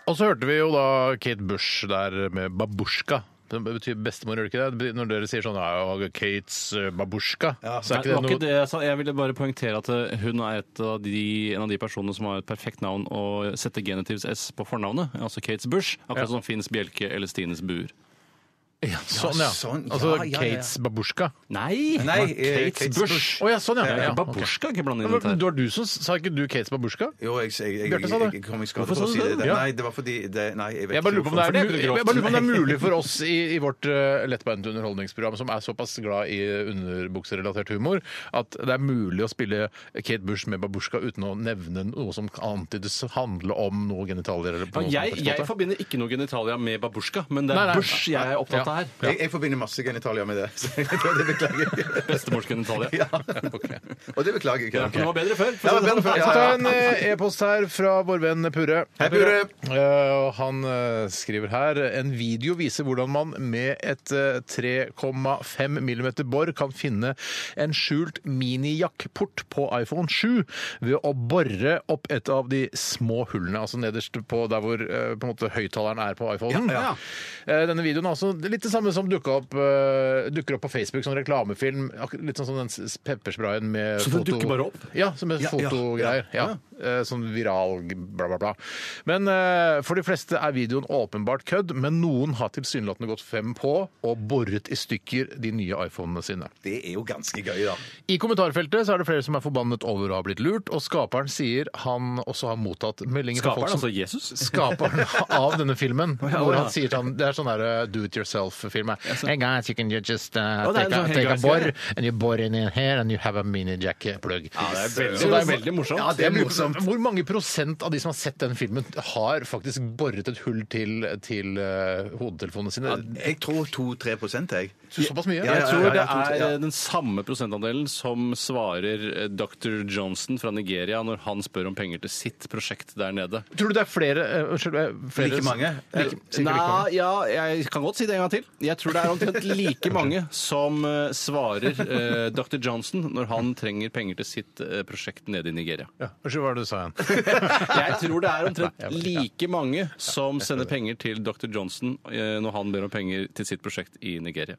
[SPEAKER 4] Og så hørte vi jo da Kate Bush der med babusjka. Det betyr bestemor, gjør det ikke det? det? betyr- Når dere sier sånn ja, Kates eh, babusjka, så
[SPEAKER 6] Nei,
[SPEAKER 4] Altså, er
[SPEAKER 6] det
[SPEAKER 4] ikke
[SPEAKER 6] var ikke
[SPEAKER 4] det noe
[SPEAKER 6] det jeg sa. Jeg ville bare poengtere at eh, hun er et av de, en av de personene som har et perfekt navn og setter genitivs S på fornavnet, altså Kates Bush, akkurat som Finns Bjelke eller Stines Buer.
[SPEAKER 4] ja, Sånn, ja.
[SPEAKER 5] sånn, ja,
[SPEAKER 4] Altså
[SPEAKER 5] ja, ja.
[SPEAKER 4] Kates babusjka.
[SPEAKER 6] Nei!
[SPEAKER 5] Nei, eh,
[SPEAKER 6] Kates Bush.
[SPEAKER 4] Å ja, sånn, ja. ja, ja. ok.
[SPEAKER 6] Babusjka, ikke bland
[SPEAKER 4] Ja,
[SPEAKER 6] inn
[SPEAKER 4] men
[SPEAKER 6] dette her.
[SPEAKER 4] Det var du som sa ikke du Kates babusjka?
[SPEAKER 5] Jo, jeg, jeg, jeg,
[SPEAKER 4] Bjarte
[SPEAKER 5] jeg,
[SPEAKER 4] sa det.
[SPEAKER 5] jeg, kom i skade
[SPEAKER 4] Hvorfor
[SPEAKER 5] for å
[SPEAKER 4] sa
[SPEAKER 5] si
[SPEAKER 4] du
[SPEAKER 5] det.
[SPEAKER 4] det?
[SPEAKER 5] der.
[SPEAKER 4] Ja.
[SPEAKER 5] Nei, det var fordi det, Nei, jeg vet
[SPEAKER 4] Jeg bare lurer på om det
[SPEAKER 5] hvorfor.
[SPEAKER 4] er,
[SPEAKER 5] Fordi-
[SPEAKER 4] jeg bare lurer på om det er mulig for oss i, i vårt eh, lettbeint underholdningsprogram, som er såpass glad i underbukserelatert humor, at det er mulig å spille Kate Bush med babusjka uten å nevne noe som kan antydes handle om noe genitalier. Eller på
[SPEAKER 6] Ja,
[SPEAKER 4] noe
[SPEAKER 6] jeg,
[SPEAKER 4] som helst
[SPEAKER 6] jeg
[SPEAKER 4] måte.
[SPEAKER 6] forbinder ikke noe genitalia med babusjka, men det
[SPEAKER 4] Nei,
[SPEAKER 6] er
[SPEAKER 4] nei.
[SPEAKER 6] bush jeg er opptatt dette her.
[SPEAKER 5] [LAUGHS] Jeg, jeg forbinder masse genitalier med det. [LAUGHS] Så jeg- det beklager jeg.
[SPEAKER 6] Bestemors
[SPEAKER 4] [LAUGHS]
[SPEAKER 6] genitalia.
[SPEAKER 5] Ja.
[SPEAKER 6] Ok.
[SPEAKER 5] Og det beklager jeg.
[SPEAKER 6] Ja, men det var bedre før.
[SPEAKER 5] Ja, det var bedre før.
[SPEAKER 4] Jeg
[SPEAKER 5] Ja,
[SPEAKER 4] tar
[SPEAKER 5] ja,
[SPEAKER 4] en
[SPEAKER 5] ja.
[SPEAKER 4] eh, e-post her fra vår venn Purre.
[SPEAKER 5] Hei, Purre.
[SPEAKER 4] Eh, og han eh, skriver her en video viser hvordan man med et eh, 3,5 mm bor kan finne en skjult minijakkport på iPhone 7 ved å bore opp et av de små hullene, altså nederst på der hvor eh, på en måte høyttaleren er på iPhonen.
[SPEAKER 5] Ja, ja.
[SPEAKER 4] Eh, Denne videoen er også litt det samme som dukker opp, eh, dukker opp på Facebook som reklamefilm. akkur- Litt sånn som den s- peppersprayen med
[SPEAKER 6] Så den dukker bare opp?
[SPEAKER 4] ja, som et
[SPEAKER 5] Ja, ja,
[SPEAKER 4] fotogreier. Ja, Eh, Sånn viral bla, bla, bla. Men eh, for de fleste er videoen åpenbart kødd, men noen har tilsynelatende gått fem på og boret i stykker de nye iPhonene sine.
[SPEAKER 5] Det er jo ganske gøy, da.
[SPEAKER 4] I kommentarfeltet så er det flere som er forbannet over å ha blitt lurt, og skaperen sier han også har mottatt meldinger fra folk
[SPEAKER 6] Skaperen,
[SPEAKER 4] som
[SPEAKER 6] altså Jesus.
[SPEAKER 4] [LAUGHS] skaperen av denne filmen. Hvor han sier til han, Det er sånn der uh, do it yourself-film. Hey guys, you can you just uh,
[SPEAKER 6] Å, det
[SPEAKER 4] take, a,
[SPEAKER 6] er en sånn
[SPEAKER 4] take a
[SPEAKER 6] helguys
[SPEAKER 4] bore,
[SPEAKER 6] greie.
[SPEAKER 4] and you bore in here, and you have a mini jack plug.
[SPEAKER 6] det er veldig-
[SPEAKER 4] Så
[SPEAKER 6] det er veldig morsomt.
[SPEAKER 4] Ja, det er
[SPEAKER 5] Det er
[SPEAKER 4] morsomt. Hvor mange prosent av de som har sett den filmen, har faktisk boret et hull til, til uh, hodetelefonene sine?
[SPEAKER 5] Jeg tror 2-3 prosent, jeg.
[SPEAKER 4] Så- Såpass mye?
[SPEAKER 5] Ja, ja,
[SPEAKER 6] Jeg
[SPEAKER 5] ja.
[SPEAKER 6] tror det
[SPEAKER 5] to-
[SPEAKER 6] er
[SPEAKER 5] ja.
[SPEAKER 6] eh, den samme prosentandelen som svarer eh, Dr. Johnson fra Nigeria når han spør om penger til sitt prosjekt der nede.
[SPEAKER 4] Tror du det er flere, uh, unnskyld, eh, flere
[SPEAKER 5] Like mange?
[SPEAKER 4] Like, sikkert like mange.
[SPEAKER 6] Nei, ja, jeg kan godt si det en gang til. Jeg tror det er omtrent [LAUGHS] like mange som eh, svarer eh, Dr. Johnson når han trenger penger til sitt eh, prosjekt nede i [LAUGHS] Nigeria.
[SPEAKER 4] Ja, Unnskyld, hva var det du sa igjen? [LAUGHS]
[SPEAKER 6] Jeg tror det er omtrent like mange som sender penger til Dr. Johnson eh, når han ber om penger til sitt prosjekt i Nigeria.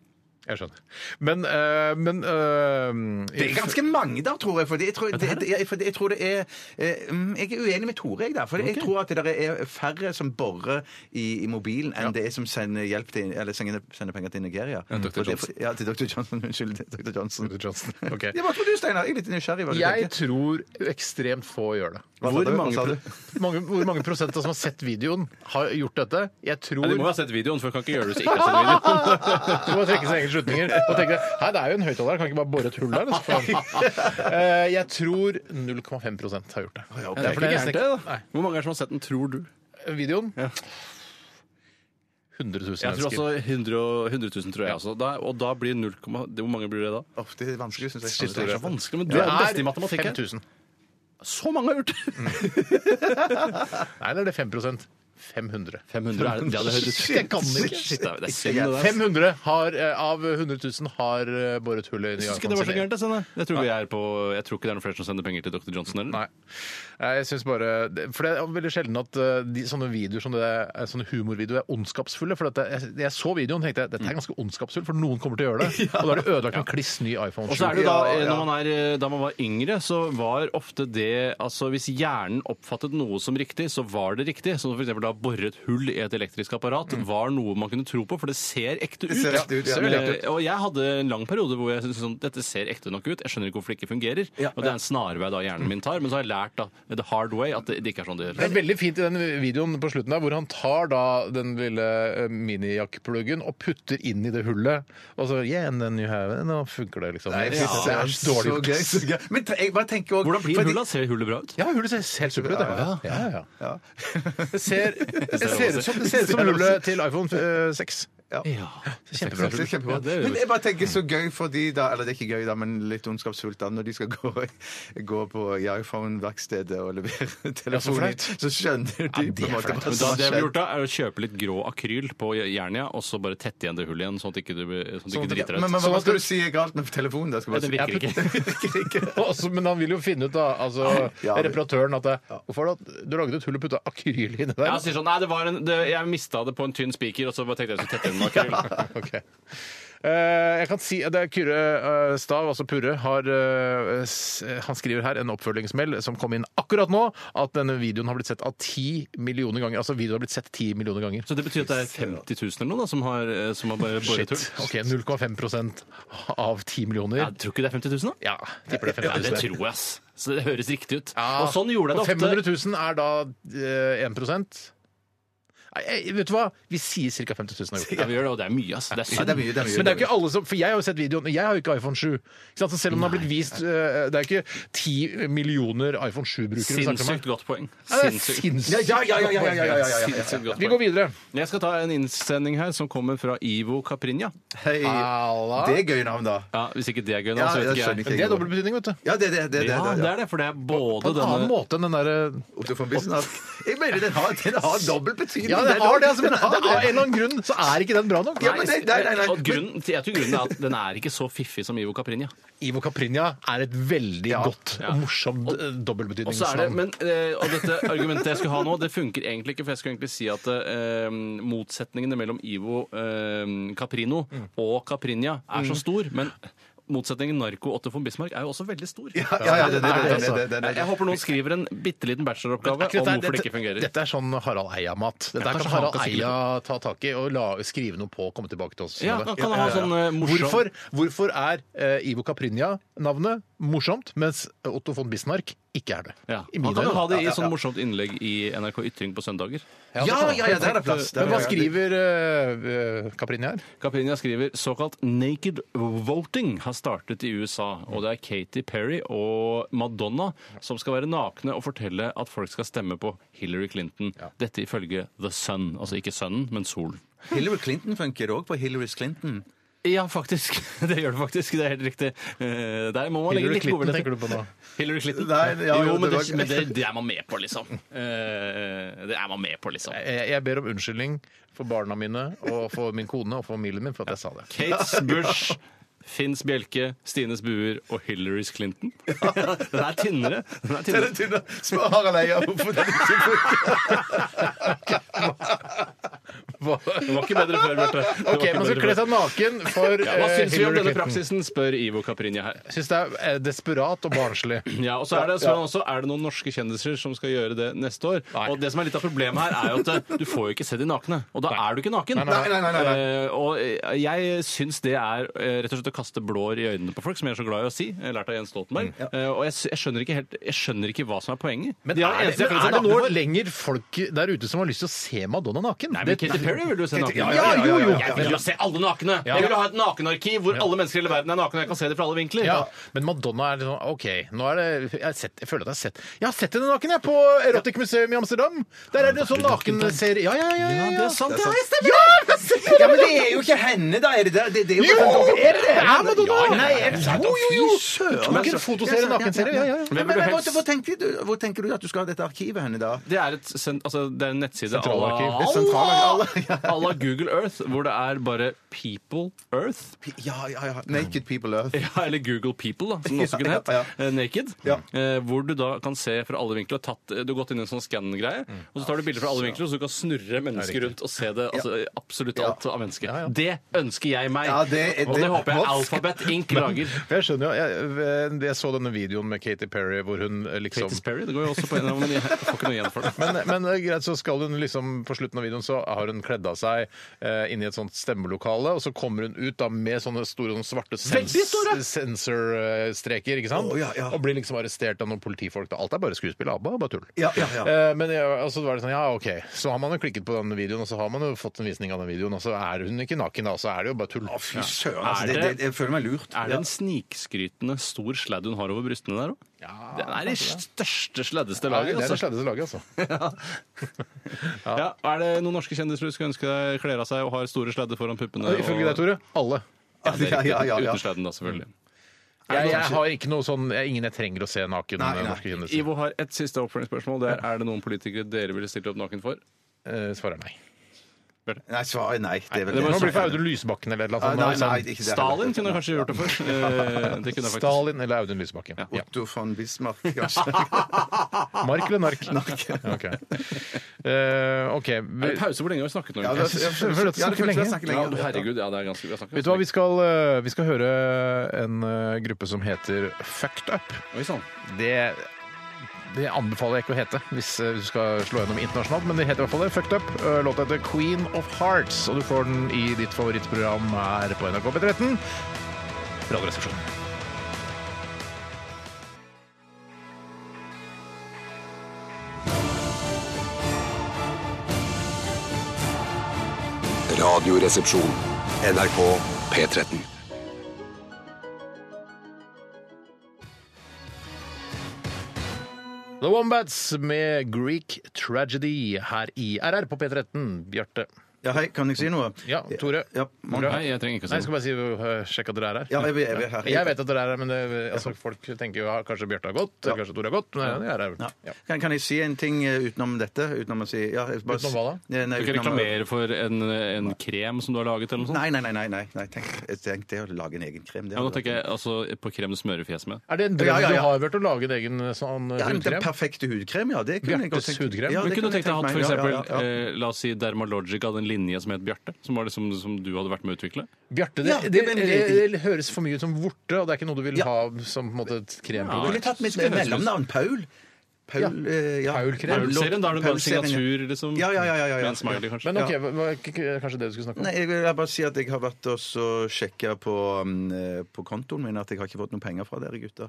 [SPEAKER 4] Jeg skjønner. Men, eh, men eh,
[SPEAKER 5] Det er ganske mange der, tror jeg. Fordi jeg, tror, det, det- fordi jeg tror det er eh, mm, Jeg er uenig med Tore, jeg, der. For jeg tror at det der er færre som borer i, i mobilen, enn det er som sender, hjelp til, eller sender, sender penger til Nigeria.
[SPEAKER 6] Dr.
[SPEAKER 5] Og det er for-
[SPEAKER 6] Johnson.
[SPEAKER 5] Ja, til Dr. Johnson. [LAUGHS] Unnskyld. til Dr. Johnson.
[SPEAKER 4] Dr.
[SPEAKER 5] [LAUGHS]
[SPEAKER 4] Johnson, ok.
[SPEAKER 5] Ja, Hva tror du, Steinar? Jeg er litt nysgjerrig. Hva du
[SPEAKER 4] Jeg
[SPEAKER 5] tenker.
[SPEAKER 4] tror ekstremt få gjør det.
[SPEAKER 5] Hva sa
[SPEAKER 4] Hvor
[SPEAKER 5] du? Hva sa
[SPEAKER 4] mange,
[SPEAKER 5] du?
[SPEAKER 4] mange, hvor mange prosent av som har sett videoen, har gjort dette? Jeg tror
[SPEAKER 6] Ja, de må jo ha sett videoen, for jeg kan ikke gjøre det hvis jeg ikke [LAUGHS] har sett videoen.
[SPEAKER 4] Du må trekke sine egne slutninger. Og tenke, Hei, det er jo en høyttaler, kan ikke bare bore et hull der? og så får han-
[SPEAKER 6] [LAUGHS]
[SPEAKER 4] Eh, Jeg tror 0,5 prosent har gjort det.
[SPEAKER 6] Det er
[SPEAKER 4] Derfor
[SPEAKER 6] ikke
[SPEAKER 4] nesten
[SPEAKER 6] gærent, det. da.
[SPEAKER 4] Nei,
[SPEAKER 6] Hvor mange er det som har sett den, tror du?
[SPEAKER 4] videoen 100 000
[SPEAKER 6] Jeg
[SPEAKER 4] mennesker.
[SPEAKER 6] tror også 100, og- 100 000, tror jeg. Altså. Da, og da blir 0, det- hvor mange blir det da?
[SPEAKER 5] Uff, det er vanskelig, syns jeg.
[SPEAKER 6] Det er så vanskelig, men du
[SPEAKER 4] Det
[SPEAKER 6] er den beste i matematikk. her.
[SPEAKER 4] 5000.
[SPEAKER 6] Så mange har gjort det!
[SPEAKER 4] Nei, eller er det 5 500.
[SPEAKER 6] 500 er det. Ja, det høres
[SPEAKER 4] Shit, jeg kan ikke.
[SPEAKER 6] Shit, det er- det er synd, det
[SPEAKER 4] 500
[SPEAKER 6] der.
[SPEAKER 4] har, eh, av 100 000 har eh, boret hull i
[SPEAKER 6] Jeg
[SPEAKER 4] nye
[SPEAKER 6] synes ikke det var så
[SPEAKER 4] iPhone-serier.
[SPEAKER 6] gærent. det, Sanne. Jeg tror, vi er på, jeg tror ikke det er noen flere som sender penger til Dr. Johnson. Eller?
[SPEAKER 4] Nei. Nei, Jeg synes bare For det er veldig sjelden at eh, de, sånne videoer som det er, sånne humorvideoer er ondskapsfulle. For dette, jeg, jeg så videoen og tenkte jeg,
[SPEAKER 6] Mm.
[SPEAKER 4] dette er ganske ondskapsfullt, for noen kommer til å gjøre det.
[SPEAKER 6] [LAUGHS]
[SPEAKER 4] Og da har de ødelagt en kliss ny iPhone
[SPEAKER 6] Og så
[SPEAKER 4] 7.
[SPEAKER 6] er det jo da,
[SPEAKER 5] Ja,
[SPEAKER 6] eh,
[SPEAKER 5] ja.
[SPEAKER 6] når man er, da man var yngre, så var ofte det altså Hvis hjernen oppfattet noe som riktig, så var det riktig. Som f.eks. da borret hull i et elektrisk apparat var noe man kunne tro på, for det ser ekte ut.
[SPEAKER 5] ser ekte ut, ja.
[SPEAKER 6] Som,
[SPEAKER 5] Ser veldig
[SPEAKER 6] eh, Og jeg hadde en lang periode hvor jeg syntes sånn, dette ser ekte nok ut, jeg skjønner ikke hvorfor det ikke fungerer.
[SPEAKER 5] Ja,
[SPEAKER 6] Og det er en snarvei da hjernen min tar, men så har jeg lært da, the hard way at det det ikke er sånn det
[SPEAKER 4] Det er
[SPEAKER 6] gjør.
[SPEAKER 4] veldig fint i den videoen på slutten der, hvor han tar da den lille eh, minijakkpluggen og putter inn i det hullet. Og så yeah, and then you have it. Nå funker det, liksom.
[SPEAKER 5] Nei,
[SPEAKER 4] Jeg
[SPEAKER 5] fy
[SPEAKER 4] synes det er så
[SPEAKER 5] søren,
[SPEAKER 4] dårlig
[SPEAKER 5] så
[SPEAKER 4] gjort.
[SPEAKER 5] gøy, så gøy. [LAUGHS] Men te- jeg bare tenker også
[SPEAKER 6] Hvordan blir
[SPEAKER 5] fordi-
[SPEAKER 6] hullet? Ser hullet bra ut?
[SPEAKER 4] Ja, hullet ser helt supert ut. Ja, ja. ja, ja. Det [LAUGHS] ser, det ser ut som, det ser ut som
[SPEAKER 5] Det er lov å si.
[SPEAKER 4] hullet til iPhone eh, 6. Kjempebra.
[SPEAKER 5] Det er kjempebra.
[SPEAKER 6] Ja, det er jo-
[SPEAKER 5] men jeg bare tenker så gøy for de da, eller det er ikke gøy da, men litt ondskapsfullt da, når de skal gå, gå på i iPhone-verkstedet og levere telefonen,
[SPEAKER 4] flaut.
[SPEAKER 5] så skjønner de på en måte hva som
[SPEAKER 6] Men da,
[SPEAKER 5] har
[SPEAKER 6] det jeg ville
[SPEAKER 5] skjedd.
[SPEAKER 6] gjort da, er å kjøpe litt grå akryl på Jernia, og så bare tette igjen det hullet igjen, sånn at ikke du, sånn at ikke du driter
[SPEAKER 5] Men,
[SPEAKER 6] deg ut.
[SPEAKER 5] men hva skal du si er galt med telefonen? Da? Skal
[SPEAKER 6] Nei,
[SPEAKER 5] man
[SPEAKER 6] Det
[SPEAKER 5] si,
[SPEAKER 6] virker ikke.
[SPEAKER 4] Og så- men han vil jo finne ut, da, altså
[SPEAKER 5] Ja, men-
[SPEAKER 4] reparatøren, at det, hvorfor har du, du laget et hull og putta akryl inni der?
[SPEAKER 6] Ja, han sier sånn, nei, det var en, det, jeg mista det på en tynn spiker, og så bare tenkte jeg jeg skulle tette igjen med akryl.
[SPEAKER 4] [LAUGHS] Ok. Eh, jeg kan si at det er Kyrre eh, Stav, altså Purre, har, eh, s- han skriver her en oppfølgingsmeld som kom inn akkurat nå, at denne videoen har blitt sett av ti millioner ganger. Altså videoen har blitt sett ti millioner ganger.
[SPEAKER 6] Så det betyr at det er 50 000 eller noe da, som har, eh, som har bare boret hull?
[SPEAKER 4] Ok, 0,5 av ti millioner.
[SPEAKER 6] Jeg tror ikke det er 50 000, da.
[SPEAKER 4] Ja, sånn tipper det er
[SPEAKER 6] Ja,
[SPEAKER 4] 50
[SPEAKER 6] det
[SPEAKER 4] 000.
[SPEAKER 6] tror jeg, ass. Så det høres riktig ut.
[SPEAKER 4] Ja.
[SPEAKER 6] Og sånn gjorde jeg det
[SPEAKER 4] Og 500
[SPEAKER 6] ofte.
[SPEAKER 4] 000 er da eh, 1 Nei, eh, Vet du hva? Vi sier ca. 50 000 har gjort det.
[SPEAKER 6] Ja, vi gjør det, og det er mye, ass. Det er
[SPEAKER 5] Ja,
[SPEAKER 6] synd.
[SPEAKER 5] det er mye, det er mye.
[SPEAKER 4] Men det er jo ikke alle som For jeg har jo sett videoen, og jeg har jo ikke iPhone 7. Ikke sant? Så selv om den har blitt vist eh, Det er jo ikke 10 millioner iPhone 7-brukere vi snakker om.
[SPEAKER 6] Sinnssykt godt poeng.
[SPEAKER 4] Ja, det er
[SPEAKER 6] Sinnssykt.
[SPEAKER 5] Ja,
[SPEAKER 4] sinnssykt.
[SPEAKER 5] ja, ja, ja, ja, ja, ja, ja, ja.
[SPEAKER 6] Sinnssykt godt
[SPEAKER 4] Vi går
[SPEAKER 6] poeng.
[SPEAKER 4] videre.
[SPEAKER 6] Jeg skal ta en innsending her som kommer fra Ivo Caprinja.
[SPEAKER 5] Hei.
[SPEAKER 4] Halla.
[SPEAKER 5] Det er gøy navn, da.
[SPEAKER 6] Ja, hvis ikke det er gøy, nå,
[SPEAKER 5] Ja,
[SPEAKER 6] så
[SPEAKER 5] det skjønner
[SPEAKER 6] vet ikke jeg.
[SPEAKER 5] ikke
[SPEAKER 4] Det
[SPEAKER 5] jeg.
[SPEAKER 4] er dobbel betydning, vet du.
[SPEAKER 5] Ja, det, det, det, det,
[SPEAKER 6] Ja,
[SPEAKER 5] det,
[SPEAKER 6] det
[SPEAKER 5] ja.
[SPEAKER 6] er det, for det er
[SPEAKER 4] På
[SPEAKER 6] både
[SPEAKER 4] en annen
[SPEAKER 6] denne
[SPEAKER 4] måte enn den eh, derre
[SPEAKER 5] Otofobisen har- Jeg mener, den har, den har dobbel betydning.
[SPEAKER 4] [LAUGHS] Ja, det har det, altså, men
[SPEAKER 5] Den har
[SPEAKER 4] av en eller annen grunn så er ikke den bra nok.
[SPEAKER 5] Ja, men nei, nei, nei, nei.
[SPEAKER 6] Og grunnen, jeg tror grunnen er at den er ikke så fiffig som Ivo Caprinja.
[SPEAKER 4] Ivo Caprinja er et veldig godt
[SPEAKER 6] Ja.
[SPEAKER 4] og morsomt eh,
[SPEAKER 6] Og så er det,
[SPEAKER 4] dobbeltbetydningsnavn.
[SPEAKER 6] men, eh, og dette argumentet jeg skulle ha nå, det funker egentlig ikke. For jeg skulle egentlig si at eh, motsetningene mellom Ivo eh, Caprino og Caprinja er så stor. Men motsetningen narko Otto von Bismarck er jo også veldig stor. Altså,
[SPEAKER 5] Ja, ja, det, det, det, det, det, det, det,
[SPEAKER 6] Jeg, jeg håper noen skriver en bitte liten
[SPEAKER 4] Er
[SPEAKER 6] bacheloroppgave
[SPEAKER 4] ikke
[SPEAKER 6] om
[SPEAKER 4] dette-
[SPEAKER 6] hvorfor det
[SPEAKER 4] dette-
[SPEAKER 6] ikke fungerer.
[SPEAKER 4] Dette er sånn Harald Eia-mat. Dette
[SPEAKER 6] Ja, sånn
[SPEAKER 4] kan
[SPEAKER 6] kanskje
[SPEAKER 4] Harald
[SPEAKER 6] han kan skrive
[SPEAKER 4] Eia ta tak i og la, skrive noe på og komme tilbake til oss. med
[SPEAKER 6] Ja,
[SPEAKER 4] det.
[SPEAKER 6] han kan ha sånn eh, morsom
[SPEAKER 4] Hvorfor, hvorfor er eh, Ivo Caprinja-navnet morsomt, mens Otto von Bismarck ikke er det?
[SPEAKER 6] Ja.
[SPEAKER 4] I
[SPEAKER 6] Han
[SPEAKER 4] mine
[SPEAKER 6] kan jo
[SPEAKER 4] øyne.
[SPEAKER 6] ha det i sånn morsomt innlegg i NRK Ytring på søndager.
[SPEAKER 5] Ja, ja, ja, der er det plass. Der
[SPEAKER 4] Men hva
[SPEAKER 5] er det-
[SPEAKER 4] skriver uh, Caprinja her?
[SPEAKER 6] Caprinja skriver såkalt naked voting har startet i USA, og det er Katy Perry og Madonna som skal være nakne og fortelle at folk skal stemme på Hillary Clinton. Dette ifølge The Sun. Altså ikke sønnen, men solen.
[SPEAKER 5] Hillary Clinton funker òg på Hillary Clinton.
[SPEAKER 6] Ja, faktisk. [LAUGHS] Det gjør det faktisk. Det er helt riktig. Eh, Der må man legge
[SPEAKER 4] Hillary
[SPEAKER 6] litt
[SPEAKER 4] Clinton
[SPEAKER 6] godvilje til.
[SPEAKER 4] tenker du på nå?
[SPEAKER 6] Hillary Clinton?
[SPEAKER 5] Nei, ja, jo,
[SPEAKER 6] jo, men,
[SPEAKER 5] det
[SPEAKER 6] det,
[SPEAKER 5] var-
[SPEAKER 6] men det, det er man med på, liksom. Eh, Det er man med på, liksom.
[SPEAKER 4] Jeg, jeg ber om unnskyldning for barna mine og for min kone og for familien min for at jeg sa
[SPEAKER 6] [LAUGHS]
[SPEAKER 4] det.
[SPEAKER 6] Kates Bush, Finns Bjelke, Stines Buer og Hillary's Clinton. [LAUGHS] Den er tynnere. Den er
[SPEAKER 5] Den
[SPEAKER 6] tynnere.
[SPEAKER 5] er tynn, da. Spør Harald Eia hvorfor den ikke
[SPEAKER 6] [LAUGHS]
[SPEAKER 5] funker.
[SPEAKER 6] Det var ikke bedre før, Bjarte. Det var
[SPEAKER 4] Ok,
[SPEAKER 6] ikke
[SPEAKER 4] Man skal
[SPEAKER 6] bedre
[SPEAKER 4] kle
[SPEAKER 6] før.
[SPEAKER 4] seg naken for
[SPEAKER 6] Ja, Hva
[SPEAKER 4] sånn. eh,
[SPEAKER 6] syns vi om
[SPEAKER 4] Hillary
[SPEAKER 6] denne
[SPEAKER 4] Clinton.
[SPEAKER 6] praksisen, spør Ivo Caprinja her.
[SPEAKER 4] Jeg syns det er eh, desperat og barnslig.
[SPEAKER 6] Ja, og så Er det spør han også, er det noen norske kjendiser som skal gjøre det neste år. Og det som er litt av problemet her, er jo at eh, du får jo ikke se de nakne. Og da er du ikke naken.
[SPEAKER 5] Nei, nei, nei, nei, nei.
[SPEAKER 6] Eh, og eh, jeg syns det er eh, rett og slett å kaste blår i øynene på folk, som jeg er så glad i å si. Jeg lærte av Jens Stoltenberg. Eh, og jeg, s- jeg skjønner ikke helt Jeg skjønner ikke hva som er poenget.
[SPEAKER 4] [CLEARS THROAT] Men
[SPEAKER 6] De har
[SPEAKER 4] er,
[SPEAKER 6] eneste jeg
[SPEAKER 4] det, men
[SPEAKER 6] føler seg
[SPEAKER 4] er det
[SPEAKER 6] nakne
[SPEAKER 4] nå
[SPEAKER 6] for.
[SPEAKER 4] lenger folk der ute som har lyst til å se Madonna naken?
[SPEAKER 6] Nei, men
[SPEAKER 4] Det-
[SPEAKER 6] Katy Perry vil du se naken.
[SPEAKER 4] Ja, ja, ja, jo, jo.
[SPEAKER 6] Jeg vil jo se alle nakne! Jeg vil jo ha et nakenarkiv hvor alle mennesker i hele verden er nakne. og Jeg kan se det fra alle vinkler.
[SPEAKER 4] Ja, men Madonna er litt sånn OK, nå er det Jeg, har sett, jeg føler at jeg har sett Jeg har sett henne naken, jeg, på Erotic Museum i Amsterdam! Der er det en sånn nakenserie Ja, ja, ja! ja,
[SPEAKER 6] Ja,
[SPEAKER 4] ja.
[SPEAKER 6] det er sant.
[SPEAKER 4] Ja,
[SPEAKER 6] ja.
[SPEAKER 4] det stemmer! Ja, det stemmer!
[SPEAKER 5] Ja, men det er jo ikke henne, da. Er det det? det, det er jo, sånn-
[SPEAKER 4] er det det? Ja, Madonna!
[SPEAKER 5] Nei, jeg,
[SPEAKER 4] Jo, jo, jo!
[SPEAKER 5] Fy søren. altså.
[SPEAKER 4] Tok en fotoserie, nakenserie. altså. Ja, ja, ja.
[SPEAKER 5] Men, men,
[SPEAKER 6] burde
[SPEAKER 5] men,
[SPEAKER 6] helst-
[SPEAKER 5] hvor, hvor, tenker du, hvor tenker du at du skal ha dette arkivet henne, da?
[SPEAKER 6] Det er, et, sen- altså, det er en nettside à
[SPEAKER 4] Sentralarkiv.
[SPEAKER 6] la-
[SPEAKER 5] Et [LAUGHS] sentralarkiv.
[SPEAKER 6] [LAUGHS] à la Google Earth, hvor det er bare People Earth. [LAUGHS]
[SPEAKER 5] Ja, ja, ja. Naked People Earth.
[SPEAKER 6] Ja, eller Google People, da, som den [LAUGHS]
[SPEAKER 5] Ja,
[SPEAKER 6] også kunne hett.
[SPEAKER 5] ja,
[SPEAKER 6] eh, Naked.
[SPEAKER 5] Ja.
[SPEAKER 6] Eh, Hvor du da kan se fra alle vinkler. Tatt, du har gått inn i en sånn scan-greie, og så tar du bilder fra alle vinkler, og så du kan snurre mennesker rundt og se det, altså, absolutt alt av mennesket. Det ønsker jeg meg!
[SPEAKER 5] Ja, det-
[SPEAKER 6] og
[SPEAKER 5] det-
[SPEAKER 6] det håper
[SPEAKER 5] Hva
[SPEAKER 6] jeg
[SPEAKER 5] skal-
[SPEAKER 6] Alphabet Inc. [LAUGHS] lager.
[SPEAKER 4] Jeg skjønner jo, jeg, jeg så denne videoen med Katy Perry hvor hun liksom
[SPEAKER 6] Katy Perry, det går jo også på en av men jeg får ikke noe igjen for det.
[SPEAKER 4] men, men det er greit, så skal hun liksom på slutten av videoen så har hun kledd av seg eh, inni et sånt stemmelokale, og så kommer hun ut da med sånne store sånne svarte sens
[SPEAKER 6] Veldig store!
[SPEAKER 4] sensorstreker, ikke sant?
[SPEAKER 5] Å, ja, ja.
[SPEAKER 4] Og blir liksom arrestert av noen politifolk. Da. Alt er bare skuespill. ABBA er bare tull.
[SPEAKER 5] Ja, ja, ja.
[SPEAKER 4] Eh, men jeg, altså, det var det sånn, ja, OK. Så har man jo klikket på den videoen, og så har man jo fått en visning av den videoen, og så er hun ikke naken da, så er det jo bare tull.
[SPEAKER 5] Å, fy søren.
[SPEAKER 6] Er
[SPEAKER 5] Altså, det,
[SPEAKER 6] det-
[SPEAKER 5] det, jeg føler meg lurt.
[SPEAKER 6] Er det en snikskrytende stor sladd hun har over brystene der òg? Den er i største, sladdeste
[SPEAKER 4] Ja, det
[SPEAKER 6] laget.
[SPEAKER 4] er det
[SPEAKER 6] Altså.
[SPEAKER 4] sleddeste laget, altså.
[SPEAKER 6] Ja, er det noen norske kjendiser du skulle ønske deg kler av seg og har store sladder foran puppene?
[SPEAKER 4] Og Ifølge deg,
[SPEAKER 6] og-
[SPEAKER 4] Tore, alle.
[SPEAKER 6] Ja, det er riktig.
[SPEAKER 5] Ja, ja, ja, ja.
[SPEAKER 6] Uten sladden, da, selvfølgelig.
[SPEAKER 4] Jeg, jeg har ikke noe sånn, jeg, ingen jeg trenger å se naken.
[SPEAKER 5] altså- Nei, nei.
[SPEAKER 4] norske kjendiser.
[SPEAKER 6] Ivo har et siste oppfølgingsspørsmål. Det er, er det noen politikere dere ville stilt opp naken for?
[SPEAKER 4] Eh, Svaret er nei.
[SPEAKER 5] Nei, svaret er nei. Det er vel
[SPEAKER 4] Det
[SPEAKER 6] Det må
[SPEAKER 4] må bli
[SPEAKER 6] bli
[SPEAKER 4] for Audun Lysbakken eller noe
[SPEAKER 5] Nei,
[SPEAKER 4] sånt. sånn
[SPEAKER 5] nei, nei, det er ikke det.
[SPEAKER 6] Stalin kunne jeg kanskje gjort det
[SPEAKER 5] [LAUGHS]
[SPEAKER 6] for. Eh, Det kunne jeg faktisk.
[SPEAKER 4] Stalin eller Audun Lysbakken. Ja.
[SPEAKER 5] Otto von Bismarck, kanskje.
[SPEAKER 6] Ah,
[SPEAKER 4] Mark eller nark? [LAUGHS] Ok. Eh, ok.
[SPEAKER 6] Er
[SPEAKER 4] Vi,
[SPEAKER 6] det pause? Hvor lenge har vi snakket nå?
[SPEAKER 5] Ja, det
[SPEAKER 6] egentlig?
[SPEAKER 5] jeg
[SPEAKER 4] føler at vi
[SPEAKER 5] ja, det
[SPEAKER 4] snakker
[SPEAKER 5] føles-
[SPEAKER 4] lenge.
[SPEAKER 5] jeg snakker
[SPEAKER 6] Ja,
[SPEAKER 5] lenge.
[SPEAKER 6] herregud, ja, det er ganske, vi har snakket
[SPEAKER 4] vet du hva, vi skal, eh, vi skal høre en eh, gruppe som heter Fucked Up.
[SPEAKER 6] Oi sånn. sann.
[SPEAKER 4] Det, det anbefaler jeg ikke å hete hvis eh, du skal slå gjennom internasjonalt, men det heter i hvert fall det. Fucked Up. Eh, Låta heter Queen of Hearts, og du får den i ditt favorittprogram her på NRK P13. Radioresepsjonen.
[SPEAKER 1] Radioresepsjon. NRK P13.
[SPEAKER 4] The Wombats med Greek Tragedy her i RR på P13. Bjarte.
[SPEAKER 5] Ja, hei, kan jeg si noe?
[SPEAKER 4] Ja, Tore.
[SPEAKER 5] Ja, man-
[SPEAKER 4] Bra.
[SPEAKER 6] Nei, jeg trenger ikke
[SPEAKER 4] Nei, jeg
[SPEAKER 6] å si
[SPEAKER 4] skal
[SPEAKER 6] noe.
[SPEAKER 4] bare si, øh, sjekke at dere er her.
[SPEAKER 5] Ja, jeg- jeg- jeg er her.
[SPEAKER 4] Jeg vet at dere er her, men det, altså, folk tenker jo ja, kanskje Bjarte har gått, eller kanskje Tore har gått. Men jeg er her.
[SPEAKER 5] Ja.
[SPEAKER 4] Ja.
[SPEAKER 5] Kan, kan jeg si en ting eh, utenom dette? Utenom å si ja, jeg bare,
[SPEAKER 4] Utenom hva da?
[SPEAKER 5] Nei, nei,
[SPEAKER 6] Du kan
[SPEAKER 5] utenom-
[SPEAKER 6] reklamere for en, en krem som du har laget, eller noe sånt?
[SPEAKER 5] Nei, nei, nei. nei, nei, nei. Tenk, jeg tenkte å lage en egen krem. det
[SPEAKER 6] Ja, nå
[SPEAKER 5] hadde vært-
[SPEAKER 6] tenker jeg altså, på krem du smører fjeset med.
[SPEAKER 4] Er det en drøm
[SPEAKER 5] Ja, ja, ja.
[SPEAKER 4] du har vært å lage en egen sånn øh,
[SPEAKER 5] ja, men Den
[SPEAKER 4] hudkrem?
[SPEAKER 5] perfekte hudkrem, ja. Det kunne jeg godt
[SPEAKER 4] Bjartes
[SPEAKER 5] tenkt
[SPEAKER 4] hudkrem?
[SPEAKER 5] Ja,
[SPEAKER 6] Men
[SPEAKER 5] det
[SPEAKER 6] kunne
[SPEAKER 5] kunne
[SPEAKER 6] du
[SPEAKER 5] jeg
[SPEAKER 6] tenkt deg å ha for
[SPEAKER 5] meg,
[SPEAKER 6] eksempel,
[SPEAKER 5] ja, ja, ja.
[SPEAKER 6] Eh, la oss si Dermalogic hadde en linje som het Bjarte, som var det som, som du hadde vært med å utvikle?
[SPEAKER 4] Bjarte, det,
[SPEAKER 5] Ja, det
[SPEAKER 4] det,
[SPEAKER 5] er en
[SPEAKER 4] det,
[SPEAKER 5] liten-
[SPEAKER 4] det høres for mye ut som vorte, og det er ikke noe du vil
[SPEAKER 5] Ja.
[SPEAKER 4] ha som på en måte, et kremprodukt.
[SPEAKER 5] Ville tatt mitt mellomnavn Paul. Paul, eh, ja.
[SPEAKER 4] Paul Krem.
[SPEAKER 6] Paul-serien, da er det bare en
[SPEAKER 5] Paul-serien, ja.
[SPEAKER 6] signatur, liksom?
[SPEAKER 5] Ja, ja, ja, ja, ja, ja.
[SPEAKER 6] Med en smiley, kanskje?
[SPEAKER 4] Men ok, hva- hva- k- k- kanskje det du skulle snakke om?
[SPEAKER 5] Nei, jeg vil bare si at jeg har vært og så sjekka på, um, eh, på kontoen min at jeg har ikke fått noen penger fra dere gutter. Dere,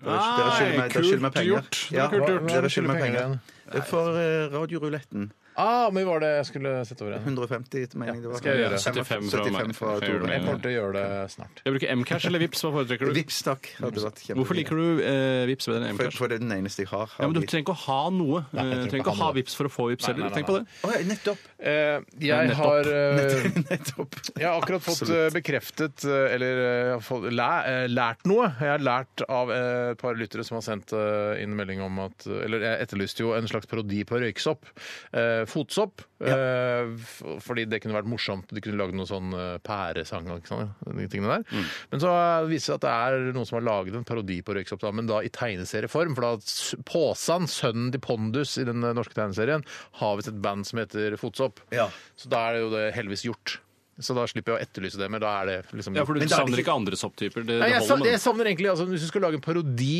[SPEAKER 6] Nei,
[SPEAKER 5] dere skylder meg, dere skylder meg
[SPEAKER 6] kult
[SPEAKER 5] penger.
[SPEAKER 6] gjort. Det
[SPEAKER 5] Ja,
[SPEAKER 6] er kult
[SPEAKER 4] gjort.
[SPEAKER 5] Dere skylder meg
[SPEAKER 4] Hva er det du skylder
[SPEAKER 5] penger. For eh, radioruletten.
[SPEAKER 4] Ah, men var det jeg skulle sette over igjen?
[SPEAKER 5] 150, mener jeg det var.
[SPEAKER 4] skal jeg gjøre.
[SPEAKER 6] 75 fra meg.
[SPEAKER 5] 75 fra
[SPEAKER 6] Jeg gjør
[SPEAKER 5] Tore.
[SPEAKER 4] Jeg kommer til å gjøre det snart.
[SPEAKER 6] Jeg bruker Mcash eller Vips, hva foretrekker du?
[SPEAKER 5] Vips, takk. Hadde vært kjempefint.
[SPEAKER 6] Hvorfor liker du eh, Vips bedre enn
[SPEAKER 5] For,
[SPEAKER 6] Mcash?
[SPEAKER 5] for det er den eneste jeg har.
[SPEAKER 6] Ja, men Du trenger ikke å ha noe. Du
[SPEAKER 4] jeg trenger
[SPEAKER 6] trenger ikke å ha Vips for å få Vips heller. Tenk på det.
[SPEAKER 5] Å, ja, nettopp.
[SPEAKER 4] Eh, jeg
[SPEAKER 6] nettopp.
[SPEAKER 4] har eh,
[SPEAKER 5] [LAUGHS] nettopp.
[SPEAKER 4] Jeg har akkurat fått eh, bekreftet, eh, eller eh, fått læ- eh, lært noe. Jeg har lært av eh, et par lyttere som har sendt eh, inn melding om at eh, Eller jeg etterlyste jo en slags parodi på røyksopp. Eh, Fotsopp. eh, f- Fordi det kunne vært morsomt. De kunne lagd noen sånn eh, pæresang og ikke sant, de tingene der. Men så eh, viser det seg at det er noen som har laget en parodi på røyksopp, da, men da i tegneserieform. For da s- Påsan, sønnen til Pondus i den eh, norske tegneserien, har visst et band som heter Fotsopp.
[SPEAKER 5] Ja.
[SPEAKER 4] Så da er det jo det heldigvis gjort. Så da slipper jeg å etterlyse det, men da er det liksom
[SPEAKER 6] Ja, for Du
[SPEAKER 5] Men da er det
[SPEAKER 6] savner
[SPEAKER 5] ikke-
[SPEAKER 6] ikke andre sopptyper. Det,
[SPEAKER 4] Nei,
[SPEAKER 6] det
[SPEAKER 4] jeg, sa-
[SPEAKER 6] holder
[SPEAKER 4] jeg
[SPEAKER 6] med
[SPEAKER 4] savner egentlig, altså Hvis du skal lage en parodi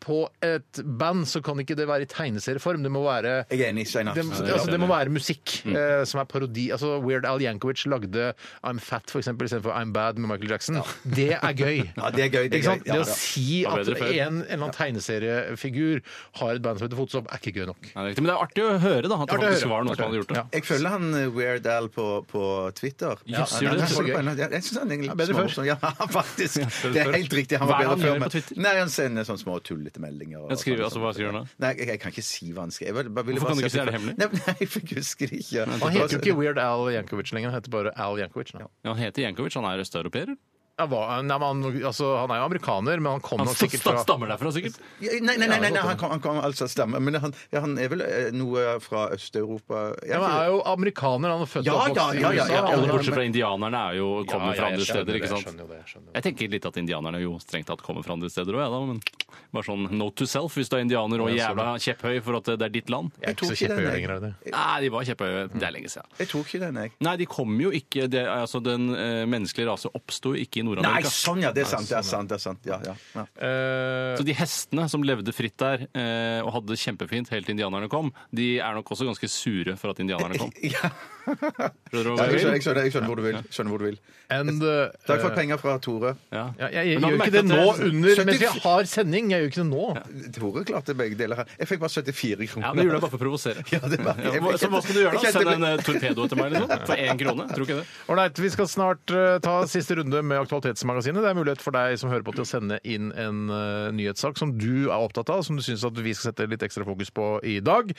[SPEAKER 4] på et band, så kan ikke det være i tegneserieform. Det må være
[SPEAKER 5] Jeg er enig, Steinar.
[SPEAKER 4] det, altså, det må være musikk eh, som er parodi. Altså, Weird Al Yankovic lagde I'm Fat for eksempel, istedenfor I'm Bad med Michael Jackson. Det er gøy.
[SPEAKER 5] Ja, det er gøy. Det
[SPEAKER 4] Ikke
[SPEAKER 5] er gøy.
[SPEAKER 4] sant?
[SPEAKER 5] Ja,
[SPEAKER 4] Det
[SPEAKER 5] ja.
[SPEAKER 4] å si
[SPEAKER 6] Var
[SPEAKER 4] at en,
[SPEAKER 6] bedre før.
[SPEAKER 4] en eller annen tegneseriefigur har et band som heter Fotsopp, er ikke gøy nok.
[SPEAKER 6] Nei, det er riktig. Men det er artig å høre da, at det
[SPEAKER 4] Artig å høre.
[SPEAKER 6] faktisk var noen som
[SPEAKER 4] Artig å
[SPEAKER 6] hadde gjort det.
[SPEAKER 4] høre.
[SPEAKER 5] Jeg følger han eh, Weird Al på, på Twitter.
[SPEAKER 6] Jøss,
[SPEAKER 5] Han-
[SPEAKER 6] gjør du det?
[SPEAKER 5] han-
[SPEAKER 4] Så gøy.
[SPEAKER 5] han- Jeg, jeg syns han egentlig
[SPEAKER 4] Ja, bedre
[SPEAKER 5] små-
[SPEAKER 4] før.
[SPEAKER 5] sånn- Ja, [LAUGHS] faktisk. Det er helt riktig. Han
[SPEAKER 6] Hva
[SPEAKER 5] var
[SPEAKER 6] er
[SPEAKER 5] bedre
[SPEAKER 6] det han
[SPEAKER 5] før.
[SPEAKER 6] gjør på
[SPEAKER 5] men-
[SPEAKER 6] Twitter?
[SPEAKER 5] Nei, Han sender sånne små tullete meldinger. og
[SPEAKER 6] Jeg skriver,
[SPEAKER 5] sånn-
[SPEAKER 6] altså, hva skriver han da?
[SPEAKER 5] Nei, jeg, jeg kan ikke si hva han skriver. Jeg bare- ville
[SPEAKER 6] Hvorfor
[SPEAKER 5] bare
[SPEAKER 6] kan du ikke
[SPEAKER 5] si at
[SPEAKER 6] si
[SPEAKER 5] jeg-
[SPEAKER 6] det hemmelig?
[SPEAKER 5] Nei, [LAUGHS] Nei, for jeg husker ikke.
[SPEAKER 4] Han heter jo ikke Weird Al Yankovic lenger, han heter bare Al Yankovic. nå.
[SPEAKER 6] Ja, han heter Jankovic, han er østeuropeer.
[SPEAKER 4] Ja, hva- nei, men han, altså, han er jo amerikaner, men han kom
[SPEAKER 6] Han
[SPEAKER 4] nok sikkert fra
[SPEAKER 6] stammer derfra, sikkert.
[SPEAKER 5] Ja, Nei, nei, nei, nei, nei han kom, han kom altså stemme. Men han, ja, han er vel eh, noe fra Øst-Europa Jeg-
[SPEAKER 4] ja, men Han er jo amerikaner, han er født
[SPEAKER 5] Ja,
[SPEAKER 4] og oppvokst
[SPEAKER 5] ja, ja, ja,
[SPEAKER 4] i USA.
[SPEAKER 5] ja,
[SPEAKER 6] Alle
[SPEAKER 5] men-
[SPEAKER 6] bortsett fra indianerne er jo, kommer fra andre steder. ikke
[SPEAKER 4] Jeg
[SPEAKER 6] sant?
[SPEAKER 4] skjønner jo det. Jeg skjønner jo det.
[SPEAKER 6] Jeg tenker litt at indianerne jo strengt tatt kommer fra andre steder òg, jeg da. Men bare sånn note to self hvis du er indianer og
[SPEAKER 4] Ja, sånn.
[SPEAKER 6] jævla kepphøy for at det er ditt land.
[SPEAKER 4] Jeg er
[SPEAKER 5] tok
[SPEAKER 4] ikke så
[SPEAKER 5] ikke den,
[SPEAKER 4] kjepphøy
[SPEAKER 5] jeg.
[SPEAKER 4] lenger. er det det?
[SPEAKER 6] Nei, de var kjepphøye. Det er lenge siden.
[SPEAKER 5] Jeg tok ikke den, jeg.
[SPEAKER 6] Nei, de kom jo ikke det, er- altså, Den eh, menneskelige rase oppsto ikke i
[SPEAKER 5] Nei,
[SPEAKER 6] Nord-Amerika.
[SPEAKER 5] sånn, ja! Det er sant. Det er sant. Det er sant. Ja, ja. ja.
[SPEAKER 4] Eh,
[SPEAKER 6] Så de hestene som levde fritt der eh, og hadde det kjempefint helt til indianerne kom, de er nok også ganske sure for at indianerne [LAUGHS] kom.
[SPEAKER 5] ja. [LAUGHS]
[SPEAKER 6] Skjønner du hva
[SPEAKER 5] Jeg skjønner,
[SPEAKER 6] jeg vil?
[SPEAKER 5] jeg skjønner, jeg skjønner hvor du vil. Skjønner hvor du vil.
[SPEAKER 4] and, eh,
[SPEAKER 5] Takk for penger fra Tore.
[SPEAKER 6] Ja.
[SPEAKER 4] ja, jeg, jeg,
[SPEAKER 6] Men hadde
[SPEAKER 4] gjør ikke
[SPEAKER 6] merket
[SPEAKER 4] det nå
[SPEAKER 6] at det-
[SPEAKER 4] under mens
[SPEAKER 5] 70
[SPEAKER 4] jeg har sending. Jeg gjør ikke det nå.
[SPEAKER 5] Tore klarte begge deler her. Jeg fikk bare 74 kroner.
[SPEAKER 6] Ja, men gjorde jeg bare for å provosere.
[SPEAKER 5] [LAUGHS] Ja, det var-
[SPEAKER 6] Ja, hva- så hva skal du gjøre da?
[SPEAKER 5] Jeg kjente-
[SPEAKER 6] Sende en eh, torpedo etter meg liksom? for én krone? Tror ikke det.
[SPEAKER 4] Ålreit, vi skal snart eh, ta siste runde med Aktualitetsmagasinet. Det er mulighet for deg som hører på til å sende inn en eh, nyhetssak som du er opptatt av, som du syns at vi skal sette litt ekstra fokus på i dag.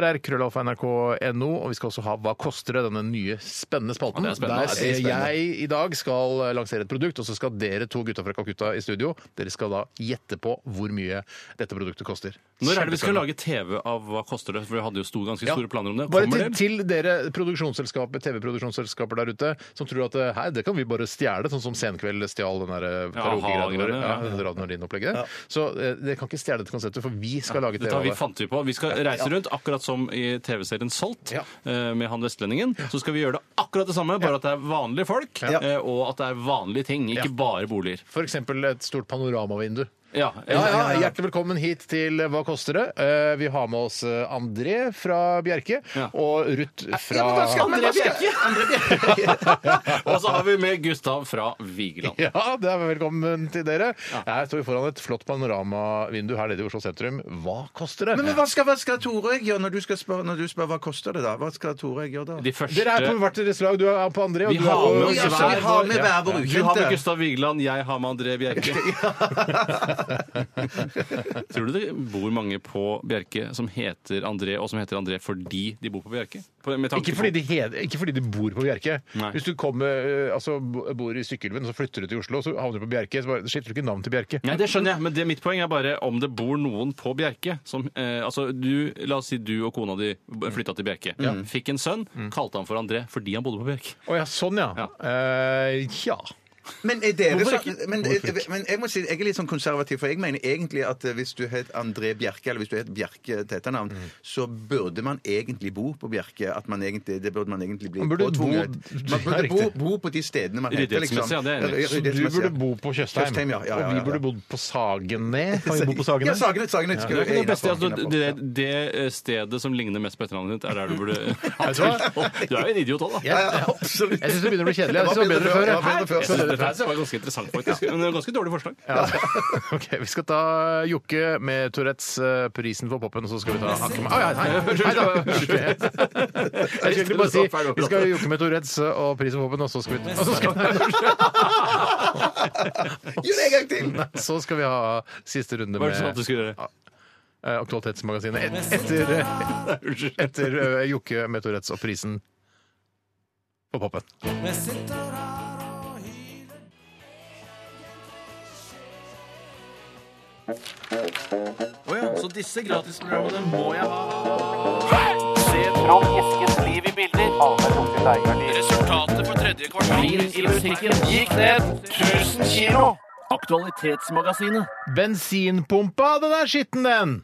[SPEAKER 4] rr.krøllalfa.nrk.no, og vi skal også ha Hva koster det?, denne nye spennende spalten.
[SPEAKER 6] Ja, det er spennende.
[SPEAKER 4] Der
[SPEAKER 6] Ja, det
[SPEAKER 4] eh, jeg i dag skal eh, lansere et produkt, og så skal dere to gutta fra Calcutta i studio, dere skal da gjette på hvor mye dette produktet koster.
[SPEAKER 6] Når er det vi skal lage TV av Hva koster det? For vi hadde jo store, ganske
[SPEAKER 4] Ja.
[SPEAKER 6] store planer om det.
[SPEAKER 4] Bare
[SPEAKER 6] Kommer det?
[SPEAKER 4] til, til dere produksjonsselskaper, TV-produksjonsselskaper der ute som tror at eh, hei, det kan vi bare stjele, sånn som Senkveld stjal den der eh, karaokegreia vår.
[SPEAKER 6] ha-greiene,
[SPEAKER 4] Ja,
[SPEAKER 6] ja.
[SPEAKER 4] den Radio Nordin-opplegget. Så eh, dere kan ikke stjele dette konseptet, for vi skal lage TV
[SPEAKER 6] Dette har
[SPEAKER 4] av
[SPEAKER 6] vi
[SPEAKER 4] det.
[SPEAKER 6] fant vi på. Vi skal reise rundt, akkurat som i TV-serien Salt,
[SPEAKER 4] Ja.
[SPEAKER 6] eh, med han vestlendingen. Så skal vi gjøre det akkurat det samme, bare at det er vanlige folk, eh, og at det er vanlige ting, ikke bare boliger.
[SPEAKER 4] For eksempel et stort panoramavindu.
[SPEAKER 6] Ja,
[SPEAKER 4] Ja, ja, Hjertelig velkommen hit til Hva koster det? Eh, Vi har med oss eh, André fra Bjerke
[SPEAKER 6] Ja.
[SPEAKER 4] og Ruth fra
[SPEAKER 6] André Bjerke! [LAUGHS] Og så har vi med Gustav fra
[SPEAKER 4] [LAUGHS]
[SPEAKER 6] Vigeland.
[SPEAKER 4] [LAUGHS] Ja, det er velkommen til dere. Her står vi foran et flott panoramavindu her nede i Oslo sentrum. Hva koster det?
[SPEAKER 5] Men, men hva, skal, hva skal Tore gjøre når du, skal spør, når du spør hva koster det da? Hva skal Tore gjøre da?
[SPEAKER 6] De første
[SPEAKER 4] dere er på hvert deres lag. Du er på André, og
[SPEAKER 6] Vi
[SPEAKER 4] du er
[SPEAKER 6] har med
[SPEAKER 4] på
[SPEAKER 6] oss
[SPEAKER 5] Ja, så vi
[SPEAKER 6] hver
[SPEAKER 5] har
[SPEAKER 6] vår-
[SPEAKER 5] med hver vår
[SPEAKER 6] Du har med
[SPEAKER 5] ukjente.
[SPEAKER 6] Gustav Vigeland, jeg har med André [LAUGHS] Bjerke. Tror du det bor mange på Bjerke som heter André, og som heter André fordi de bor på Bjerke? På- med tanke
[SPEAKER 4] Ikke
[SPEAKER 6] på-
[SPEAKER 4] fordi, de hed, ikke fordi de bor på Bjerke.
[SPEAKER 6] Nei.
[SPEAKER 4] Hvis du kommer, eh, altså, bo- bor i Sykkylven, så flytter du til Oslo, så havner du på Bjerke, så bare, skifter du ikke navn til Bjerke.
[SPEAKER 6] Nei, det skjønner jeg, men det, mitt poeng er bare om det bor noen på Bjerke som eh, Altså, du, la oss si du og kona di flytta til Bjerke. Fikk en sønn, kalte han for André fordi han bodde på Bjerke.
[SPEAKER 4] Å ja, sånn ja.
[SPEAKER 6] Ja.
[SPEAKER 4] Eh, ja.
[SPEAKER 5] Men, er dere
[SPEAKER 4] Hvorfor
[SPEAKER 5] sånn-
[SPEAKER 4] ikke?
[SPEAKER 5] men,
[SPEAKER 4] Hvorfor ikke?
[SPEAKER 5] men jeg må si, jeg er litt sånn konservativ, for jeg mener egentlig at eh, hvis du het André Bjerke, eller hvis du het Bjerke til etternavn,
[SPEAKER 4] Mm.
[SPEAKER 5] så burde man egentlig bo på Bjerke. At man egentlig, det burde man egentlig bli
[SPEAKER 4] Man burde
[SPEAKER 5] påtvunget.
[SPEAKER 4] bo-
[SPEAKER 5] man
[SPEAKER 4] Ja,
[SPEAKER 5] burde bo,
[SPEAKER 4] riktig.
[SPEAKER 5] bo på de stedene man heter, liksom.
[SPEAKER 6] Ryddighetsmessig, ja, det er jeg enig i.
[SPEAKER 4] Så du burde bo på Tjøstheim,
[SPEAKER 5] Tjøstheim, ja, ja, ja,
[SPEAKER 4] og vi
[SPEAKER 5] ja.
[SPEAKER 4] burde bodd på Sagene. Kan vi bo på
[SPEAKER 5] Ja,
[SPEAKER 4] Sagene?
[SPEAKER 5] Sagene. Sagene
[SPEAKER 6] Det,
[SPEAKER 5] skulle
[SPEAKER 6] er ikke det, beste, altså,
[SPEAKER 4] Innenfor.
[SPEAKER 6] det, det eh, stedet som ligner mest på etternavnet ditt, er der du [LAUGHS]
[SPEAKER 4] Vet du hva?
[SPEAKER 6] burde Du er jo en idiot òg, da.
[SPEAKER 5] Ja, ja, absolutt.
[SPEAKER 4] Jeg syns det begynner å bli kjedelig. Jeg synes det var bedre
[SPEAKER 5] Det
[SPEAKER 4] før.
[SPEAKER 5] var bedre før.
[SPEAKER 6] Jeg synes dette her var ganske interessant, faktisk. Men det var ganske dårlig forslag.
[SPEAKER 4] Ja. [LAUGHS] Ok, Vi skal ta Jokke med Tourettes eh, 'Prisen for poppen', og så skal vi ta Hankemann. Å, ja,
[SPEAKER 6] [LAUGHS]
[SPEAKER 4] hei, hei, hei, da. Jeg skulle egentlig bare si vi skal ha Jokke med Tourettes eh, og 'Prisen for poppen', og så skal vi, og så skal vi
[SPEAKER 5] Gjør det en gang til!
[SPEAKER 4] Nei, så skal vi ha siste runde
[SPEAKER 6] Hva
[SPEAKER 4] med
[SPEAKER 6] er det sånn at du skulle gjøre?
[SPEAKER 4] eh, Aktualitetsmagasinet et, etter, eh, etter eh, Jokke med Tourettes og prisen på poppen.
[SPEAKER 6] Så disse gratisprogrammene må jeg ha. Resultatet på tredje
[SPEAKER 4] eh,
[SPEAKER 6] kvartal i musikken gikk ned 1000 kilo. Aktualitetsmagasinet.
[SPEAKER 4] Bensinpumpa, den er skitten, den!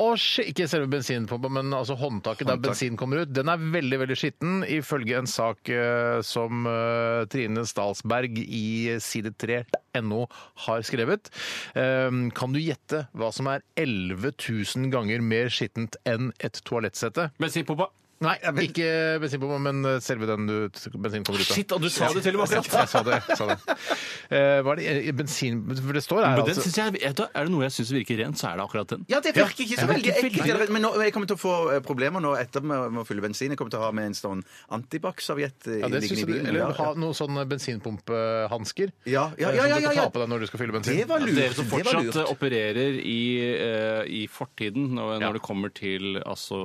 [SPEAKER 4] Og sk- ikke selve bensinpumpa, men altså håndtaket der bensin kommer ut. Den er veldig veldig skitten, ifølge en sak eh, som eh, Trine Stalsberg i side 3.no har skrevet. Eh, kan du gjette hva som er 11 000 ganger mer skittent enn et toalettsette?
[SPEAKER 6] Bensinpumpa.
[SPEAKER 4] Nei, ikke bensinpumpa, men selve den du bensin kommer ut av.
[SPEAKER 6] Shit, og du sa det til og med akkurat.
[SPEAKER 4] Jeg sa det. jeg sa det.
[SPEAKER 6] [LAUGHS]
[SPEAKER 4] Eh, hva er det eh, bensin For det står her,
[SPEAKER 6] Men den
[SPEAKER 4] altså.
[SPEAKER 6] synes jeg, vet du, er det noe jeg syns virker rent, så er det akkurat den.
[SPEAKER 5] Ja, det virker ikke så veldig
[SPEAKER 6] virker
[SPEAKER 5] ekkelt. Men nå, jeg kommer til å få eh, problemer nå etter med, med å fylle bensin. Jeg kommer til å ha med en sånn antibac-serviett eh,
[SPEAKER 4] Ja, det
[SPEAKER 5] liggende
[SPEAKER 4] synes
[SPEAKER 5] i
[SPEAKER 4] jeg,
[SPEAKER 5] bilen.
[SPEAKER 4] eller
[SPEAKER 5] Ja,
[SPEAKER 4] ha noen sånne bensinpumpehansker.
[SPEAKER 5] Ja,
[SPEAKER 4] eh,
[SPEAKER 5] ja, ja, ja,
[SPEAKER 4] Som du
[SPEAKER 5] ja,
[SPEAKER 4] kan
[SPEAKER 5] ja.
[SPEAKER 4] ta på deg når du skal fylle bensin.
[SPEAKER 5] Det var lurt.
[SPEAKER 6] Dere som
[SPEAKER 5] det var
[SPEAKER 6] fortsatt
[SPEAKER 5] lurt.
[SPEAKER 6] eh, opererer i, eh, i fortiden når,
[SPEAKER 4] Ja.
[SPEAKER 6] når det kommer til altså,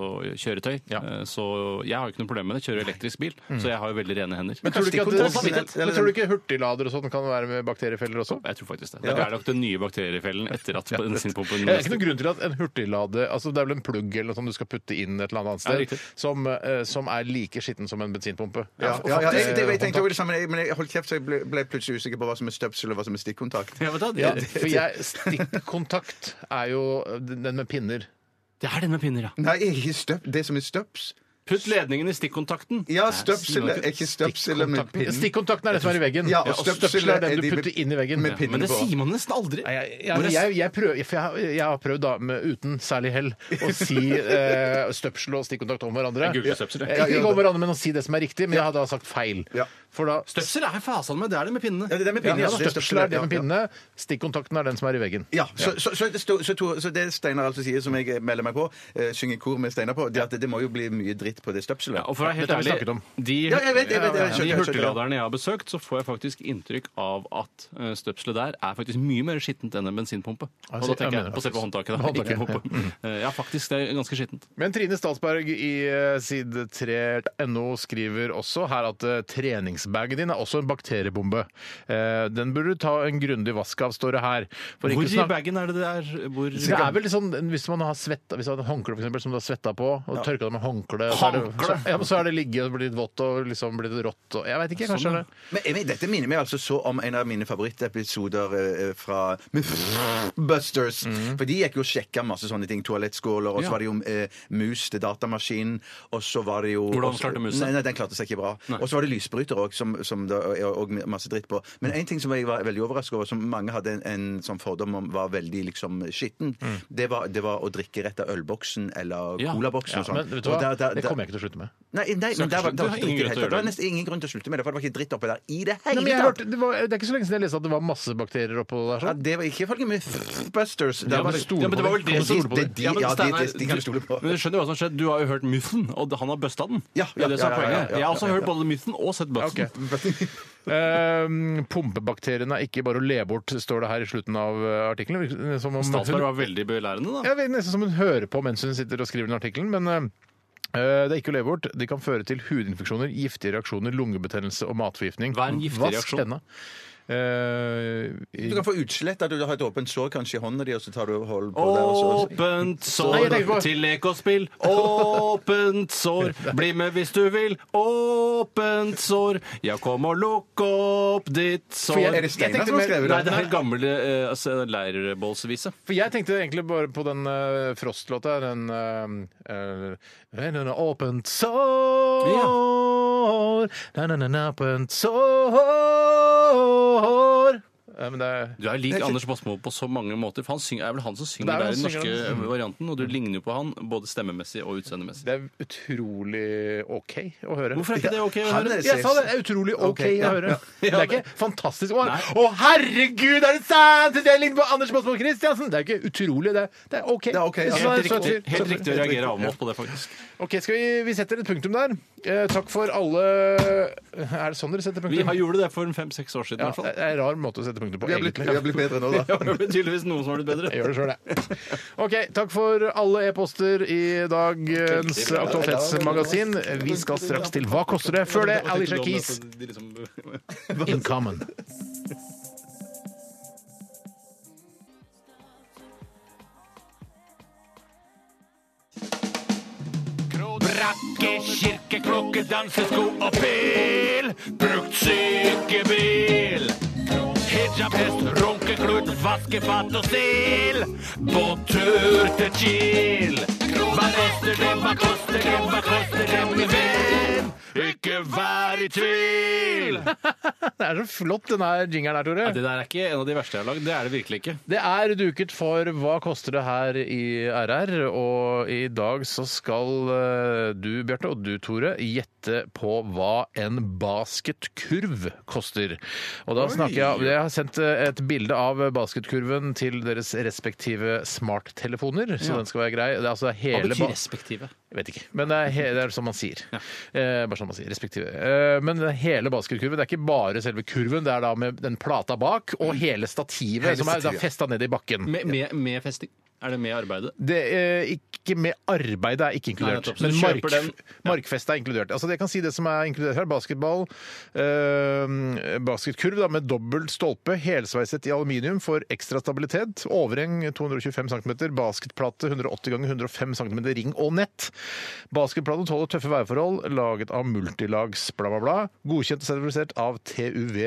[SPEAKER 6] kjøretøy.
[SPEAKER 4] Ja. Mm.
[SPEAKER 6] Eh, Så jeg har jo ikke noe problem med det. Jeg Kjører elektrisk bil, så jeg har jo veldig rene hender.
[SPEAKER 4] Men tror, du ikke at
[SPEAKER 5] Kanskje
[SPEAKER 6] det-
[SPEAKER 4] men tror du ikke hurtiglader og sånn kan være med bakteriefeller også?
[SPEAKER 6] Jeg tror faktisk det. Det er nok den nye bakteriefellen etter at bensinpumpen
[SPEAKER 4] Det er ikke noen grunn til at en hurtiglade altså Det er vel en plugg eller noe sånt du skal putte inn et eller annet
[SPEAKER 6] Ja,
[SPEAKER 4] annet
[SPEAKER 6] riktig.
[SPEAKER 4] sted, som, eh, som er like skitten som en bensinpumpe.
[SPEAKER 5] Ja, ja, ja, jeg, det, jeg
[SPEAKER 4] Håndtak.
[SPEAKER 5] tenkte også det samme, men jeg holdt kjeft, så jeg ble, ble plutselig usikker på hva som er støpsel og hva som er stikkontakt.
[SPEAKER 6] Ja, vet du,
[SPEAKER 4] Ja,
[SPEAKER 6] det,
[SPEAKER 4] for jeg, stikkontakt er jo den med pinner.
[SPEAKER 6] det er den med pinner, ja.
[SPEAKER 5] Nei, ikke støp, det som er støps.
[SPEAKER 6] Putt ledningen i stikkontakten.
[SPEAKER 5] Ja, støpsel er ikke støpsel, men
[SPEAKER 4] Kontakten-
[SPEAKER 5] pinnen.
[SPEAKER 4] Stikkontakten er det som er i veggen.
[SPEAKER 5] Ja, og
[SPEAKER 4] og støpsel er den du
[SPEAKER 5] de med-
[SPEAKER 4] putter inn i veggen.
[SPEAKER 5] Med
[SPEAKER 6] Men
[SPEAKER 5] pinnen
[SPEAKER 6] det
[SPEAKER 5] på.
[SPEAKER 6] sier man nesten aldri.
[SPEAKER 4] Nei, Jeg, jeg, jeg, jeg, prøver, for jeg, har- jeg har prøvd da, med, uten særlig hell å si eh, støpsel og stikkontakt om hverandre.
[SPEAKER 6] Jeg googler støpsel, jeg.
[SPEAKER 4] Eh, Ikke om hverandre, men å si det som er riktig. Men jeg har da sagt feil.
[SPEAKER 5] Ja.
[SPEAKER 4] For da
[SPEAKER 6] Støpsel er fasen med, det er det med pinnene.
[SPEAKER 5] Ja, det er med
[SPEAKER 4] ja,
[SPEAKER 5] pinnen, ja. det er
[SPEAKER 4] Støpsel er det med
[SPEAKER 5] ja, ja.
[SPEAKER 4] pinnene, stikkontakten er den som er i veggen.
[SPEAKER 5] Ja, så, så, så, det sto- så, Tore- så det Steinar altså sier, som jeg melder meg på, eh, synger kor med Steinar på, det er at det må jo bli mye dritt på det støpselet.
[SPEAKER 6] Ja, og for å være helt
[SPEAKER 4] Dette har vi
[SPEAKER 6] ærlig,
[SPEAKER 4] snakket om.
[SPEAKER 6] de,
[SPEAKER 5] Ja, jeg vet, jeg vet, jeg
[SPEAKER 6] ja,
[SPEAKER 5] skjønner,
[SPEAKER 6] de
[SPEAKER 5] jeg skjønner.
[SPEAKER 6] hurtigladerne jeg har besøkt, så får jeg faktisk inntrykk av at eh, støpselet der er faktisk mye mer skittent enn en bensinpumpe.
[SPEAKER 4] Ja,
[SPEAKER 6] Og da tenker
[SPEAKER 4] jeg
[SPEAKER 6] jeg
[SPEAKER 4] mener
[SPEAKER 6] på selve håndtaket, da.
[SPEAKER 4] Håndtaket,
[SPEAKER 6] Ikke
[SPEAKER 5] Mm.
[SPEAKER 6] pumpen. Eh, Ja, faktisk, det er ganske skittent.
[SPEAKER 4] Men Trine Statsberg i eh, side 3.no skriver også her at eh, treningsbagen din er også en bakteriebombe. Eh, Den burde du ta en grundig vask av, står det her. For ikke
[SPEAKER 6] Hvor i
[SPEAKER 4] snak-
[SPEAKER 6] bagen er det det er? Hvor
[SPEAKER 4] Det er vel sånn, Hvis man har svetta, hvis man har et håndkle for eksempel, som du har svetta på, og tørka det med håndkle, så er det, så, ja, men så er det ligget og blitt litt vått og liksom blitt rått og Jeg veit ikke, kanskje.
[SPEAKER 6] Sånn, ja.
[SPEAKER 4] det-
[SPEAKER 5] Men jeg mener, Dette minner meg altså så om en av mine favorittepisoder eh, eh, fra [LAUGHS] Busters. For de gikk jo og sjekka masse sånne ting. Toalettskåler, og så
[SPEAKER 6] Ja.
[SPEAKER 5] var det jo eh, mus til datamaskinen, og så var det jo
[SPEAKER 6] Hvordan
[SPEAKER 5] og så-
[SPEAKER 6] klarte musen?
[SPEAKER 5] Nei, nei, den klarte seg ikke bra. Og så var det lysbryter òg, som, som det er og masse dritt på. Men en ting som jeg var veldig overrasket over, som mange hadde en, en sånn fordom om var veldig liksom skitten, det, var, det var å drikke rett av ølboksen eller
[SPEAKER 6] Ja.
[SPEAKER 5] colaboksen og sånn.
[SPEAKER 4] Men vet du
[SPEAKER 5] Og
[SPEAKER 4] hva?
[SPEAKER 5] der- der-
[SPEAKER 4] Det
[SPEAKER 5] der-
[SPEAKER 4] kommer jeg ikke til å slutte med.
[SPEAKER 5] Nei, nei men der var, der var
[SPEAKER 6] Det er
[SPEAKER 5] ikke dritt i det
[SPEAKER 6] ingen grunn til å
[SPEAKER 5] hele tatt. Det
[SPEAKER 6] gjøre
[SPEAKER 5] var
[SPEAKER 6] det.
[SPEAKER 5] nesten ingen grunn til å slutte med det, for det var ikke dritt oppi der i det
[SPEAKER 4] Nei,
[SPEAKER 5] hele
[SPEAKER 4] men jeg
[SPEAKER 5] tatt.
[SPEAKER 4] hørte, det, var, det er ikke så lenge siden jeg leste at det var masse bakterier oppå der.
[SPEAKER 5] Ja,
[SPEAKER 4] Sånn.
[SPEAKER 5] det var ikke ifølge Mythbusters. Der
[SPEAKER 6] Ja,
[SPEAKER 5] var
[SPEAKER 6] men,
[SPEAKER 5] det-
[SPEAKER 6] ja, men det var vel
[SPEAKER 5] Kan
[SPEAKER 6] det
[SPEAKER 5] du
[SPEAKER 6] som
[SPEAKER 5] stole på det? Ja,
[SPEAKER 6] men
[SPEAKER 5] de-
[SPEAKER 6] Steinar,
[SPEAKER 5] de- de kan du stole på.
[SPEAKER 6] Men du skjønner hva som har skjedd? Du har jo hørt Mythen, og han har busta den.
[SPEAKER 5] Ja, ja,
[SPEAKER 6] Det er det som
[SPEAKER 5] ja, ja, ja,
[SPEAKER 6] er poenget.
[SPEAKER 5] ja,
[SPEAKER 6] Jeg har
[SPEAKER 5] ja,
[SPEAKER 6] også
[SPEAKER 5] ja,
[SPEAKER 6] hørt både Mythen og sett busten.
[SPEAKER 4] Ok. Ehm, pumpebakteriene er ikke bare å le bort, står det her i slutten av eh, artikkelen. Virker Som om hun,
[SPEAKER 6] Statsberg var veldig belærende, da.
[SPEAKER 4] jeg vet nesten som hun hører på mens hun sitter og skriver den artikkelen, men eh, eh, det er ikke å le bort. De kan føre til hudinfeksjoner, giftige reaksjoner, lungebetennelse og matforgiftning.
[SPEAKER 6] Hva er en giftig reaksjon?
[SPEAKER 4] Eh,
[SPEAKER 5] Du kan få utslett at du har et åpent sår kanskje i hånda di, og så tar du hold på det. Og så.
[SPEAKER 4] Nei,
[SPEAKER 6] Åpent
[SPEAKER 4] jeg
[SPEAKER 6] sår
[SPEAKER 4] tenker på-
[SPEAKER 6] til lek og spill. Åpent sår,
[SPEAKER 4] [LAUGHS]
[SPEAKER 6] bli med hvis du vil. Åpent sår, ja, kom og lukk opp ditt
[SPEAKER 5] For jeg- er
[SPEAKER 6] sår.
[SPEAKER 5] det Steinar
[SPEAKER 4] tenkte
[SPEAKER 5] som har
[SPEAKER 4] mer-
[SPEAKER 5] skrevet
[SPEAKER 6] Nei,
[SPEAKER 5] det?
[SPEAKER 6] det er gammel eh, altså, leirbålsvise.
[SPEAKER 4] for jeg tenkte egentlig bare på den eh, Frost-låta, den eh, eh, «And an Åpent sår Na, na, na, na, Åpent sår Eh, Men det er
[SPEAKER 6] Du er lik Anders Basmo på så mange måter. For han synger, er vel han som synger
[SPEAKER 4] Det er
[SPEAKER 6] der
[SPEAKER 4] vel
[SPEAKER 6] i
[SPEAKER 4] han
[SPEAKER 6] den
[SPEAKER 4] som
[SPEAKER 6] norske eh,
[SPEAKER 4] synger den.
[SPEAKER 6] varianten, og du ligner jo på han både stemmemessig og utseendemessig.
[SPEAKER 4] Det er utrolig OK å høre.
[SPEAKER 6] Hvorfor er ikke det ok å
[SPEAKER 5] Han
[SPEAKER 6] høre?
[SPEAKER 5] er-
[SPEAKER 4] Jeg sa det det er utrolig OK,
[SPEAKER 5] Ok, ja,
[SPEAKER 4] å høre.
[SPEAKER 5] ja.
[SPEAKER 4] Det er ikke fantastisk. Å,
[SPEAKER 6] Nei.
[SPEAKER 4] å, herregud, er det sant?! Jeg ligner på Anders Båtsmo Christiansen! Det er ikke utrolig, det er, det er OK.
[SPEAKER 5] er ok, ja.
[SPEAKER 4] Jeg synes
[SPEAKER 6] Helt
[SPEAKER 4] søt
[SPEAKER 6] riktig,
[SPEAKER 4] fyr.
[SPEAKER 6] helt
[SPEAKER 4] Søt fyr.
[SPEAKER 6] riktig å reagere avmålt på det, faktisk.
[SPEAKER 4] OK, skal vi, vi setter et punktum der. Eh, takk for alle Er det sånn dere setter
[SPEAKER 6] Vi
[SPEAKER 4] punktum?
[SPEAKER 6] har gjorde det for en fem-seks år siden, i
[SPEAKER 4] ja,
[SPEAKER 6] hvert
[SPEAKER 4] det
[SPEAKER 6] fall.
[SPEAKER 4] er en rar måte å sette punktum på,
[SPEAKER 5] Vi har blitt,
[SPEAKER 4] egentlig.
[SPEAKER 5] vi har blitt bedre nå, [LAUGHS] da.
[SPEAKER 6] Ja, Det er tydeligvis noen som har blitt bedre.
[SPEAKER 4] Jeg gjør det sjøl, jeg. OK, takk for alle e-poster i dagens Aktualitetsmagasin. Vi skal straks til Hva koster det? Før det, Alicia Keys,
[SPEAKER 6] liksom-
[SPEAKER 4] In Common.
[SPEAKER 6] Brakke, kirke, klokke, dansesko og pil. Brukt sykebil. Hijab, hest, runkeklut, vaskefat og stil. På tur til Kiel. Hva koster det, hva koster det, hva koster det, min venn? Ikke vær i tvil!
[SPEAKER 4] Det er så flott den her jingeren her, Tore.
[SPEAKER 6] Det der er ikke en av de verste jeg har lagd. Det er det virkelig ikke.
[SPEAKER 4] Det er duket for Hva koster det her i RR, og i dag så skal eh, du, Bjarte, og du, Tore, gjette på hva en basketkurv koster. Og da snakker jeg Jeg har sendt eh, et bilde av basketkurven til deres respektive smarttelefoner, så den skal være grei. Det er altså
[SPEAKER 6] Hva
[SPEAKER 4] hele
[SPEAKER 6] betyr
[SPEAKER 4] ba-
[SPEAKER 6] respektive?
[SPEAKER 4] jeg vet ikke. Men det er, he det er som man sier. Eh, bare som man sier. Respektive. Eh, men det er hele basketkurven. Det er ikke bare selve kurven. Det er da med den plata bak og hele stativet som er
[SPEAKER 5] stativet.
[SPEAKER 4] festa ned i bakken.
[SPEAKER 6] Med, med, med festing? Er det med arbeidet?
[SPEAKER 4] Det, eh, ikke med arbeidet er ikke
[SPEAKER 6] Nei,
[SPEAKER 4] inkludert.
[SPEAKER 6] nettopp. Så du
[SPEAKER 4] men
[SPEAKER 6] kjøper
[SPEAKER 4] mark,
[SPEAKER 6] den-
[SPEAKER 4] markfest er inkludert. Altså det jeg kan si det som er inkludert her. Basketball. Eh, basketkurv da, med dobbelt stolpe, helsveiset i aluminium for ekstra stabilitet. Overheng 225 cm. Basketplate 180 ganger 105 cm ring og nett. Basketplaten tåler tøffe værforhold, laget av multilags bla, bla, bla. Godkjent og sertifisert av TUV.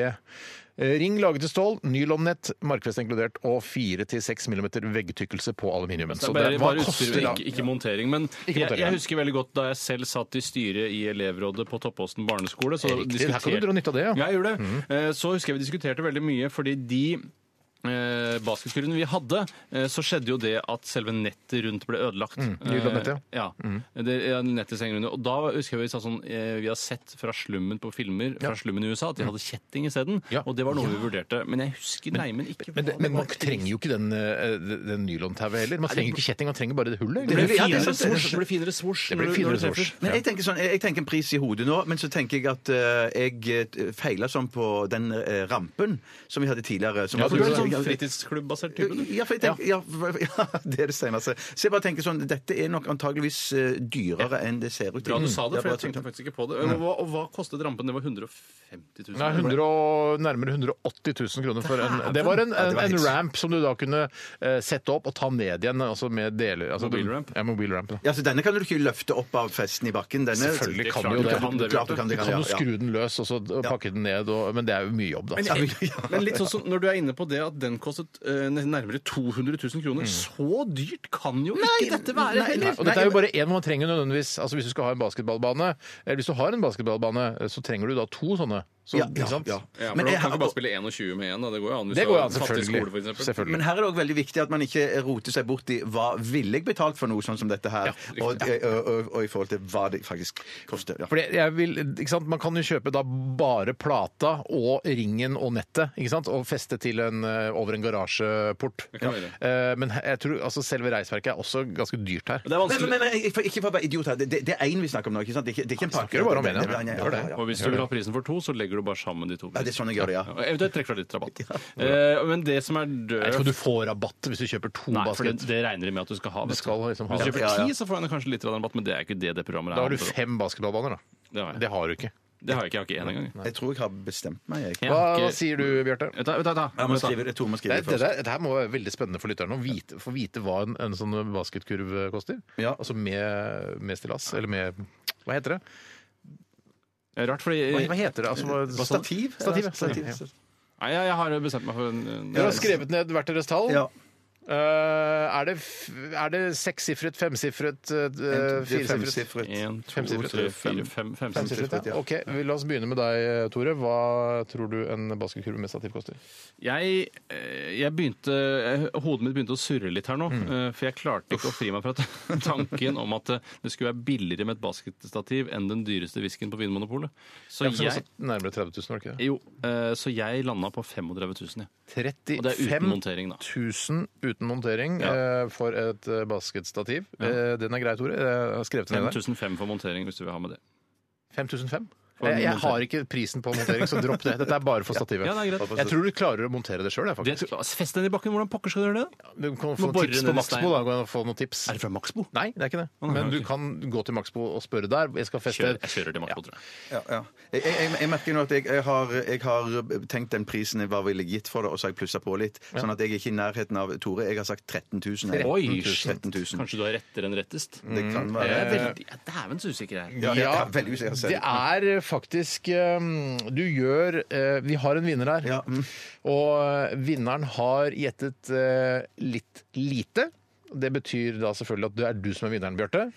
[SPEAKER 4] Eh, Ring laget i stål, nylonnett, markfest inkludert, og 4-6 mm veggtykkelse på aluminiumen. Så det,
[SPEAKER 6] bare,
[SPEAKER 4] hva
[SPEAKER 6] bare
[SPEAKER 4] koster
[SPEAKER 6] utstyr,
[SPEAKER 4] det?
[SPEAKER 6] ikke, ikke montering. Men jeg,
[SPEAKER 4] montering, ja.
[SPEAKER 6] jeg husker veldig godt da jeg selv satt i styret i elevrådet på Toppåsen barneskole. Så
[SPEAKER 4] Riktig, her kan du dra nytte av det, ja.
[SPEAKER 6] [LAUGHS] ja. Jeg gjorde det. Eh, Så husker jeg vi diskuterte veldig mye, fordi de eh, basketkurvene vi hadde, eh, så skjedde jo det at selve nettet rundt ble ødelagt.
[SPEAKER 4] Mm, nylonnettet, ja. Mm.
[SPEAKER 6] Eh, ja. Det, ja, nettet som henger under. Og da husker jeg vi sa sånn eh, Vi har sett fra slummen på filmer fra slummen i USA at de hadde kjetting isteden,
[SPEAKER 4] Mm. Ja.
[SPEAKER 6] og det var noe vi vurderte. Men jeg husker nei, men ikke
[SPEAKER 4] Men, det, men man trenger jo ikke den, eh, den nylontauet heller. Man trenger ikke kjetting, man trenger bare det hullet.
[SPEAKER 6] Det blir
[SPEAKER 4] egentlig.
[SPEAKER 5] Ja, det er
[SPEAKER 6] finere
[SPEAKER 5] sant, det er
[SPEAKER 6] svosj. Det blir finere svosj.
[SPEAKER 4] Det blir
[SPEAKER 6] når du- når
[SPEAKER 4] finere
[SPEAKER 6] du treffer.
[SPEAKER 4] svosj.
[SPEAKER 5] Men jeg tenker, sånn, jeg, jeg tenker en pris i hodet nå, men så tenker jeg at eh, jeg eh, feiler sånn på den eh, rampen som vi hadde tidligere. Som
[SPEAKER 6] Ja,
[SPEAKER 5] var-
[SPEAKER 6] du er en sånn fritidsklubb-basert type, du.
[SPEAKER 5] Ja, for jeg tenker, ja. for- ja, [LAUGHS] det er det seneste. Så jeg bare tenker sånn, dette er nok antageligvis eh, dyrere enn det ser ut. Mm.
[SPEAKER 6] Bra du sa det,
[SPEAKER 5] Ja,
[SPEAKER 6] for
[SPEAKER 5] bra
[SPEAKER 6] jeg tenkte faktisk ikke på det. Og hva, og hva kostet rampen? Det var 150 000.
[SPEAKER 4] Nei, 100 og, nærmere 180 000 kroner for en Det var en,
[SPEAKER 5] Ja, det
[SPEAKER 4] en,
[SPEAKER 5] var
[SPEAKER 4] en
[SPEAKER 5] helt-
[SPEAKER 4] ramp som du da kunne eh, sette opp og ta ned igjen. Altså med deler. Altså,
[SPEAKER 6] Mobilramp?
[SPEAKER 4] Ja, mobilramp. Da.
[SPEAKER 5] Ja, så denne kan du ikke løfte opp av festen i bakken. Denne,
[SPEAKER 4] Selvfølgelig kan
[SPEAKER 5] Klart
[SPEAKER 4] du
[SPEAKER 5] du
[SPEAKER 4] jo det.
[SPEAKER 5] kan det. Klart du kan
[SPEAKER 4] Du
[SPEAKER 5] det.
[SPEAKER 4] kan jo
[SPEAKER 5] ja,
[SPEAKER 4] skru den løs og så pakke den ned, og, men det er jo mye jobb, da.
[SPEAKER 6] Men, men litt sånn som når du er inne på det at den kostet eh, nærmere 200 000 kroner. Så dyrt kan jo ikke dette være heller!
[SPEAKER 4] Og dette er jo bare én man eh, trenger nødvendigvis. Altså Hvis du skal ha en basketballbane, eller hvis du har en basketballbane, så trenger du da to sånne. Så,
[SPEAKER 5] Ja, ja,
[SPEAKER 4] ikke sant?
[SPEAKER 5] ja.
[SPEAKER 6] Ja,
[SPEAKER 5] Men
[SPEAKER 6] men Du
[SPEAKER 5] jeg-
[SPEAKER 6] kan ikke bare spille 21 med 1, da. Det går jo an. hvis
[SPEAKER 4] Det
[SPEAKER 6] du
[SPEAKER 4] går jo
[SPEAKER 6] har
[SPEAKER 4] an,
[SPEAKER 6] en fattig
[SPEAKER 4] selvfølgelig.
[SPEAKER 6] skole, for eksempel.
[SPEAKER 4] selvfølgelig.
[SPEAKER 5] Men her er det også veldig viktig at man ikke roter seg bort i hva ville jeg betalt for noe sånn som dette her, og, eh, og, og, og i forhold til hva det faktisk koster. Ja.
[SPEAKER 4] Fordi jeg vil, ikke sant? Man kan jo kjøpe da bare plata og ringen og nettet ikke sant? og feste til en, eh, over en garasjeport.
[SPEAKER 6] kan være.
[SPEAKER 4] Eh, Men jeg tror altså, selve reisverket er også ganske dyrt her.
[SPEAKER 6] Det er
[SPEAKER 5] Men,
[SPEAKER 6] vanskelig.
[SPEAKER 5] men, men jeg- for, ikke for å være idiot her, det, det- det er én vi snakker om nå, ikke sant? Det er ikke, det er ikke en pakke.
[SPEAKER 4] snakker jo bare om en, ja.
[SPEAKER 5] ja,
[SPEAKER 4] Gjør det.
[SPEAKER 6] Og hvis du vil ha prisen for to, så legger du bare sammen de to.
[SPEAKER 5] Ja, det er sånn jeg gjør det, ja.
[SPEAKER 6] Ja, og Eventuelt trekker fra litt rabatt. Eh, men det som er
[SPEAKER 4] Jeg tror
[SPEAKER 6] døvt
[SPEAKER 4] du får rabatt hvis du kjøper to
[SPEAKER 6] Nei, for det,
[SPEAKER 4] basket.
[SPEAKER 6] det regner de med at du skal ha. vet
[SPEAKER 4] Du skal
[SPEAKER 6] du.
[SPEAKER 4] liksom ha
[SPEAKER 6] Hvis du
[SPEAKER 4] det.
[SPEAKER 6] kjøper
[SPEAKER 5] Ja, ja.
[SPEAKER 6] ti, så får du kanskje litt rabatt, men det er ikke det det programmet
[SPEAKER 4] Da har
[SPEAKER 6] her
[SPEAKER 4] du
[SPEAKER 6] handler om.
[SPEAKER 4] fem basketballbaner, da.
[SPEAKER 6] Det har jeg.
[SPEAKER 4] Det har du ikke.
[SPEAKER 6] Det har jeg ikke. Jeg har ikke én engang. jeg.
[SPEAKER 5] Jeg tror jeg har bestemt meg. Jeg.
[SPEAKER 6] Jeg
[SPEAKER 4] Hva,
[SPEAKER 6] har
[SPEAKER 4] hva
[SPEAKER 6] ikke-
[SPEAKER 4] sier du, Bjarte?
[SPEAKER 6] Vent da, vent da, vent da.
[SPEAKER 5] Ja, men skriver, jeg tror man
[SPEAKER 4] Det,
[SPEAKER 5] skriver det
[SPEAKER 4] det,
[SPEAKER 5] først.
[SPEAKER 4] der, det her må være veldig spennende for lytterne å vite, få vite hva en, en sånn basketkurv koster.
[SPEAKER 5] Ja.
[SPEAKER 4] Altså med, med stillas, eller med Hva heter det?
[SPEAKER 6] Det er Rart, fordi
[SPEAKER 4] Hva, hva heter det? Altså, hva-
[SPEAKER 5] Hva, Stativ?
[SPEAKER 4] Stativ, ja.
[SPEAKER 5] Eller stativ.
[SPEAKER 4] Ja.
[SPEAKER 6] Nei, jeg, jeg har bestemt meg for en, en
[SPEAKER 4] Dere har skrevet ned hvert deres tall.
[SPEAKER 5] Ja.
[SPEAKER 4] Eh, er det, f- er det sekssifret, femsifret, eh,
[SPEAKER 5] Det er
[SPEAKER 4] firesifret?
[SPEAKER 5] Femsifret.
[SPEAKER 6] En, to,
[SPEAKER 4] Femsifret.
[SPEAKER 6] tre, fire, fem, fem,
[SPEAKER 4] Femsifret, ja. Ok, vi- La oss begynne med deg, Tore. Hva tror du en basketkurv med stativ koster?
[SPEAKER 6] Jeg, eh, jeg begynte jeg- Hodet mitt begynte å surre litt her nå. eh, For jeg klarte ikke å fri meg fra t- [LAUGHS] tanken om at eh, det skulle være billigere med et basketstativ enn den dyreste whiskyen på Vinmonopolet. Så
[SPEAKER 4] Jeg...
[SPEAKER 6] jeg
[SPEAKER 4] Nærmere 30 000, var det ikke det?
[SPEAKER 6] jo, eh, så jeg landa på 35 000, jeg. Og det er
[SPEAKER 4] 35
[SPEAKER 6] uten montering, da.
[SPEAKER 4] 1000 uten montering
[SPEAKER 6] Ja.
[SPEAKER 4] eh, for et eh, basketstativ. Eh, den er grei, Tore. Jeg har skrevet den ned der.
[SPEAKER 6] 5005 for montering, hvis du vil ha med det.
[SPEAKER 4] 5005?
[SPEAKER 6] For
[SPEAKER 4] Jeg, jeg
[SPEAKER 6] montering.
[SPEAKER 4] har ikke prisen på montering, så dropp det. Dette er bare for stativet.
[SPEAKER 6] Ja, det er greit.
[SPEAKER 4] Jeg tror du klarer å montere det sjøl,
[SPEAKER 6] Det,
[SPEAKER 4] faktisk.
[SPEAKER 6] fest den i bakken! Hvordan pokker skal du gjøre det?
[SPEAKER 4] Du kan
[SPEAKER 6] Må
[SPEAKER 4] få noen
[SPEAKER 6] bore
[SPEAKER 4] tips
[SPEAKER 6] ned
[SPEAKER 4] på
[SPEAKER 6] i
[SPEAKER 4] Maxbo.
[SPEAKER 6] steinen.
[SPEAKER 4] da, kan du få noen tips.
[SPEAKER 6] Er det fra Maxbo?
[SPEAKER 4] Nei, det er ikke det.
[SPEAKER 6] nei,
[SPEAKER 4] Men du
[SPEAKER 6] ok.
[SPEAKER 4] kan gå til Maxbo og spørre der. Jeg skal feste
[SPEAKER 6] Kjør, jeg kjører til Maxbo, tror jeg.
[SPEAKER 5] Ja, ja. Jeg, jeg, jeg merker nå at jeg, jeg, har, jeg har tenkt den prisen jeg var ville gitt for det, og så har jeg plussa på litt. Sånn at jeg er ikke i nærheten av Tore. Jeg har sagt 13 000. jeg.
[SPEAKER 6] Oi,
[SPEAKER 5] 13 000.
[SPEAKER 6] Kanskje du har rettere enn rettest?
[SPEAKER 5] Mm.
[SPEAKER 6] Eh,
[SPEAKER 5] Det kan
[SPEAKER 6] Jeg
[SPEAKER 5] være
[SPEAKER 6] Mm. er veldig, jeg er dævens usikker her.
[SPEAKER 5] Ja, jeg er veldig usikker selv.
[SPEAKER 4] det er faktisk eh, Du gjør eh, Vi har en vinner her.
[SPEAKER 5] Ja, mm.
[SPEAKER 4] Og eh, vinneren har gjettet eh, litt lite. Det betyr da selvfølgelig at det er du som er vinneren, Bjarte.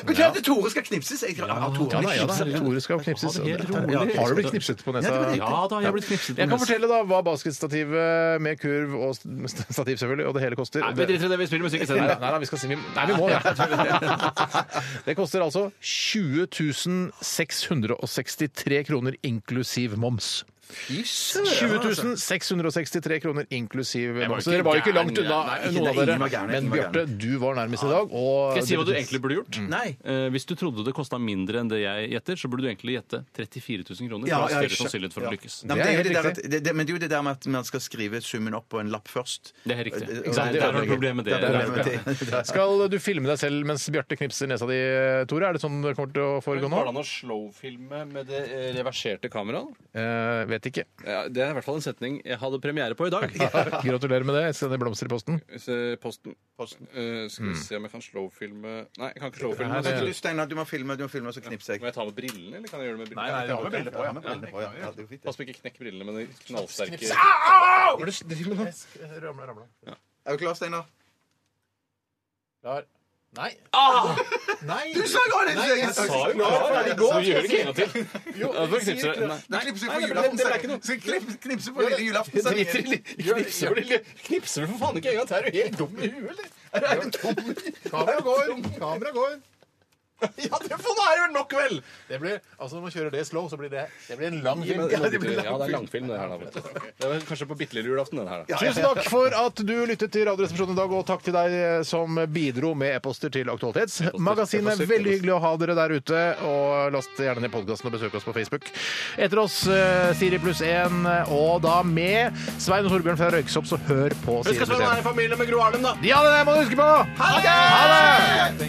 [SPEAKER 5] Betyr det at Tore skal knipses? Jeg, ja, Tore,
[SPEAKER 4] Ja, da, ja, da.
[SPEAKER 5] knipses.
[SPEAKER 4] Tore skal knipses.
[SPEAKER 6] Ha liksom- det helt rolig.
[SPEAKER 4] Ja, Har du blitt knipset på nesa?
[SPEAKER 6] Ja da, jeg har blitt knipset på
[SPEAKER 4] Jeg kan
[SPEAKER 6] nesen.
[SPEAKER 4] fortelle da hva basketstativet med kurv og st- stativ selvfølgelig, og det hele koster.
[SPEAKER 6] Nei, vi driter i det. Vi spiller musikk
[SPEAKER 4] Nei,
[SPEAKER 6] isteden.
[SPEAKER 4] nei, nei, vi skal si vi, Nei, vi må det.
[SPEAKER 6] [LAUGHS]
[SPEAKER 4] Det koster altså 20 663 kroner inklusiv moms. 20 663 kroner inklusiv
[SPEAKER 6] altså. Jeg
[SPEAKER 4] moms.
[SPEAKER 6] var ikke
[SPEAKER 4] Så dere var jo ikke
[SPEAKER 6] gæren.
[SPEAKER 4] langt unna, eh, noen av
[SPEAKER 6] Nei, ikke-
[SPEAKER 5] nei, ingen var
[SPEAKER 4] dere.
[SPEAKER 5] gæren,
[SPEAKER 4] Men
[SPEAKER 5] ingen var
[SPEAKER 4] Bjarte, du var nærmest i dag. Og
[SPEAKER 6] Skal jeg si hva du egentlig burde gjort?
[SPEAKER 5] Nei.
[SPEAKER 6] Eh, hvis du trodde det kosta mindre enn det jeg gjetter, så burde du egentlig gjette 34 000 kroner.
[SPEAKER 5] Ja,
[SPEAKER 6] for
[SPEAKER 5] ja,
[SPEAKER 6] da er
[SPEAKER 5] jeg
[SPEAKER 6] større
[SPEAKER 5] skjø-
[SPEAKER 6] sannsynlighet for
[SPEAKER 5] ja.
[SPEAKER 6] å lykkes.
[SPEAKER 5] Nei, men,
[SPEAKER 4] Det er
[SPEAKER 5] det er det,
[SPEAKER 4] helt
[SPEAKER 5] der at, det, det, men det er jo det der med at man skal skrive summen opp på en lapp først.
[SPEAKER 6] Det er riktig.
[SPEAKER 5] Eh,
[SPEAKER 6] Ikke sant?
[SPEAKER 5] og-
[SPEAKER 6] Der har du problemet med det.
[SPEAKER 5] Der har du problemet med
[SPEAKER 4] [LAUGHS]
[SPEAKER 5] det.
[SPEAKER 4] Skal du filme deg selv mens Bjarte knipser nesa di, Tore? Er det sånn det kommer til å foregå nå?
[SPEAKER 6] an å slowfilme med det reverserte kameraet?
[SPEAKER 4] Eh, vet ikke.
[SPEAKER 6] det er i hvert fall en setning jeg hadde premiere på i
[SPEAKER 5] [LAUGHS]
[SPEAKER 6] dag. eh,
[SPEAKER 4] Gratulerer med det. Jeg sender blomster i posten.
[SPEAKER 6] Posten. eh,
[SPEAKER 5] Mm.
[SPEAKER 6] skal vi se om jeg kan slowfilme Nei, jeg kan
[SPEAKER 4] Nei,
[SPEAKER 6] ikke slowfilme.
[SPEAKER 4] det-
[SPEAKER 5] Men du, Steinar, du må filme, du må filme, og så knipser jeg.
[SPEAKER 6] jeg ta med brillene, eller kan jeg gjøre det med brillene?
[SPEAKER 5] Ja, med briller på, ja, med briller på, ja. Ja, det er fint, det.
[SPEAKER 6] Pass på ikke knekk brillene med de knallsterke
[SPEAKER 5] Er du klar, Steinar?
[SPEAKER 4] Klar. Nei.
[SPEAKER 6] [LAUGHS]
[SPEAKER 4] Nei!
[SPEAKER 5] Du sa jo det! Jeg sa jo det!
[SPEAKER 6] Så gjør det ikke en gang til. Ja, for eksempel, nei.
[SPEAKER 5] Du knipser på julaften, Steinar. Skal jeg klipp- knipse på lille julaften? Steinar?
[SPEAKER 6] Knipser du, lille- knipser du for faen ikke en gang til? Er du helt dum i huet, eller? Er du helt dum?
[SPEAKER 4] Kamera går! Kamera går!
[SPEAKER 6] [LAUGHS] Ja, det får nå er det vel nok, vel!
[SPEAKER 4] Det blir, altså Når man kjører det slow, så blir det, det blir en lang film.
[SPEAKER 6] Ja, det er langfilm, det her. da. Det var kanskje på bitte lille julaften, den her. da.
[SPEAKER 4] Tusen takk for at du lyttet til Radioresepsjonen i dag, og takk til deg eh, som bidro med e-poster til Aktualitetsmagasinet. Veldig hyggelig å ha dere der ute. Og last gjerne ned podkasten og besøk oss på Facebook. Etter oss eh, Siri pluss 1, og da med Svein og Torbjørn fra Røyksopp, så hør på Siri pluss 1.
[SPEAKER 6] familie med Gro Arlem, da!
[SPEAKER 4] Ja, det må du huske på! Ha det!